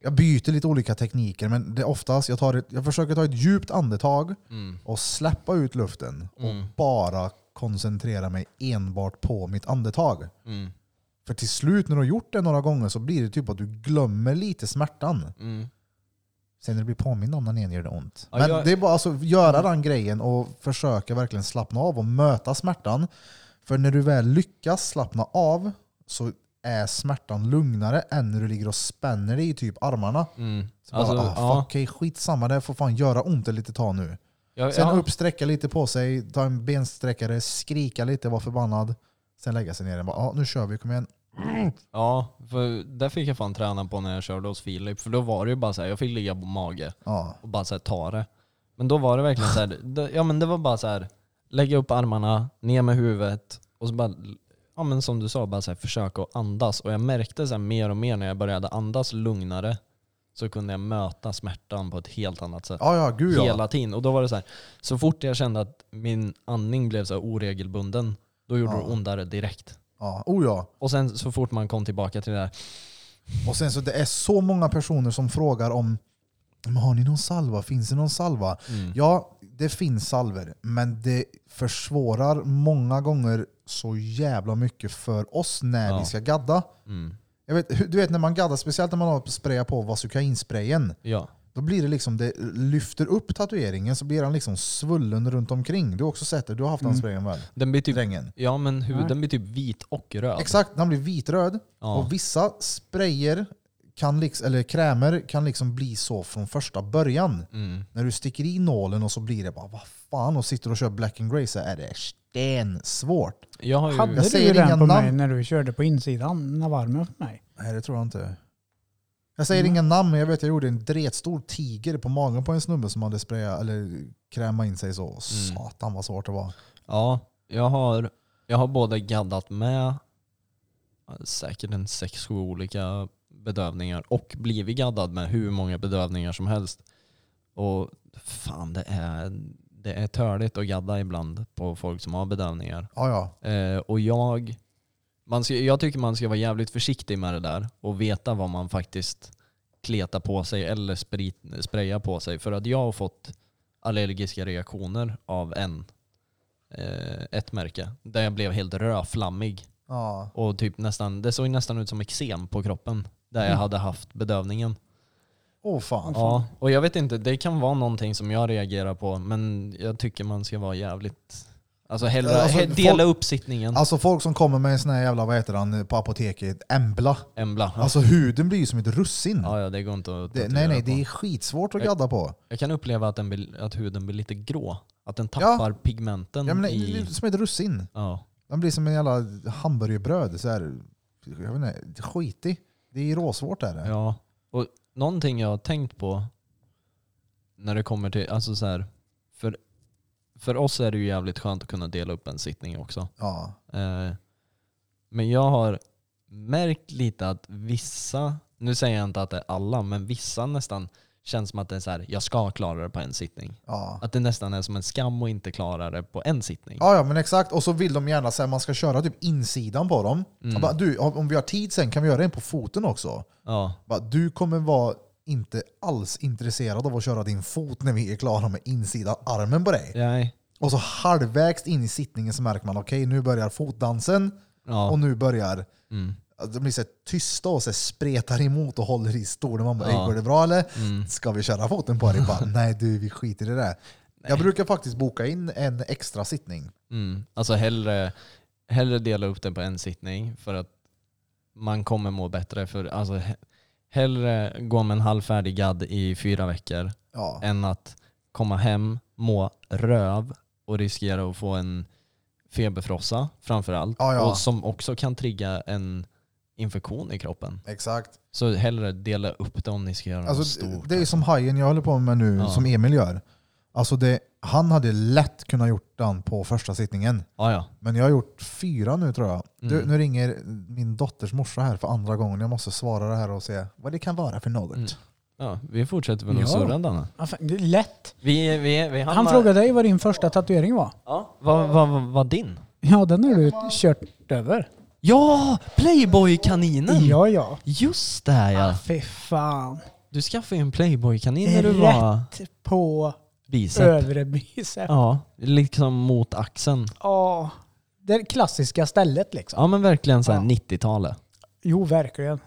Speaker 5: Jag byter lite olika tekniker, men det är oftast jag, tar ett, jag försöker ta ett djupt andetag
Speaker 1: Mm.
Speaker 5: och släppa ut luften och
Speaker 1: Mm.
Speaker 5: bara koncentrera mig enbart på mitt andetag.
Speaker 1: Mm.
Speaker 5: För till slut när du har gjort det några gånger så blir det typ att du glömmer lite smärtan.
Speaker 1: Mm.
Speaker 5: Sen när du blir påmind om den igen gör det ont.
Speaker 1: Ja,
Speaker 5: Men
Speaker 1: jag-
Speaker 5: det är bara alltså göra den grejen och försöka verkligen slappna av och möta smärtan. För när du väl lyckas slappna av så är smärtan lugnare än när du ligger och spänner dig i typ armarna.
Speaker 1: Mm.
Speaker 5: Så bara,
Speaker 1: Alltså,
Speaker 5: ah,
Speaker 1: ja.
Speaker 5: fuck, okay, skitsamma, det får fan göra ont ett litet tag nu.
Speaker 1: Jag,
Speaker 5: Sen
Speaker 1: ja.
Speaker 5: upp, sträcka lite på sig, ta en bensträckare, skrika lite, vara förbannad. Sen lägga sig ner och bara, ah, nu kör vi, kom igen.
Speaker 1: Ja, för det fick jag fan träna på när jag körde hos Filip. För då var det ju bara så här, jag fick ligga på mage
Speaker 5: Ja,
Speaker 1: och bara så här, ta det. Men då var det verkligen så
Speaker 5: (laughs)
Speaker 1: här, det, ja men det var bara så här, lägga upp armarna, ner med huvudet och så bara, ja men som du sa, bara så här, försöka att andas. Och jag märkte så här, mer och mer när jag började andas lugnare så kunde jag möta smärtan på ett helt annat sätt.
Speaker 5: Ah, ja, ja gud ja.
Speaker 1: Hela tiden. Och då var det så här, så fort jag kände att min andning blev så här oregelbunden, då gjorde
Speaker 5: Ja.
Speaker 1: det ondare direkt.
Speaker 5: ja. Oh, ja.
Speaker 1: Och sen så fort man kom tillbaka till det här,
Speaker 5: Och sen så det är så många personer som frågar om "Men har ni någon salva? Finns det någon salva? Ja, det finns salver, men det försvårar många gånger så jävla mycket för oss när
Speaker 1: Ja.
Speaker 5: vi ska gadda.
Speaker 1: mm,
Speaker 5: Jag vet, hur- du vet när man gaddar, speciellt när man har sprayat på vasokainsprayen,
Speaker 1: ja.
Speaker 5: då blir det liksom, det lyfter upp tatueringen så blir den liksom svullen runt omkring. Du har också sett det, du har haft den sprayen väl?
Speaker 1: Den blir Mm. typ,
Speaker 5: Drängen.
Speaker 1: ja men huden blir typ vit och röd.
Speaker 5: Exakt, den blir vitröd.
Speaker 1: Ja.
Speaker 5: Och vissa sprayer kan liksom, eller krämer kan liksom bli så från första början.
Speaker 1: Mm.
Speaker 5: När du sticker i nålen och så blir det bara vad fan och sitter och kör black and grey så är det stensvårt.
Speaker 1: Jag har ju,
Speaker 6: Alltså, Hade
Speaker 5: Jag
Speaker 6: du
Speaker 5: säger
Speaker 6: ju
Speaker 5: inga
Speaker 6: den på mig
Speaker 5: namn.
Speaker 6: när du körde på insidan när varmen för mig?
Speaker 5: Nej det tror jag inte. Mm. Jag säger inga namn men jag vet jag gjorde en dretstor tiger på magen på en snubbe som hade sprayat eller kräma in sig så. Satan vad svårt det var.
Speaker 1: ja, jag har, jag har både gaddat med ja, säkert en sex, sju olika bedövningar och blivit gaddad med hur många bedövningar som helst. Och fan det är, det är törligt att gadda ibland på folk som har bedövningar.
Speaker 5: Ja ja.
Speaker 1: Eh, och jag, man ska, jag tycker man ska vara jävligt försiktig med det där och veta vad man faktiskt kletar på sig eller sprit, sprayar på sig. För att jag har fått allergiska reaktioner av en, eh, ett märke där jag blev helt rödflammig.
Speaker 5: ja.
Speaker 1: Och typ nästan, det såg nästan ut som eksem på kroppen där jag hade haft bedövningen.
Speaker 5: Mm. Åh fan.
Speaker 1: Ja, och jag vet inte, det kan vara någonting som jag reagerar på men jag tycker man ska vara jävligt... Alltså hellre,
Speaker 5: Alltså,
Speaker 1: he- dela
Speaker 5: folk-
Speaker 1: upp sittningen.
Speaker 5: Alltså folk som kommer med en sån här jävla, vad heter han, på apoteket, Embla.
Speaker 1: Embla. Ja.
Speaker 5: Alltså huden blir ju som ett russin.
Speaker 1: Ja, ja, det går inte att
Speaker 5: Mm. Det,
Speaker 1: tatuera
Speaker 5: nej, nej,
Speaker 1: på.
Speaker 5: det är skitsvårt att gadda på.
Speaker 1: Jag kan uppleva att, den blir, att huden blir lite grå. Att den tappar pigmenten
Speaker 5: Ja, men det är
Speaker 1: i...
Speaker 5: lite som ett russin.
Speaker 1: Ja.
Speaker 5: Den blir som en jävla hamburgerbröd. Så här, jag vet inte, skitig. Det är råsvårt är det.
Speaker 1: ja. Och någonting jag har tänkt på när det kommer till... Alltså så här, för, för oss är det ju jävligt skönt att kunna dela upp en sittning också.
Speaker 5: Ja.
Speaker 1: Eh, men jag har märkt lite att vissa, nu säger jag inte att det är alla, men vissa nästan känns som att det är så här, jag ska klara det på en sittning.
Speaker 5: Ja.
Speaker 1: Att det nästan är som en skam att inte klara det på en sittning.
Speaker 5: Ja, ja, men exakt. Och så vill de gärna säga man ska köra typ insidan på dem.
Speaker 1: Mm.
Speaker 5: Jag Bara, du, om om vi har tid sen kan vi göra en på foten också.
Speaker 1: Ja.
Speaker 5: Bara, du kommer vara inte alls intresserad av att köra din fot när vi är klara med insidan armen på dig.
Speaker 1: Nej.
Speaker 5: Och så halvvägs in i sittningen så märker man okej, nu börjar fotdansen.
Speaker 1: Ja.
Speaker 5: Och nu börjar
Speaker 1: Mm.
Speaker 5: att de blir så här tysta och så här spretar emot och håller i stolen. Man bara,
Speaker 1: Ja.
Speaker 5: "Ey, går det bra eller?
Speaker 1: mm,
Speaker 5: Ska vi köra foten på dig?
Speaker 1: (laughs)
Speaker 5: Bara, Nej du, vi skiter i det. där." Jag brukar faktiskt boka in en extra sittning.
Speaker 1: Mm. Alltså hellre, hellre dela upp den på en sittning för att man kommer må bättre. För, alltså, he- hellre gå med en halvfärdig gadd i fyra veckor
Speaker 5: Ja.
Speaker 1: än att komma hem, må röv och riskera att få en feberfrossa framförallt.
Speaker 5: Ja, ja.
Speaker 1: Och som också kan trigga en infektion i kroppen.
Speaker 5: Exakt.
Speaker 1: Så hellre dela upp det om ni ska göra något
Speaker 5: Alltså,
Speaker 1: stort.
Speaker 5: det är som hajen jag håller på med nu,
Speaker 1: Ja.
Speaker 5: som Emil gör. Alltså det, han hade lätt kunnat gjort den på första sittningen.
Speaker 1: ja, ja.
Speaker 5: Men jag har gjort fyra nu tror jag. Du,
Speaker 1: Mm.
Speaker 5: nu ringer min dotters morsa här för andra gången. Jag måste svara det här och se vad det kan vara för något.
Speaker 1: Mm. ja, vi fortsätter väl att
Speaker 6: Ja.
Speaker 1: surra Danne.
Speaker 6: Ja, fan, det är lätt.
Speaker 1: Vi, vi, vi
Speaker 6: Han
Speaker 1: hamnar-
Speaker 6: frågade dig vad din första tatuering var.
Speaker 1: Ja. Vad vad- vad- vad din?
Speaker 6: Ja, den har du kört över.
Speaker 1: Ja, Playboy-kaninen!
Speaker 6: Ja, Ah. ja.
Speaker 1: Just det ja.
Speaker 6: Fy fan.
Speaker 1: Du skaffade ju en Playboy-kanin när du
Speaker 6: Rätt.
Speaker 1: var
Speaker 6: På
Speaker 1: bicep.
Speaker 6: övre bicep.
Speaker 1: Ja, liksom mot axeln.
Speaker 6: Ja. Det klassiska stället liksom.
Speaker 1: Ja men verkligen såhär
Speaker 6: Ja.
Speaker 1: 90-talet.
Speaker 6: Jo, verkligen.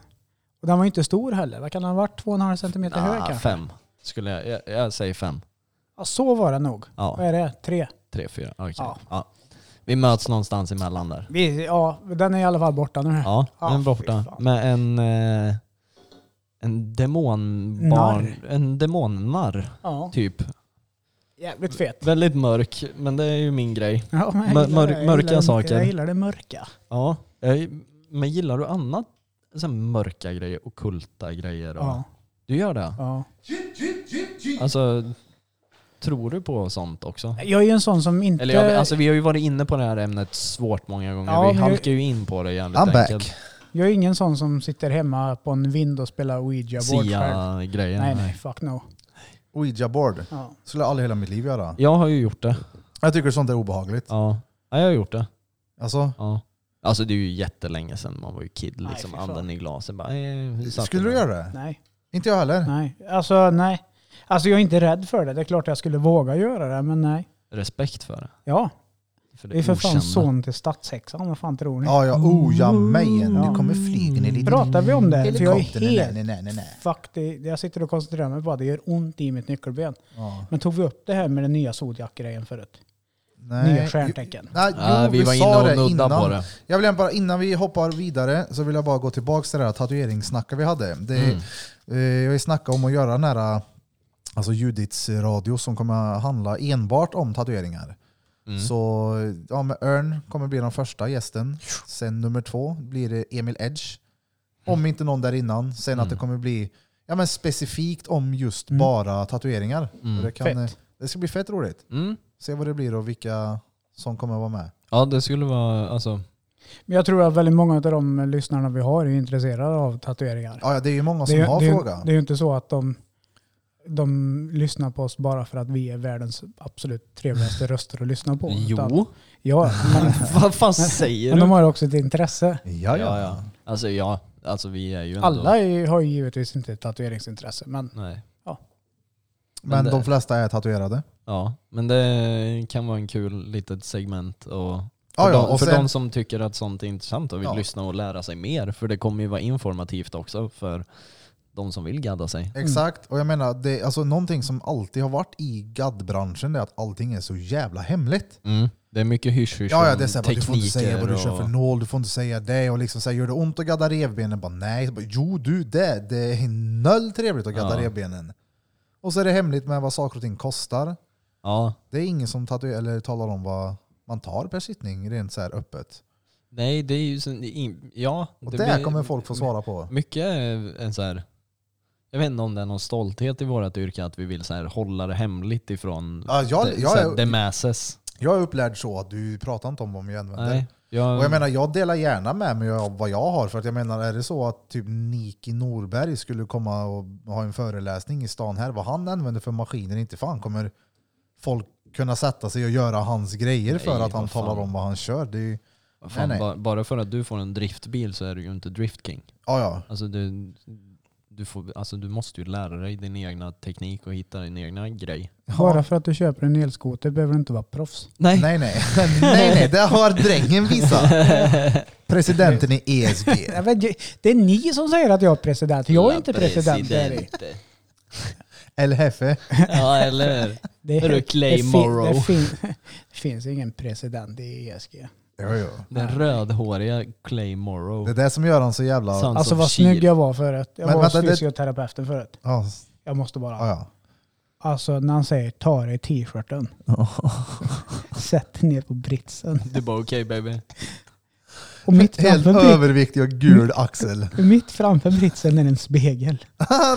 Speaker 6: Och den var ju inte stor heller. Vad kan den ha varit? 2,5 centimeter hög
Speaker 1: Ah,
Speaker 6: kanske?
Speaker 1: fem. Skulle jag, jag, jag säger fem.
Speaker 6: Ja, så var det nog. Vad
Speaker 1: Ja,
Speaker 6: är det? Tre?
Speaker 1: tre, fyra. Okej.
Speaker 6: Ja.
Speaker 1: Ja. Vi möts någonstans emellan där.
Speaker 6: Vi, ja, den är i alla fall borta nu.
Speaker 1: Ja,
Speaker 6: Ja,
Speaker 1: den är
Speaker 6: fy
Speaker 1: borta.
Speaker 6: fan.
Speaker 1: Med en, eh, en demonbarn,
Speaker 6: Narr.
Speaker 1: en demonnarr
Speaker 6: Ja,
Speaker 1: typ.
Speaker 6: jävligt fet.
Speaker 1: Väldigt mörk, men det är ju min grej.
Speaker 6: Ja, men jag
Speaker 1: Mör-
Speaker 6: gillar
Speaker 1: mör-
Speaker 6: det. Jag
Speaker 1: mörka
Speaker 6: gillar det-
Speaker 1: saker.
Speaker 6: Jag gillar det mörka.
Speaker 1: Ja, jag, men gillar du annat? Så här mörka grejer, ockulta grejer. Och,
Speaker 6: Ja,
Speaker 1: Du gör det?
Speaker 6: ja.
Speaker 1: Alltså, tror du på sånt också?
Speaker 6: Jag är ju en sån som inte...
Speaker 1: Eller jag, alltså, vi har ju varit inne på det här ämnet svårt många gånger. vi
Speaker 6: Ja, men-
Speaker 1: halkar ju in på det jävligt
Speaker 5: I'm back.
Speaker 1: enkelt.
Speaker 6: Jag är ingen sån som sitter hemma på en vind och spelar ouija-board själv.
Speaker 1: Sia-grejen.
Speaker 6: Nej, nej, fuck no.
Speaker 5: Ouija board.
Speaker 6: Ja.
Speaker 5: Skulle jag aldrig hela mitt liv göra.
Speaker 1: Jag har ju gjort det.
Speaker 5: Jag tycker sånt är obehagligt.
Speaker 1: Ja, ja jag har gjort det.
Speaker 5: Alltså,
Speaker 1: Ja. Alltså det är ju jättelänge sedan man var ju kid
Speaker 6: Nej,
Speaker 1: liksom.
Speaker 6: fy fan.
Speaker 1: Anden i glasen bara... Eh, vi satte
Speaker 5: skulle du
Speaker 1: den.
Speaker 5: göra det?
Speaker 6: Nej,
Speaker 5: Inte jag heller.
Speaker 6: nej. Alltså nej. Alltså jag är inte rädd för det. Det är klart jag skulle våga göra det, men nej.
Speaker 1: Respekt för det.
Speaker 6: Ja,
Speaker 1: För
Speaker 6: det är för fan
Speaker 1: okända.
Speaker 6: son till statshäxan. Vad fan tror ni?
Speaker 5: Ja, ja. Oh, ja, mig.
Speaker 6: Mm. Ja.
Speaker 5: Nu kommer flygen i lite...
Speaker 6: Pratar vi om det? För jag är
Speaker 5: Helikopter. Nej,
Speaker 6: helt
Speaker 5: nej, nej, nej, nej.
Speaker 6: fuck, det, jag sitter och koncentrerar mig på att det gör ont i mitt nyckelben.
Speaker 5: Ja.
Speaker 6: Men tog vi upp det här med den nya Zodiac-grejen förut?
Speaker 5: nej.
Speaker 6: Nya stjärntecken.
Speaker 5: Nej, jo,
Speaker 1: Ja, vi, var
Speaker 5: sa
Speaker 1: inne
Speaker 5: det
Speaker 1: och nuddade
Speaker 5: innan.
Speaker 1: på det.
Speaker 5: Jag vill gärna bara, innan vi hoppar vidare så vill jag bara gå tillbaka till det här tatueringssnacket vi hade. Det,
Speaker 1: Mm.
Speaker 5: eh, jag har ju snackat om att göra den här alltså Judits radio som kommer handla enbart om tatueringar.
Speaker 1: Mm.
Speaker 5: Så ja, med Örn kommer bli den första gästen. Sen nummer två blir det Emil Edge. Om inte någon där innan. Sen att det
Speaker 1: Mm.
Speaker 5: kommer bli ja, men specifikt om just
Speaker 6: Mm.
Speaker 5: bara tatueringar.
Speaker 1: Mm.
Speaker 5: Och Det, kan, eh, det ska bli fett roligt.
Speaker 1: Mm.
Speaker 5: Se vad det blir och vilka som kommer vara med.
Speaker 1: Ja det skulle vara... Alltså,
Speaker 6: Men jag tror att väldigt många av de lyssnarna vi har är intresserade av tatueringar.
Speaker 5: Ja, ja, det är ju många som
Speaker 6: det, är-
Speaker 5: har
Speaker 6: det, är-
Speaker 5: frågan.
Speaker 6: det är ju inte så att de, de lyssnar på oss bara för att vi är världens absolut trevligaste röster att lyssna på. Utan,
Speaker 1: jo.
Speaker 6: ja, men,
Speaker 1: (laughs) Vad fan säger
Speaker 6: men
Speaker 1: du?
Speaker 6: de har också ett intresse.
Speaker 5: Ja, ja.
Speaker 1: Alltså ja, alltså vi är ju ändå...
Speaker 6: Alla är, har ju givetvis inte ett tatueringsintresse, men
Speaker 1: Nej.
Speaker 5: Men
Speaker 1: det-
Speaker 5: de flesta är tatuerade.
Speaker 1: Ja, men det kan vara en kul litet segment. Och
Speaker 5: Ja, ja,
Speaker 1: för de,
Speaker 5: och
Speaker 1: för
Speaker 5: sen,
Speaker 1: de som tycker att sånt är intressant och vill
Speaker 5: Ja.
Speaker 1: lyssna och lära sig mer. För det kommer ju vara informativt också för de som vill gadda sig.
Speaker 5: exakt. Och jag menar, det, alltså, någonting som alltid har varit i gaddbranschen är att allting är så jävla hemligt.
Speaker 1: Det är mycket hysch-hysch
Speaker 5: Mm. Ja, ja,
Speaker 1: om
Speaker 5: det är så här, bara, du får inte säga vad du
Speaker 1: tekniker
Speaker 5: kör för nål, du får inte säga det. Och liksom, så här, gör det ont att gadda revbenen? Bara, nej. Så Bara, jo, du det. Det är noll trevligt att gadda
Speaker 1: Ja.
Speaker 5: revbenen. Och så är det hemligt med vad saker och ting kostar.
Speaker 1: Ja,
Speaker 5: Det är ingen som tatuerar, eller talar om vad man tar per sittning rent så här öppet.
Speaker 1: nej det är ju... sån- i- Ja,
Speaker 5: Och
Speaker 1: det
Speaker 5: det
Speaker 1: blir-
Speaker 5: kommer folk få svara på.
Speaker 1: Mycket är en så här... Jag vet inte om det är någon stolthet i vårt yrke att vi vill så här hålla det hemligt ifrån
Speaker 5: Ja, jag,
Speaker 1: det,
Speaker 5: jag,
Speaker 1: så här,
Speaker 5: är,
Speaker 1: det masses.
Speaker 5: jag är upplärd så att du pratar inte om vad vi använder.
Speaker 1: Nej, jag,
Speaker 5: Och jag menar, jag delar gärna med mig av vad jag har. För att jag menar, är det så att typ Niki Norberg skulle komma och ha en föreläsning i stan här, vad han använder för maskiner, inte fan kommer folk kunna sätta sig och göra hans grejer
Speaker 1: Nej,
Speaker 5: för att han
Speaker 1: vad fan.
Speaker 5: talar om vad han kör. Det är ju,
Speaker 1: Vad Fan,
Speaker 5: Nej, nej.
Speaker 1: ba- Bara för att du får en driftbil så är du ju inte driftking.
Speaker 5: ja, ja.
Speaker 1: Alltså du, du, får, alltså du måste ju lära dig din egna teknik och hitta din egna grej.
Speaker 6: bara för att du köper en elskoter behöver du inte vara proffs.
Speaker 5: Nej, nej. (laughs) nej, nej. Det har drängen visat.
Speaker 1: (laughs)
Speaker 5: Presidenten i E ESG.
Speaker 6: Nej, men det- Det är ni som säger att jag är president. Jag är inte president. President.
Speaker 1: president.
Speaker 5: El Jefe.
Speaker 1: Ja eller hur?
Speaker 6: Det,
Speaker 1: Är du Claymore?
Speaker 6: Det, fin, det, fin, (laughs) det finns ingen president i E
Speaker 1: Alltså,
Speaker 6: ESG.
Speaker 5: Jo, jo.
Speaker 1: Den rödhåriga Clay Morrow.
Speaker 5: Det är det som gör han så jävla...
Speaker 1: Sons
Speaker 6: Alltså
Speaker 1: of
Speaker 6: vad
Speaker 1: Shield.
Speaker 6: snygg jag var förut. Jag
Speaker 5: Men
Speaker 6: var
Speaker 5: vänta,
Speaker 6: hos
Speaker 5: det-
Speaker 6: fysioterapeuten förut.
Speaker 5: Ja,
Speaker 6: Jag måste bara.
Speaker 5: ja, ja.
Speaker 6: Alltså när han säger ta dig (laughs) t-shirten. Sätt dig ner på britsen.
Speaker 1: Du bara okej baby.
Speaker 6: Och mitt
Speaker 5: Helt
Speaker 6: framför, brit,
Speaker 5: överviktig och gul axel. (laughs)
Speaker 6: mitt framför britsen är en spegel.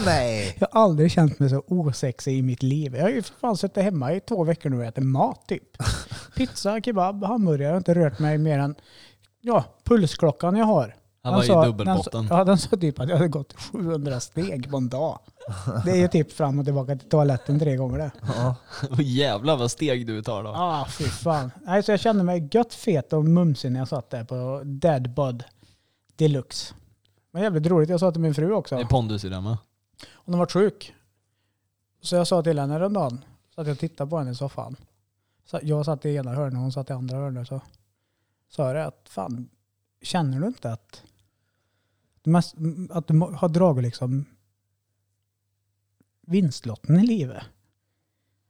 Speaker 5: nej!
Speaker 6: Jag har aldrig känt mig så osexig i mitt liv. Jag har ju för fan suttit hemma i två veckor nu och ätit mat
Speaker 1: (laughs)
Speaker 6: typ. Pizza, kebab, hamburgare. Jag har inte rört mig mer än ja, pulsklockan jag har.
Speaker 1: Han
Speaker 6: Den
Speaker 1: var
Speaker 6: sa-
Speaker 1: i dubbelbotten.
Speaker 6: Den, sa- ja, den sa typ att jag hade gått 700 steg på en dag. Det är ju typ fram och tillbaka till toaletten tre gånger det.
Speaker 1: Och jävlar vad steg du tar då.
Speaker 6: Ah, fy fan. Nej, så jag kände mig gött fet och mumsig när jag satt där på Dead Bud Deluxe. Men jävligt roligt. Jag sa till min fru
Speaker 1: Det är
Speaker 6: också.
Speaker 1: pondus i den va?
Speaker 6: Hon har varit sjuk. Så jag sa till henne häromdagen, så att jag tittade på henne i soffan. Så jag satt i ena hörnet och hon satt i andra hörnet. Så sa jag det att fan, känner du inte att du, mest, att du må- har dragit liksom vinstlotten i livet?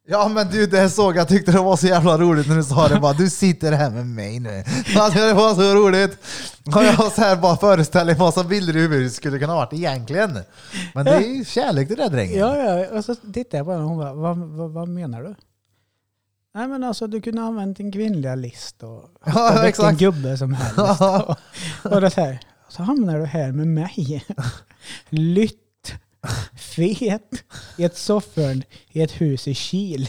Speaker 5: Ja men du, det såg jag tyckte det var så jävla roligt när du sa det bara, du sitter här med mig nu. (laughs) Alltså det var så roligt. Och jag så här bara föreställer mig massa bilder i huvudet hur det skulle kunna ha varit egentligen. Men det är ju kärlek till det där drängen.
Speaker 6: Ja, ja. Och så tittade jag på henne och hon bara, vad, vad, vad menar du? Nej men alltså du kunde ha använt din kvinnliga list och
Speaker 5: (laughs) Ja,
Speaker 6: vilken
Speaker 5: exakt.
Speaker 6: gubbe som helst. och, och det så, här, så hamnar du här med mig. (laughs) Lytt, fet, i ett soffhörn i ett hus i Kil.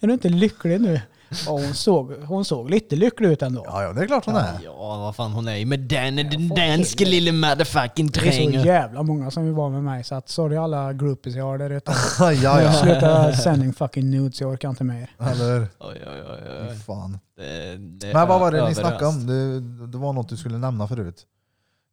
Speaker 6: Är du inte lycklig nu? Ja, hon, såg, hon såg lite lycklig ut ändå.
Speaker 5: Ja, ja, det är klart hon är.
Speaker 1: Ja, vad fan hon är ju med den, den danske lille motherfucking
Speaker 6: Det är så
Speaker 1: drängen.
Speaker 6: jävla många som vill vara med mig så att sorry alla groupies jag har där ute.
Speaker 5: Ja, ja.
Speaker 6: Jag slutar sending fucking nudes, jag orkar inte mer.
Speaker 5: Eller
Speaker 1: Oj, oj, oj, oj.
Speaker 5: fan.
Speaker 1: Det- det
Speaker 5: Men vad var det
Speaker 1: är
Speaker 5: ni snackade
Speaker 1: överallt.
Speaker 5: om? Det, det var något du skulle nämna förut.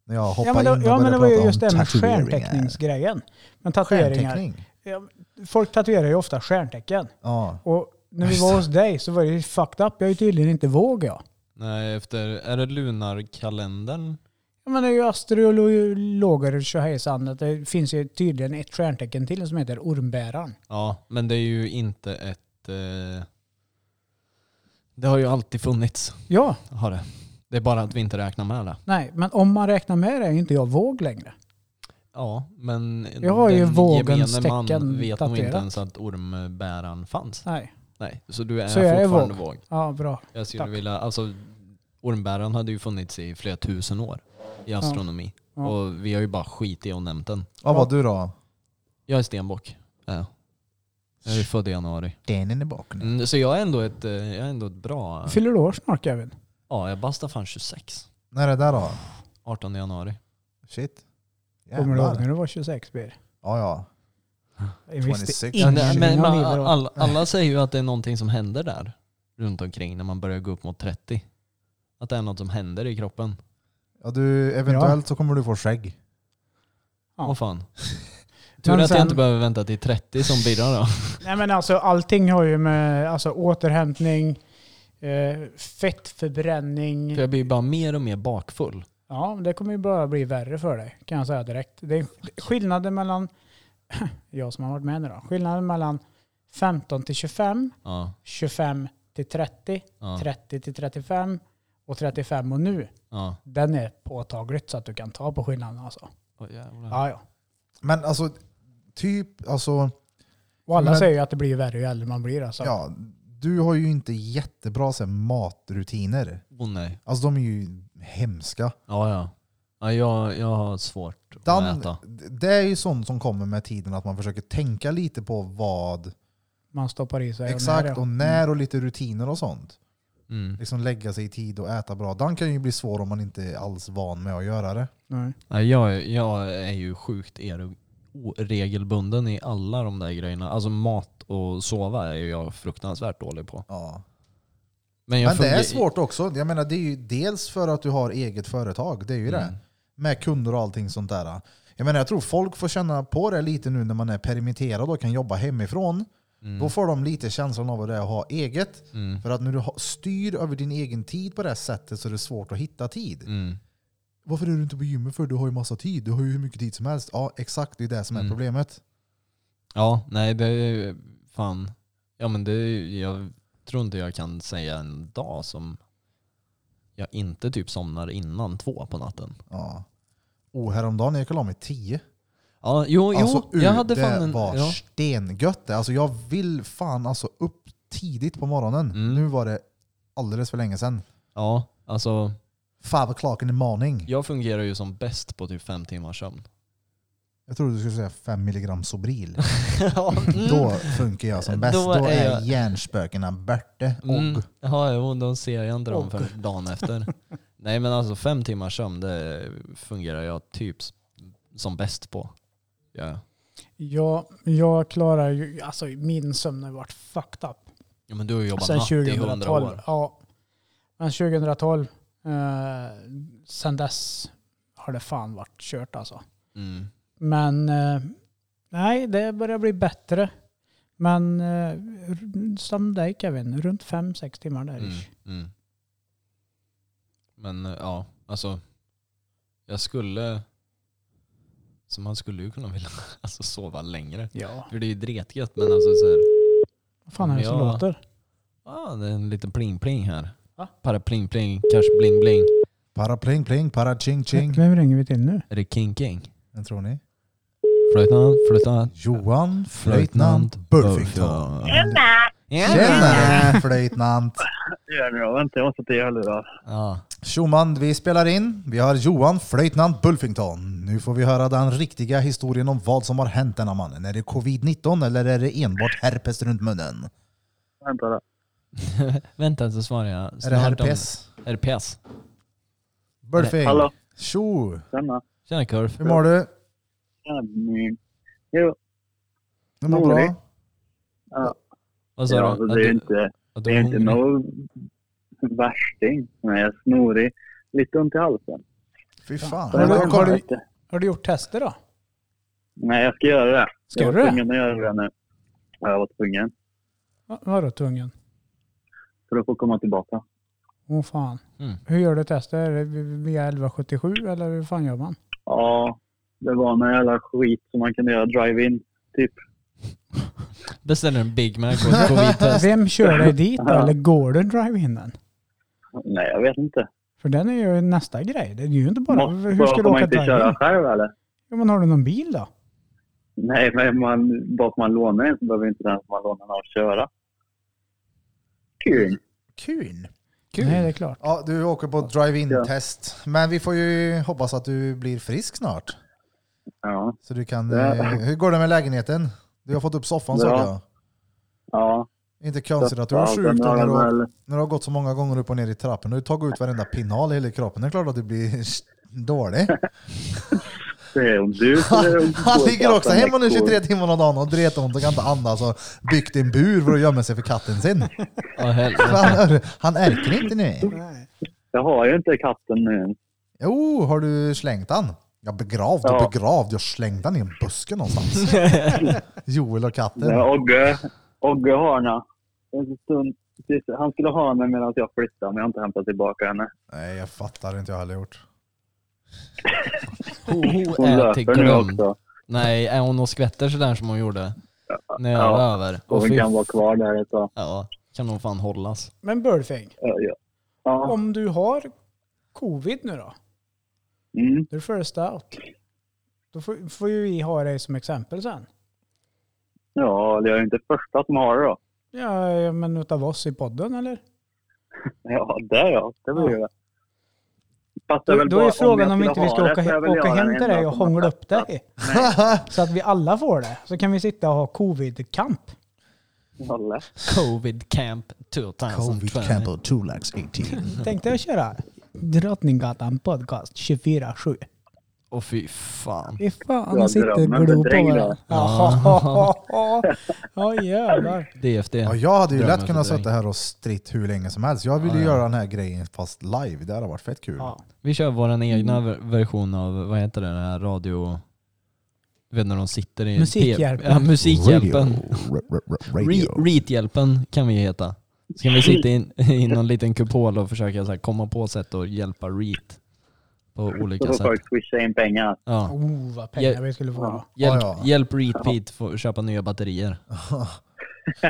Speaker 5: När jag hoppade
Speaker 6: Ja men,
Speaker 5: in och
Speaker 6: det, ja, men
Speaker 5: började
Speaker 6: det var ju
Speaker 5: prata
Speaker 6: just
Speaker 5: om
Speaker 6: det med
Speaker 5: tatueringar.
Speaker 6: stjärnteckningsgrejen. Men tatueringar.
Speaker 5: Stjärnteckning?
Speaker 6: Ja, folk tatuerar ju ofta stjärntecken.
Speaker 5: Ja.
Speaker 6: Och när vi var hos dig så var det ju fucked up. Jag är ju tydligen inte våg jag.
Speaker 1: Nej, efter, är det lunarkalendern?
Speaker 6: Ja, men det är ju astrologer och tjohejsan. att Det finns ju tydligen ett stjärntecken till som heter ormbäraren.
Speaker 1: Ja, men det är ju inte ett... Eh, det har ju alltid funnits,
Speaker 6: Ja,
Speaker 1: har det. Det är bara att vi inte räknar med det.
Speaker 6: nej, men om man räknar med det är ju inte jag våg längre.
Speaker 1: Ja, men
Speaker 6: Jag har ju
Speaker 1: den
Speaker 6: vågens
Speaker 1: gemene man
Speaker 6: tecken
Speaker 1: vet nog inte
Speaker 6: tatuerat.
Speaker 1: ens att ormbäraren fanns.
Speaker 6: Nej,
Speaker 1: Nej, så du är
Speaker 6: Så jag är
Speaker 1: fortfarande
Speaker 6: våg.
Speaker 1: våg.
Speaker 6: ja bra.
Speaker 1: Jag skulle
Speaker 6: Tack.
Speaker 1: vilja, alltså ormbäraren hade ju funnits i flera tusen år i astronomi.
Speaker 6: Ja.
Speaker 1: Och vi har ju bara skit i och nämnt den.
Speaker 5: Vad var du då?
Speaker 1: Jag är stenbock. Ja. Jag är ju född i januari.
Speaker 5: Stenen i baken.
Speaker 1: Mm, så jag är ändå ett, eh, jag är ändå ett bra...
Speaker 6: Fyller du år snart Kevin?
Speaker 1: Ja, jag bastar fan 26.
Speaker 5: När är det där då?
Speaker 1: 18 januari.
Speaker 5: Shit.
Speaker 6: Kommer du ihåg
Speaker 5: Jävlar.
Speaker 6: när du var 26 Bir?
Speaker 5: Ja, ja.
Speaker 6: Jag visste
Speaker 5: 26.
Speaker 1: Men,
Speaker 6: ingenting
Speaker 1: men,
Speaker 6: om
Speaker 1: men
Speaker 6: livet då.
Speaker 1: alla, alla säger ju att det är någonting som händer där runt omkring när man börjar gå upp mot 30. Att det är något som händer i kroppen.
Speaker 5: ja du, eventuellt så kommer du få skägg.
Speaker 6: Ja.
Speaker 1: Åh fan. Tur
Speaker 6: Men
Speaker 1: att jag
Speaker 6: sen-
Speaker 1: inte behöver vänta till 30 som Birra
Speaker 6: (laughs)
Speaker 1: då.
Speaker 6: Nej men alltså allting har ju med alltså, återhämtning, eh, fettförbränning.
Speaker 1: För jag blir bara mer och mer bakfull.
Speaker 6: Ja, men det kommer ju bara bli värre för dig kan jag säga direkt. Det är skillnaden mellan, (clears throat) jag som har varit med nu då, skillnaden mellan 15 till 25,
Speaker 1: Ja,
Speaker 6: 25 till 30,
Speaker 1: ja,
Speaker 6: 30 till 35 och 35 och nu.
Speaker 1: ja.
Speaker 6: Den är påtagligt så att du kan ta på skillnaden alltså.
Speaker 1: Åh, jävlar.
Speaker 6: Ja, ja.
Speaker 5: Men alltså, typ, alltså,
Speaker 6: Och alla
Speaker 5: Men-
Speaker 6: säger ju att det blir värre ju äldre man blir alltså.
Speaker 5: ja, du har ju inte jättebra så här, matrutiner.
Speaker 1: Åh, nej.
Speaker 5: Alltså de är ju hemska.
Speaker 1: Ja, ja. ja jag, jag har svårt att
Speaker 5: Den,
Speaker 1: äta.
Speaker 5: det är ju sånt som kommer med tiden, att man försöker tänka lite på vad
Speaker 6: Man stoppar i sig. och när
Speaker 5: exakt
Speaker 6: det- Mm.
Speaker 5: och när och lite rutiner och sånt.
Speaker 1: Mm.
Speaker 5: Liksom lägga sig i tid och äta bra. Den kan ju bli svår om man inte är alls van med att göra det.
Speaker 6: Nej.
Speaker 1: Nej, Jag, jag är ju sjukt er- oregelbunden i alla de där grejerna. Alltså mat och sova är ju jag fruktansvärt dålig på.
Speaker 5: Ja.
Speaker 1: Men, jag
Speaker 5: Men det är
Speaker 1: fungerar-
Speaker 5: svårt också. Jag menar, det är ju dels för att du har eget företag, det är ju
Speaker 1: Mm.
Speaker 5: det. Med kunder och allting sånt där. Jag menar, jag tror folk får känna på det lite nu när man är permitterad och kan jobba hemifrån. Då får de lite känslan av vad det är att ha eget.
Speaker 1: Mm.
Speaker 5: För att när du ha- styr över din egen tid på det här sättet så är det svårt att hitta tid.
Speaker 1: Mm.
Speaker 5: Varför är du inte på gymmet för? Du har ju massa tid. Du har ju hur mycket tid som helst. Ja, exakt. Det är det som är
Speaker 1: Mm.
Speaker 5: problemet.
Speaker 1: Ja, nej det är ju fan. Ja men det är ju, jag tror inte jag kan säga en dag som jag inte typ somnar innan två på natten.
Speaker 5: Ja. Oh, häromdagen jag gick jag och la mig tio.
Speaker 1: Ja, jo, jo.
Speaker 5: Alltså,
Speaker 1: jag hade
Speaker 5: det
Speaker 1: fan en...
Speaker 5: var
Speaker 1: ja.
Speaker 5: stengött det. Alltså jag vill fan alltså upp tidigt på morgonen.
Speaker 1: Mm.
Speaker 5: Nu var det alldeles för länge sedan.
Speaker 1: ja, alltså
Speaker 5: Five o'clock in the morning.
Speaker 1: jag fungerar ju som bäst på typ fem timmars sömn.
Speaker 5: Jag trodde du skulle säga fem milligram Sobril.
Speaker 1: (laughs) ja,
Speaker 5: (laughs)
Speaker 1: mm.
Speaker 5: Då funkar jag som bäst.
Speaker 1: Då
Speaker 5: Då,
Speaker 1: är
Speaker 5: är
Speaker 1: jag-
Speaker 5: hjärnspökena borta.
Speaker 1: Mm.
Speaker 5: Och
Speaker 1: Ja, jo, då ser jag inte dem för dagen efter. Nej men alltså fem timmars sömn det fungerar jag typ s- som bäst på. Ja,
Speaker 6: Ja, jag klarar ju, alltså min sömn har ju varit fucked up.
Speaker 1: ja men du har ju jobbat
Speaker 6: Sen
Speaker 1: natt i hundra
Speaker 6: 2012.
Speaker 1: år.
Speaker 6: Ja. Men 2012, eh, sen dess har det fan varit kört alltså.
Speaker 1: Mm.
Speaker 6: Men eh, Nej, det börjar bli bättre. Men eh, r- som dig Kevin, runt 5-6 timmar där.
Speaker 1: Mm,
Speaker 6: ish.
Speaker 1: mm. Men eh, ja, alltså. Jag skulle... Så man skulle ju kunna vilja (laughs) alltså, sova längre.
Speaker 6: Ja.
Speaker 1: För det är ju dretgött men alltså så här,
Speaker 6: Vad fan är det som
Speaker 1: Ja.
Speaker 6: låter?
Speaker 1: ah, det är en liten pling-pling här.
Speaker 6: Va?
Speaker 1: Para pling-pling, kanske bling-bling.
Speaker 5: Para pling pling, para ching ching.
Speaker 6: Vem ringer vi till nu?
Speaker 1: Är det king-king?
Speaker 5: Vem tror ni?
Speaker 1: Flöjtnant, flöjtnant.
Speaker 5: Johan Flöjtnant Burfington. Tjena flöjtnant!
Speaker 7: Ja, bra. Vänta, jag måste till hörlurar.
Speaker 1: Ja.
Speaker 5: Tjoman, vi spelar in. Vi har Johan Flöjtnant Bulfington. Nu får vi höra den riktiga historien om vad som har hänt denna mannen. Är det covid-19 eller är det enbart herpes runt munnen?
Speaker 7: Vänta då.
Speaker 1: Vänta så svarar jag.
Speaker 5: Är det
Speaker 1: Snart om-
Speaker 5: herpes?
Speaker 1: Herpes.
Speaker 5: Bulfing!
Speaker 7: Hallå.
Speaker 5: Tjo!
Speaker 7: Tjena.
Speaker 1: Tjena Kurf.
Speaker 5: Hur mår du?
Speaker 7: Tjena, min. Jo,
Speaker 5: Du mår
Speaker 7: Mår
Speaker 5: bra?
Speaker 7: du? ja.
Speaker 1: Vad sa
Speaker 7: ja
Speaker 1: du?
Speaker 7: så
Speaker 1: Att
Speaker 7: det är ju
Speaker 1: du-
Speaker 7: inte,
Speaker 1: att du
Speaker 7: det
Speaker 1: är
Speaker 7: är inte
Speaker 1: hungrig?
Speaker 7: någon värsting. Nej, jag är snorig. Lite ont i halsen.
Speaker 5: Fy fan.
Speaker 6: Har du-
Speaker 5: Har du
Speaker 6: har du-
Speaker 5: kommit?
Speaker 7: Helvete.
Speaker 6: Har du gjort tester då?
Speaker 7: Nej, jag ska göra det.
Speaker 6: Ska
Speaker 7: jag
Speaker 6: du
Speaker 7: var
Speaker 6: det?
Speaker 7: tvungen att göra det nu. Ja, Jag var tvungen.
Speaker 6: Va- Vadå tvungen?
Speaker 7: För att få komma tillbaka.
Speaker 6: Åh fan.
Speaker 1: Mm.
Speaker 6: Hur gör du tester? Är det via 1177 eller hur fan gör man?
Speaker 7: Ja, det var någon jävla skit som man kunde göra drive-in. Typ.
Speaker 1: Beställer en Big Mac och ett covid-test.
Speaker 6: Vem kör dig dit då? Eller går du drive-inen?
Speaker 7: Nej, jag vet inte.
Speaker 6: För den är ju nästa grej. Det är ju inte bara...
Speaker 7: Måste,
Speaker 6: hur ska du
Speaker 7: får man
Speaker 6: åka
Speaker 7: inte köra
Speaker 6: drive-in?
Speaker 7: själv eller?
Speaker 6: Ja, men har du någon bil då?
Speaker 7: Nej, men man, bara för man lånar en så behöver inte den som man lånar av köra. Kul.
Speaker 5: Kul!
Speaker 6: Nej, det är klart.
Speaker 5: Ja, du åker på drive-in-test. Men vi får ju hoppas att du blir frisk snart.
Speaker 7: Ja,
Speaker 5: Så du kan...
Speaker 7: Ja.
Speaker 5: eh, Hur går det med lägenheten? Du har fått upp soffan såg
Speaker 7: Bra.
Speaker 5: jag.
Speaker 7: ja.
Speaker 5: Inte
Speaker 6: Alltså,
Speaker 5: konstigt att du har
Speaker 7: Ja,
Speaker 5: sjukt
Speaker 7: den
Speaker 5: då
Speaker 7: har
Speaker 5: när
Speaker 7: den
Speaker 5: du har
Speaker 7: väl-
Speaker 5: När du har gått så många gånger upp och ner i trappen och du tagit ut varenda pinnhål i hela kroppen, det är klart att du blir (laughs)
Speaker 7: (laughs)
Speaker 5: dålig.
Speaker 7: Det är
Speaker 6: (laughs)
Speaker 7: om du skulle-
Speaker 5: Han ligger också hemma nu
Speaker 7: veckor.
Speaker 5: 23 timmar om dagen och dretont och kan inte andas och byggt en bur för att gömma sig för katten sin.
Speaker 1: Åh, helvete. (laughs)
Speaker 5: Han, är- han ärker inte nu.
Speaker 7: Jag har ju inte katten nu.
Speaker 5: Jo, har du slängt han? Jag begravd och
Speaker 7: Ja.
Speaker 5: begravd, jag slängde han i en buske någonstans. (laughs) Joel och katten.
Speaker 7: Men Ogge, Ogge har henne. En stund- precis, Han skulle ha henne medan jag flyttade, men jag har inte hämtat tillbaka henne.
Speaker 5: Nej, jag fattar inte jag heller gjort.
Speaker 1: Ho, ho
Speaker 7: Hon
Speaker 1: är till
Speaker 7: löper nu
Speaker 1: grund.
Speaker 7: också.
Speaker 1: Nej, är hon och skvätter sådär som hon gjorde? När jag
Speaker 7: Ja.
Speaker 1: var över.
Speaker 7: Och
Speaker 1: Åh,
Speaker 7: hon
Speaker 1: fy
Speaker 7: kan vara kvar där ett tag.
Speaker 1: Ja, kan hon fan hållas.
Speaker 6: Men Burfing,
Speaker 7: Ja, ja. Ja.
Speaker 6: om du har covid nu då?
Speaker 7: Mm.
Speaker 6: Du är first out. Då får, får ju vi ha dig som exempel sen.
Speaker 7: ja, det är ju inte första som har det då.
Speaker 6: Ja, ja, men utav oss i podden eller?
Speaker 7: Ja, där ja. Det blir det. Fast det
Speaker 6: Då,
Speaker 7: väl
Speaker 6: då är
Speaker 7: bara-
Speaker 6: frågan om
Speaker 7: jag
Speaker 6: inte vi ska
Speaker 7: skulle ha
Speaker 6: åka,
Speaker 7: det, så är
Speaker 6: he-
Speaker 7: väl jag
Speaker 6: åka
Speaker 7: den
Speaker 6: hem till
Speaker 7: enda
Speaker 6: dig och
Speaker 7: som har
Speaker 6: hångla upp
Speaker 7: testat.
Speaker 6: dig.
Speaker 7: Nej,
Speaker 6: (laughs) Så att vi alla får det. Så kan vi sitta och ha covid-kamp.
Speaker 7: Kalle.
Speaker 1: Covid camp 2020.
Speaker 5: Covid Campbell 2 lax 18.
Speaker 6: Tänkte jag köra Drottninggatan podcast 24-7.
Speaker 1: Åh fy fan.
Speaker 6: Fy fan,
Speaker 7: Ja,
Speaker 6: de sitter
Speaker 7: drömmen
Speaker 6: och glor på
Speaker 7: bedräglar.
Speaker 6: varandra. Ja, (laughs) ja jävlar.
Speaker 1: DFD.
Speaker 5: Ja, jag hade ju
Speaker 1: Drömmen
Speaker 5: lätt kunnat
Speaker 1: fördräng.
Speaker 5: sitta här och stritt hur länge som helst. Jag ville ju göra den här grejen fast live. Det hade varit fett kul.
Speaker 6: Ja.
Speaker 1: Vi kör vår
Speaker 5: Mm.
Speaker 1: egna ver- version av, vad heter det, den här radio... Du vet när de sitter i...
Speaker 6: Musikhjälpen.
Speaker 1: Ja, musikhjälpen.
Speaker 5: Radio. Ra- ra- ra-
Speaker 1: Re-
Speaker 5: radio.
Speaker 1: Reethjälpen kan vi heta. Så kan vi sitta in, (laughs) i någon liten kupol och försöka så här komma på sätt att hjälpa Reet på
Speaker 7: Så
Speaker 1: olika
Speaker 7: får
Speaker 1: sätt.
Speaker 7: folk swisha in pengar.
Speaker 1: Ja.
Speaker 6: Oh, vad pengar vi skulle få.
Speaker 1: Hjälp,
Speaker 5: Ja, ja.
Speaker 1: hjälp Reet Pete få köpa nya batterier.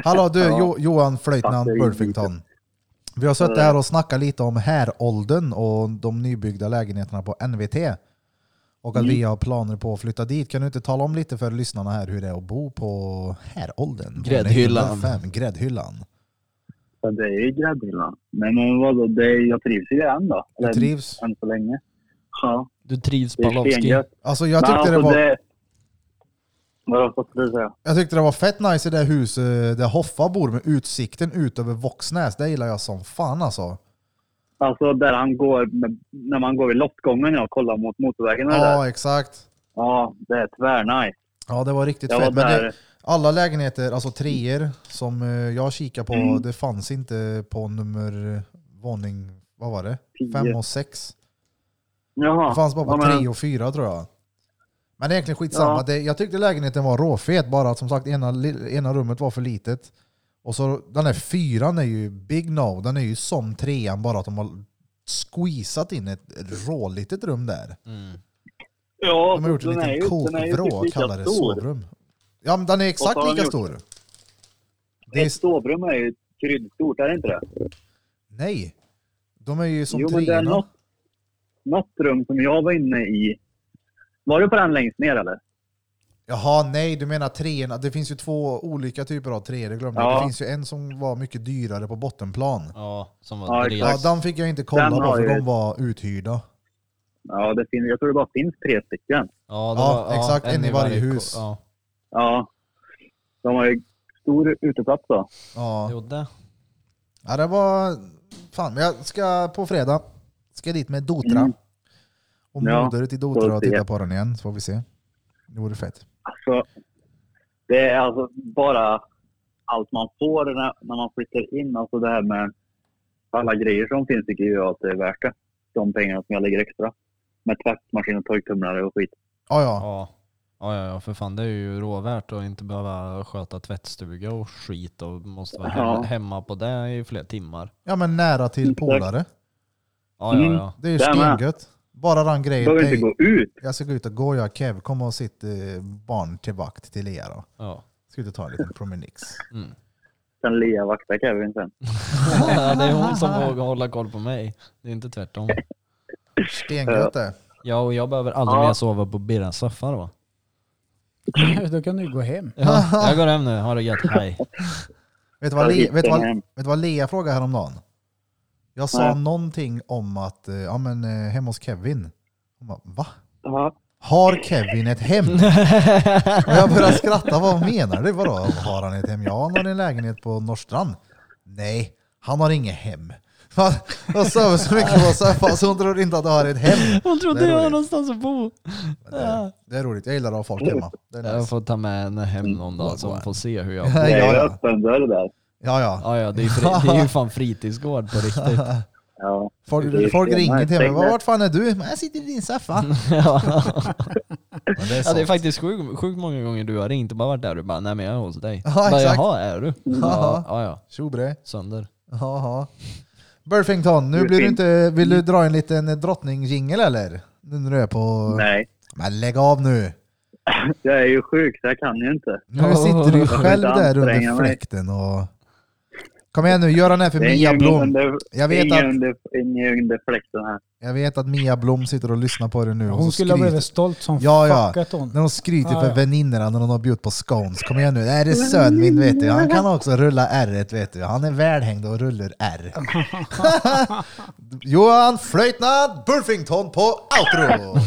Speaker 5: Hallå du jo, Johan Flöjtnant
Speaker 7: Fattar ju
Speaker 5: Burfington. Vi har suttit här och snackat lite om häråldern och de nybyggda lägenheterna på NVT. Och
Speaker 1: Mm.
Speaker 5: att vi har planer på att flytta dit. Kan du inte tala om lite för lyssnarna här hur det är att bo på häråldern?
Speaker 1: Gräddhyllan.
Speaker 5: 105, Gräddhyllan.
Speaker 7: Ja, det är ju gräddhyllan. Nej men eh, vadå, det är, jag trivs ju än då.
Speaker 5: Du trivs?
Speaker 7: Än så länge. Ja,
Speaker 1: Du trivs
Speaker 7: det är
Speaker 1: Palowski.
Speaker 7: stengött.
Speaker 5: Alltså jag
Speaker 7: Men
Speaker 5: tyckte, det
Speaker 7: alltså,
Speaker 5: var,
Speaker 7: det- Vadå, vad skulle du säga?
Speaker 5: jag tyckte det var fett nice i det huset där Hoffa bor med utsikten ut över Våxnäs. Det gillar jag som fan alltså.
Speaker 7: Alltså där han går, med, när man går vid loppgången ja, och kollar mot motorvägen och det där.
Speaker 5: Ja, exakt.
Speaker 7: Ja, det är tvärnice.
Speaker 5: Ja, det var riktigt
Speaker 7: Jag
Speaker 5: fett.
Speaker 7: var
Speaker 5: Men det,
Speaker 7: där.
Speaker 5: alla lägenheter, alltså treor som eh, jag kikar på,
Speaker 7: Mm.
Speaker 5: det fanns inte på nummer eh, våning, vad var det?
Speaker 7: Tio.
Speaker 5: Fem och sex.
Speaker 7: Jaha.
Speaker 5: Det fanns bara på
Speaker 7: Ja, men-
Speaker 5: tre och fyra tror jag. Men det är egentligen skitsamma.
Speaker 7: Ja.
Speaker 5: Det, jag tyckte lägenheten var råfet, bara att som sagt ena, li- ena rummet var för litet. Och så den här fyran är ju big no, den är ju som trean, bara att de har squeezat in ett rålitet rum där.
Speaker 7: Ja,
Speaker 5: De har gjort en
Speaker 7: den är ju-
Speaker 5: liten
Speaker 7: den är ju
Speaker 5: kokvrå
Speaker 7: typ
Speaker 5: och
Speaker 7: lika
Speaker 5: kallar det
Speaker 7: stor.
Speaker 5: sovrum. Ja, men den är
Speaker 7: Och så
Speaker 5: exakt
Speaker 7: har de
Speaker 5: lika
Speaker 7: gjort-
Speaker 5: stor. Det är,
Speaker 7: Ett sovrum är ju kryddstort, är det inte det?
Speaker 5: nej, de är ju som
Speaker 7: Jo, men det är
Speaker 5: treorna.
Speaker 7: något, något rum som jag var inne i. Var du på den längst ner eller?
Speaker 5: Jaha, nej, du menar treorna. Det finns ju två olika typer av treor, det glömde jag.
Speaker 7: Ja.
Speaker 5: Det finns ju en som var mycket dyrare på bottenplan.
Speaker 1: Ja, som
Speaker 7: Ja,
Speaker 1: var
Speaker 5: Ja,
Speaker 1: ja,
Speaker 7: exakt.
Speaker 5: den fick jag inte kolla
Speaker 7: Den
Speaker 5: på
Speaker 7: har
Speaker 5: för
Speaker 7: ju-
Speaker 5: de var uthyrda.
Speaker 7: Ja, det finns, jag tror det bara finns tre stycken.
Speaker 1: ja, det
Speaker 5: Ja,
Speaker 1: var,
Speaker 5: exakt, en i varje
Speaker 1: ko-
Speaker 5: hus.
Speaker 1: Ja.
Speaker 7: Ja. De har ju stor uteplats då.
Speaker 5: Ja.
Speaker 1: Jo, det.
Speaker 5: ja, det var... Fan, men jag ska på fredag ska jag dit med Dotra. Och
Speaker 7: Mm. Ja,
Speaker 5: moder till Dotra och
Speaker 7: får vi se.
Speaker 5: titta på den igen, så får vi se. Det vore fett.
Speaker 7: Alltså, det är alltså bara allt man får när, när man flyttar in. Alltså det här med alla grejer som finns tycker jag att det är värt det. De pengarna som jag lägger extra. Med tvättmaskin och torktumlare och skit.
Speaker 5: Ja, ja.
Speaker 1: Ja. Ja, ja, ja, för fan det är ju råvärt att inte behöva sköta tvättstuga och skit och måste vara
Speaker 7: Ja.
Speaker 1: he- hemma på det i flera timmar.
Speaker 5: Ja, men nära till
Speaker 7: Exakt.
Speaker 5: polare.
Speaker 1: Ja, ja,
Speaker 7: Mm.
Speaker 1: ja.
Speaker 5: Det är ju
Speaker 7: Där med.
Speaker 5: stengött. Bara den grejen.
Speaker 7: Behöver inte
Speaker 5: Hej,
Speaker 7: gå ut.
Speaker 5: jag ska gå ut och gå jag och Kev. Kom och sitt eh, barn till vakt till er. då.
Speaker 1: ja. (laughs)
Speaker 5: Ska ut och ta en liten promenix.
Speaker 1: Mm.
Speaker 7: Sen Lea vaktar Kevin sen.
Speaker 1: ja, det är hon som vågar hålla koll på mig. Det är inte tvärtom.
Speaker 5: Stengött det.
Speaker 1: Ja, och jag behöver aldrig
Speaker 7: Ja.
Speaker 1: mer sova på Birras soffa då.
Speaker 6: (laughs) Då kan du gå hem.
Speaker 1: Ja, jag går hem nu, ha det gött, (laughs) hej.
Speaker 5: Vet du vad, Le,
Speaker 7: Ja,
Speaker 5: vet du vad,
Speaker 7: det är-
Speaker 5: vet du vad Lea frågade häromdagen? Jag sa
Speaker 7: Nej.
Speaker 5: någonting om att, eh, ja men eh, hemma hos Kevin. Hon bara, va?
Speaker 7: Ja.
Speaker 5: Har Kevin ett hem? Och jag började skratta, vad menar du? Vadå, har han ett hem? Ja, han har en lägenhet på Norrstrand. Nej, han har inget hem. Fan, Jag sover så mycket på soffan så hon tror inte att du har ett hem.
Speaker 1: Hon
Speaker 5: Det
Speaker 1: trodde
Speaker 5: är
Speaker 1: jag var
Speaker 5: roligt.
Speaker 1: någonstans att bo.
Speaker 5: Men Det är, det är roligt, jag gillar att ha folk hemma. Det är
Speaker 1: Jag
Speaker 5: nice.
Speaker 1: får ta med henne hem någon dag så hon får se hur jag
Speaker 5: Ja,
Speaker 7: Det är ju
Speaker 5: ja,
Speaker 7: öppen dörr där.
Speaker 5: ja, ja.
Speaker 1: Ja, ja, det är, fri, det är ju (laughs) fan fritidsgård på riktigt. (laughs)
Speaker 7: Ja. Det är
Speaker 5: Folk, folk ringer till mig,
Speaker 7: stenhårt.
Speaker 5: vart fan är du? Men jag sitter i din soffa.
Speaker 1: Ja,
Speaker 5: Men Mm. det är
Speaker 1: ja det är
Speaker 5: sant.
Speaker 1: faktiskt sjukt sjukt många gånger du har ringt och bara varit där och bara nej men jag är hos dig.
Speaker 5: Ja,
Speaker 1: bara,
Speaker 5: exakt.
Speaker 1: Jaha, är du? Ja, ja, ja,
Speaker 5: Tjo bre.
Speaker 1: sönder.
Speaker 5: Jaha. Burfington, nu blir du inte, vill du dra en liten drottningjingel eller? Nu när du är på...
Speaker 7: Nej.
Speaker 5: Men lägg av nu!
Speaker 7: Jag är ju sjuk så jag kan ju inte.
Speaker 5: Nu sitter
Speaker 7: (laughs)
Speaker 5: du ju
Speaker 1: Jag
Speaker 7: får
Speaker 5: själv
Speaker 7: inte
Speaker 5: där
Speaker 7: anstränga
Speaker 5: under
Speaker 7: mig.
Speaker 5: fläkten och... Kom igen nu, gör den här för
Speaker 7: Det är
Speaker 5: Mia
Speaker 7: ingen
Speaker 5: Blom.
Speaker 7: under,
Speaker 5: Jag vet
Speaker 7: ingen
Speaker 5: att-
Speaker 7: under, ingen under fläkten här.
Speaker 5: Jag vet att Mia Blom sitter och lyssnar på det nu. och
Speaker 6: Hon
Speaker 5: så
Speaker 6: skulle ha
Speaker 5: skryter-
Speaker 6: blivit stolt som
Speaker 5: Ja, ja.
Speaker 6: fuck att hon.
Speaker 5: När hon skryter
Speaker 6: Ja,
Speaker 5: för
Speaker 6: ja.
Speaker 5: väninnorna när hon har bjudit på scones. Kom igen nu, det här är sönen min vet du. Han kan också rulla r vet du. Han är välhängd och rullar
Speaker 6: (laughs)
Speaker 5: R. (laughs) Johan Flöjtnant Burfington på outro!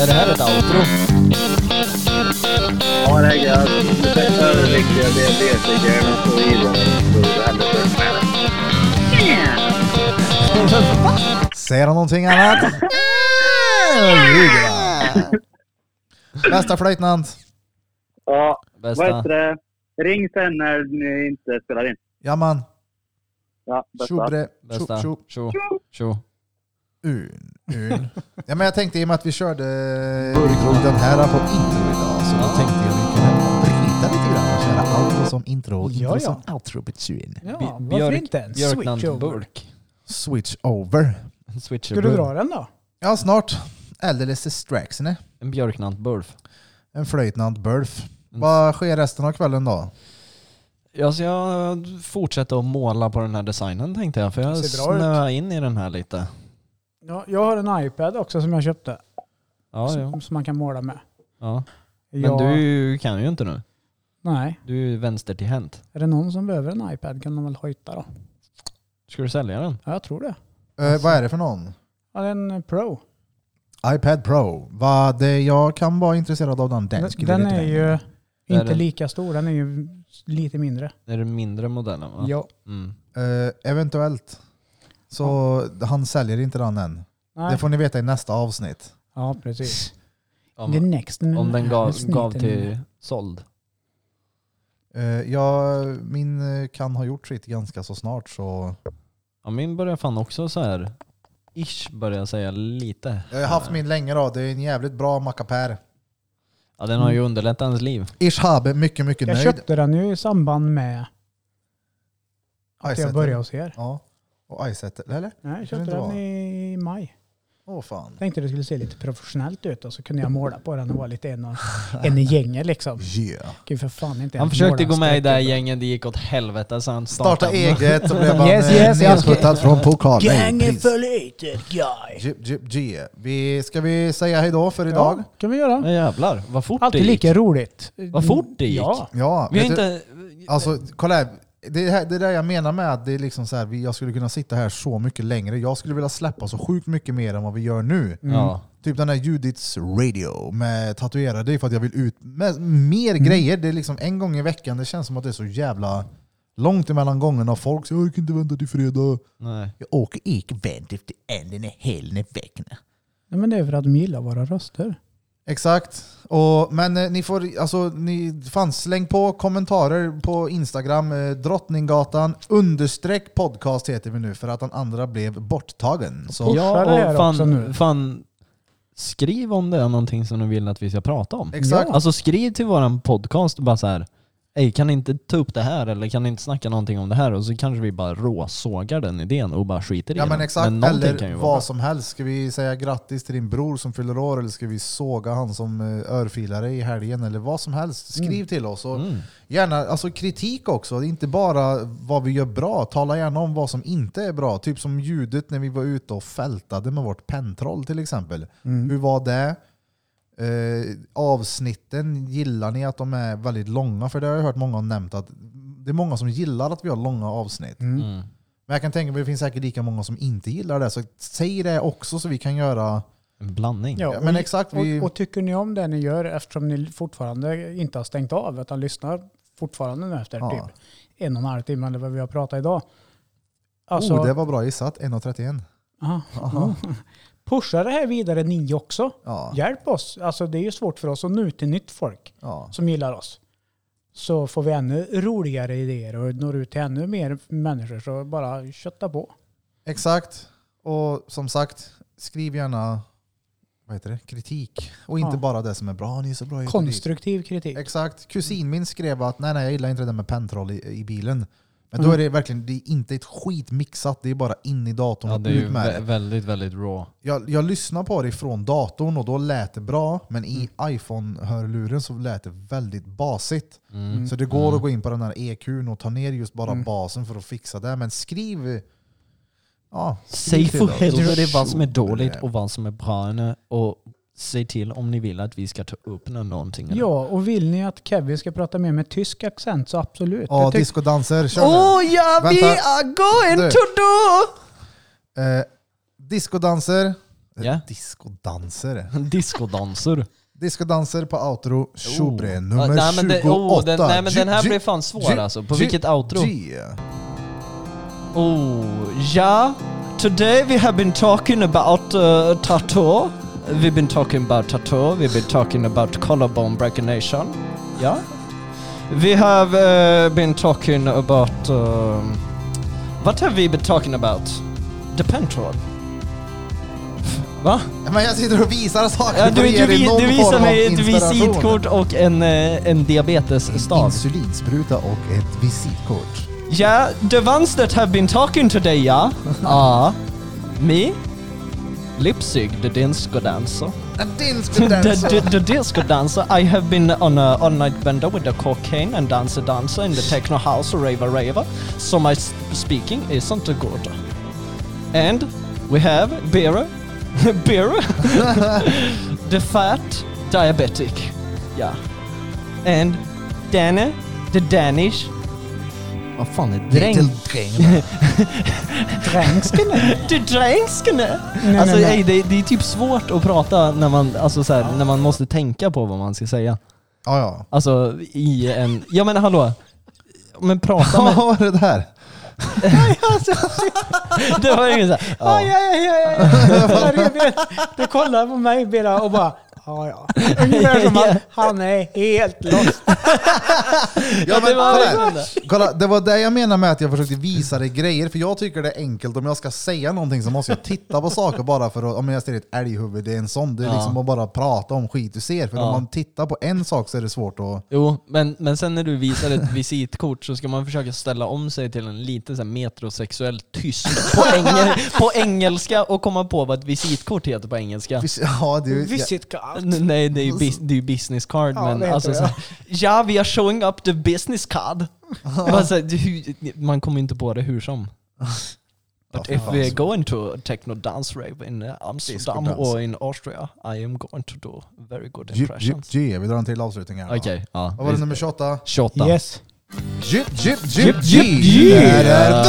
Speaker 1: Är det här ett outro?
Speaker 7: Ja, det är gött. Det är överviktiga diabetiker och så vidare. Så det här blir sjukt med det.
Speaker 5: Säger han någonting annat? Ljuger han. Bästa flöjtnant!
Speaker 7: Ja, vad
Speaker 1: Bästa.
Speaker 7: heter det? Ring sen när ni inte spelar in.
Speaker 5: Ja man,
Speaker 7: Ja, bästa.
Speaker 5: tjobre,
Speaker 1: Bästa.
Speaker 5: tjo, tjo,
Speaker 1: Tjo. Tjo.
Speaker 5: un, un. Ja men jag tänkte i och med att vi körde den här på intro idag så då tänkte jag vi kan bryta lite grann och köra outro som intro och
Speaker 6: Ja,
Speaker 5: intro
Speaker 6: ja.
Speaker 5: som outro between.
Speaker 6: Ja,
Speaker 1: Bi-
Speaker 6: varför inte en
Speaker 1: Björkland
Speaker 6: switch over?
Speaker 1: Burk.
Speaker 5: Switch over.
Speaker 1: Switcher
Speaker 6: Ska du dra den då?
Speaker 5: Ja snart. Alldeles strax ne?
Speaker 1: En Björknant-Burf.
Speaker 5: En flöjtnant Burf. Vad sker resten av kvällen då? Eh,
Speaker 1: Ja, så jag fortsätter att måla på den här designen tänkte jag, för jag
Speaker 6: Ser bra ut.
Speaker 1: snöade in i den här lite.
Speaker 6: Ja, jag har en iPad också som jag köpte.
Speaker 1: Ja, ja.
Speaker 6: Som, som man kan måla med.
Speaker 1: ja. Men
Speaker 6: Jag,
Speaker 1: du kan ju inte nu.
Speaker 6: Nej.
Speaker 1: Du är ju vänstertillhänt.
Speaker 6: Är det någon som behöver en iPad kan de väl hojta då?
Speaker 1: Ska du sälja den?
Speaker 6: Ja, jag tror det.
Speaker 5: Eh, vad är det för någon?
Speaker 6: Ja, det är en Pro.
Speaker 5: iPad Pro. Vad det jag kan vara intresserad av den. Den, skulle
Speaker 6: Den
Speaker 5: lite
Speaker 6: är
Speaker 5: längre.
Speaker 6: ju
Speaker 1: Där är
Speaker 6: inte
Speaker 1: den.
Speaker 6: lika stor. Den är ju lite mindre.
Speaker 1: Det är den mindre modellen va?
Speaker 6: Ja.
Speaker 1: Mm.
Speaker 5: Eh, eventuellt. Så han säljer inte den än.
Speaker 6: Nej.
Speaker 5: Det får ni veta i nästa avsnitt.
Speaker 6: Ja, precis. The
Speaker 1: Om,
Speaker 6: next.
Speaker 1: om den gav,
Speaker 6: Snitten.
Speaker 1: gav till såld.
Speaker 5: Eh, ja, min eh, kan ha gjort sitt ganska så snart så...
Speaker 1: Ja, min börjar fan också så här ish börjar jag säga lite.
Speaker 5: Jag har haft min länge då. Det är en jävligt bra mackapär.
Speaker 1: Ja, den
Speaker 5: Mm.
Speaker 1: har ju underlättat ens liv.
Speaker 5: Ish habe, mycket, mycket
Speaker 6: Jag
Speaker 5: nöjd.
Speaker 6: köpte den ju i samband med att
Speaker 5: Icesetter.
Speaker 6: jag började hos er.
Speaker 5: Ja. Och Icesetter, eller?
Speaker 6: Nej, jag
Speaker 5: det
Speaker 6: köpte
Speaker 5: inte
Speaker 6: den
Speaker 5: var.
Speaker 6: i maj.
Speaker 5: Åh fan.
Speaker 6: Tänkte det skulle se lite professionellt ut och så kunde jag måla på den och vara lite en, och, en i gänget liksom.
Speaker 5: Yeah.
Speaker 6: Gud för fan inte
Speaker 1: Han
Speaker 6: ens
Speaker 1: försökte
Speaker 6: måla
Speaker 1: gå
Speaker 6: en
Speaker 1: med i det här
Speaker 6: streck.
Speaker 1: gänget, det gick åt helvete så han
Speaker 5: Starta
Speaker 1: startade.
Speaker 5: eget så blev han
Speaker 6: Yes,
Speaker 5: yes,
Speaker 6: yes, jag ska-
Speaker 5: nedskuttad från pokal. Nej,
Speaker 6: Gänget
Speaker 5: pris.
Speaker 6: för litet guy.
Speaker 5: Jip, jip, jip. Vi, ska vi säga hejdå för idag?
Speaker 6: Ja, kan vi göra.
Speaker 1: Ja, jävlar, vad fort
Speaker 6: Alltid
Speaker 1: det gick.
Speaker 6: lika roligt.
Speaker 1: Vad fort det gick.
Speaker 6: Ja.
Speaker 5: Ja,
Speaker 1: Vi har
Speaker 5: vet du-
Speaker 1: inte...
Speaker 5: Alltså, kolla här. Det, här, det där jag menar med att det är liksom så här, vi- jag skulle kunna sitta här så mycket längre. Jag skulle vilja släppa så sjukt mycket mer än vad vi gör nu.
Speaker 1: Ja.
Speaker 5: Typ den där Judiths radio med tatuerade det är för att jag vill ut med mer grejer. Det är liksom en gång i veckan. Det känns som att det är så jävla långt emellan gångerna. Folk säger jag kan inte vänta till fredag.
Speaker 1: Nej.
Speaker 5: Jag åker inte vänt efter änden i hela veckan.
Speaker 6: Nej, men det är för att de gillar våra röster.
Speaker 5: Exakt. Och, men eh, ni får, alltså, ni, fan, släng på kommentarer på Instagram. Eh, Drottninggatan understreck podcast heter vi nu för att den andra blev borttagen. Så,
Speaker 6: Forsa det
Speaker 1: Ja,
Speaker 6: här
Speaker 1: och
Speaker 6: också nu.
Speaker 1: fan, fan, skriv om det är någonting som du vill att vi ska prata om.
Speaker 5: Exakt.
Speaker 6: Ja.
Speaker 1: Alltså skriv till våran podcast och bara så här. Ey, kan ni inte ta upp det här eller kan ni inte snacka någonting om det här? Och så kanske vi bara råsågar den idén och bara skiter i
Speaker 5: Ja
Speaker 1: den.
Speaker 5: men exakt,
Speaker 1: någonting kan
Speaker 5: eller
Speaker 1: ju
Speaker 5: vad
Speaker 1: vara
Speaker 5: som helst. Ska vi säga grattis till din bror som fyller år eller ska vi såga han som eh, örfilare i helgen eller vad som helst. Skriv till oss. Och Gärna alltså, kritik också, Det är inte bara vad vi gör bra. Tala gärna om vad som inte är bra. Typ som ljudet när vi var ute och fältade med vårt pentroll till exempel. Hur var det? Eh, avsnitten, gillar ni att de är väldigt långa? För det har jag hört många har nämnt att det är många som gillar att vi har långa avsnitt. Men jag kan tänka mig att det finns säkert lika många som inte gillar det. Så säg det också så vi kan göra...
Speaker 1: en blandning.
Speaker 6: Ja,
Speaker 5: men exakt,
Speaker 6: och,
Speaker 5: vi-
Speaker 6: och tycker ni om det ni gör eftersom ni fortfarande inte har stängt av utan lyssnar fortfarande nu efter
Speaker 5: Ja.
Speaker 6: typ en och en halv timme eller vad vi har pratat idag. Alltså,
Speaker 5: oh, det var bra gissat. 1.31.
Speaker 6: aha, ja. (laughs) Pusha det här vidare ni också.
Speaker 5: Ja.
Speaker 6: Hjälp oss. Alltså, det är ju svårt för oss att nå ut till nytt folk
Speaker 5: Ja.
Speaker 6: som gillar oss. Så får vi ännu roligare idéer och når ut till ännu mer människor. Så bara kötta på.
Speaker 5: Exakt. Och som sagt, skriv gärna vad heter det? kritik. Och inte
Speaker 6: Ja.
Speaker 5: bara det som är bra. Ni är så bra. hit och dit.
Speaker 6: Konstruktiv kritik.
Speaker 5: Exakt. Kusin min skrev att nej, nej, jag gillar inte det där med pentroll i, i bilen. Men då är det verkligen det är inte ett skit mixat. Det är bara in i datorn
Speaker 1: Ja,
Speaker 5: och
Speaker 1: det är ju
Speaker 5: ut med
Speaker 1: vä-
Speaker 5: det.
Speaker 1: väldigt, väldigt raw.
Speaker 5: Jag, jag lyssnar på det från datorn och då lät det bra. Men i
Speaker 1: Mm.
Speaker 5: iPhone-hörluren så lät det väldigt basigt.
Speaker 1: Mm.
Speaker 5: Så det går att gå in på den här EQn och ta ner just bara basen för att fixa det. Men skriv... Ja, skriv
Speaker 1: Säg
Speaker 5: till
Speaker 1: för
Speaker 5: oss.
Speaker 1: helvete vad som är dåligt och vad som är bra nu och säg till om ni vill att vi ska ta upp nå- någonting. eller?
Speaker 6: Ja, och vill ni att Kevin ska prata mer med tysk accent så absolut.
Speaker 5: Ja,
Speaker 6: Det tyck-
Speaker 5: discodanser. Kör nu.
Speaker 1: Oh ja, vi
Speaker 5: Vänta.
Speaker 1: are going
Speaker 5: Du.
Speaker 1: to do!
Speaker 5: Eh, discodanser. Eh,
Speaker 1: Ja.
Speaker 5: Discodanser.
Speaker 1: Discodanser.
Speaker 5: Discodanser på outro, tjobre, nummer
Speaker 1: Ah, nej, men det-
Speaker 5: 28.
Speaker 1: oh, den- nej, men
Speaker 5: Ju-
Speaker 1: den här
Speaker 5: ju-
Speaker 1: blev fan svår
Speaker 5: ju-
Speaker 1: alltså. På
Speaker 5: ju-
Speaker 1: vilket outro?
Speaker 5: ju.
Speaker 1: Oh, yeah. Today we have been talking about uh, tattoo. We've been talking about tattoo. We've been talking about collarbone breakination. Yeah. We have uh, been talking about. Um, what have we been talking about? The pentrod. Va?
Speaker 5: Men jag sitter och visar saker
Speaker 1: Ja,
Speaker 5: för
Speaker 1: du,
Speaker 5: att ge
Speaker 1: du,
Speaker 5: dig
Speaker 1: vi-
Speaker 5: någon
Speaker 1: du
Speaker 5: form
Speaker 1: visar
Speaker 5: av
Speaker 1: mig ett
Speaker 5: inspiration.
Speaker 1: visitkort och en, eh, en diabetesstav.
Speaker 5: Insulinspruta och ett visitkort.
Speaker 1: Yeah, the ones that have been talking today,
Speaker 5: (laughs)
Speaker 1: yeah, are me, Lipsig, the disco dancer.
Speaker 5: En
Speaker 1: (laughs)
Speaker 4: (laughs)
Speaker 1: The,
Speaker 5: discodanser!
Speaker 1: the, the disco dancer. I have been on a all night bender with the cocaine and dancer dancer in the techno house raver raver. So my s- speaking isn't good. And we have (laughs) Beer, Beer, (laughs) the fat diabetic, yeah, and Danny, the Danish. Vad fan är dräng? (laughs) Du dränskne! Alltså
Speaker 6: nej, nej.
Speaker 1: ey, det, det är typ svårt att prata när man, alltså, så här, när man måste tänka på vad man ska säga.
Speaker 5: Ja, ja.
Speaker 1: Alltså i en... Ja men hallå! Men prata
Speaker 5: Vad (laughs)
Speaker 1: med...
Speaker 5: var
Speaker 1: (laughs)
Speaker 5: det där?
Speaker 1: Det var ingen såhär...
Speaker 6: Ja, ja, ja, ja, ja. Du kollar på mig Bera och bara Ja, ja. Ungefär som att han är helt lost.
Speaker 5: Ja, men,
Speaker 4: det var
Speaker 5: kolla,
Speaker 4: verkligen
Speaker 5: här. kolla, det var det jag menar med att jag försökte visa dig grejer, för jag tycker det är enkelt. Om jag ska säga någonting så måste jag titta på saker bara för att, om jag ser ett älghuvud, det är en sån. Det är
Speaker 4: Ja.
Speaker 5: liksom att bara prata om skit du ser. För om
Speaker 4: Ja.
Speaker 5: man tittar på en sak så är det svårt att...
Speaker 4: Jo, men, men sen när du visar ett visitkort så ska man försöka ställa om sig till en lite så här metrosexuell tysk på, engel, på engelska och komma på vad ett visitkort heter på engelska.
Speaker 5: Vis- (laughs) Ja, du, ja,
Speaker 6: Visit card.
Speaker 4: N- Nej, det är ju bus- det är ju business card,
Speaker 6: Ja, det
Speaker 4: men
Speaker 6: heter
Speaker 4: alltså
Speaker 6: det.
Speaker 4: så här, Ja, vi are showing up the business card. Man, så här, det- hur- man kommer inte på det hur som. But
Speaker 5: Ja,
Speaker 4: if
Speaker 5: fan,
Speaker 4: we are
Speaker 5: så.
Speaker 4: going to techno dance rave in eh, Amsterdam
Speaker 5: Disco dance.
Speaker 4: or in Austria, I am going to do very good
Speaker 5: Djup, djup,
Speaker 4: impressions.
Speaker 5: djup. Vi drar en till avslutning här. då.
Speaker 4: Okej, ja.
Speaker 5: Vad var det nummer 28?
Speaker 4: 28.
Speaker 6: Yes.
Speaker 5: Jip, jip, jip,
Speaker 4: Jip, jip,
Speaker 5: jip!
Speaker 4: jip.
Speaker 5: Det här är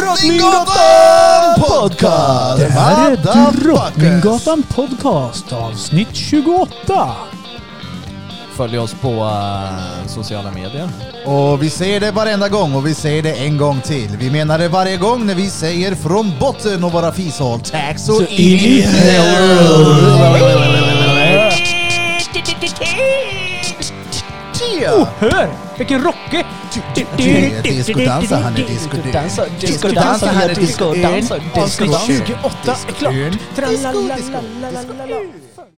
Speaker 5: Drottninggatan Podcast!
Speaker 6: Det här är
Speaker 5: Motherfuckers.
Speaker 6: Drottninggatan Podcast avsnitt 28.
Speaker 4: Följ oss på eh, sociala medier.
Speaker 5: Och vi säger det varenda gång och vi säger det en gång till. Vi menar det varje gång när vi säger från botten av våra fishål. Tack så in i
Speaker 6: Oh, hör! Vilken rockig!
Speaker 5: är diskodansa, han är diskodyn.
Speaker 6: Diskodansa,
Speaker 5: Diskodansa, han är diskodyn.
Speaker 6: Avsnitt
Speaker 5: Diskodyn.
Speaker 6: 28 är klart.
Speaker 5: Diskodyn.
Speaker 6: Tralalalalalalala.
Speaker 5: Diskodyn.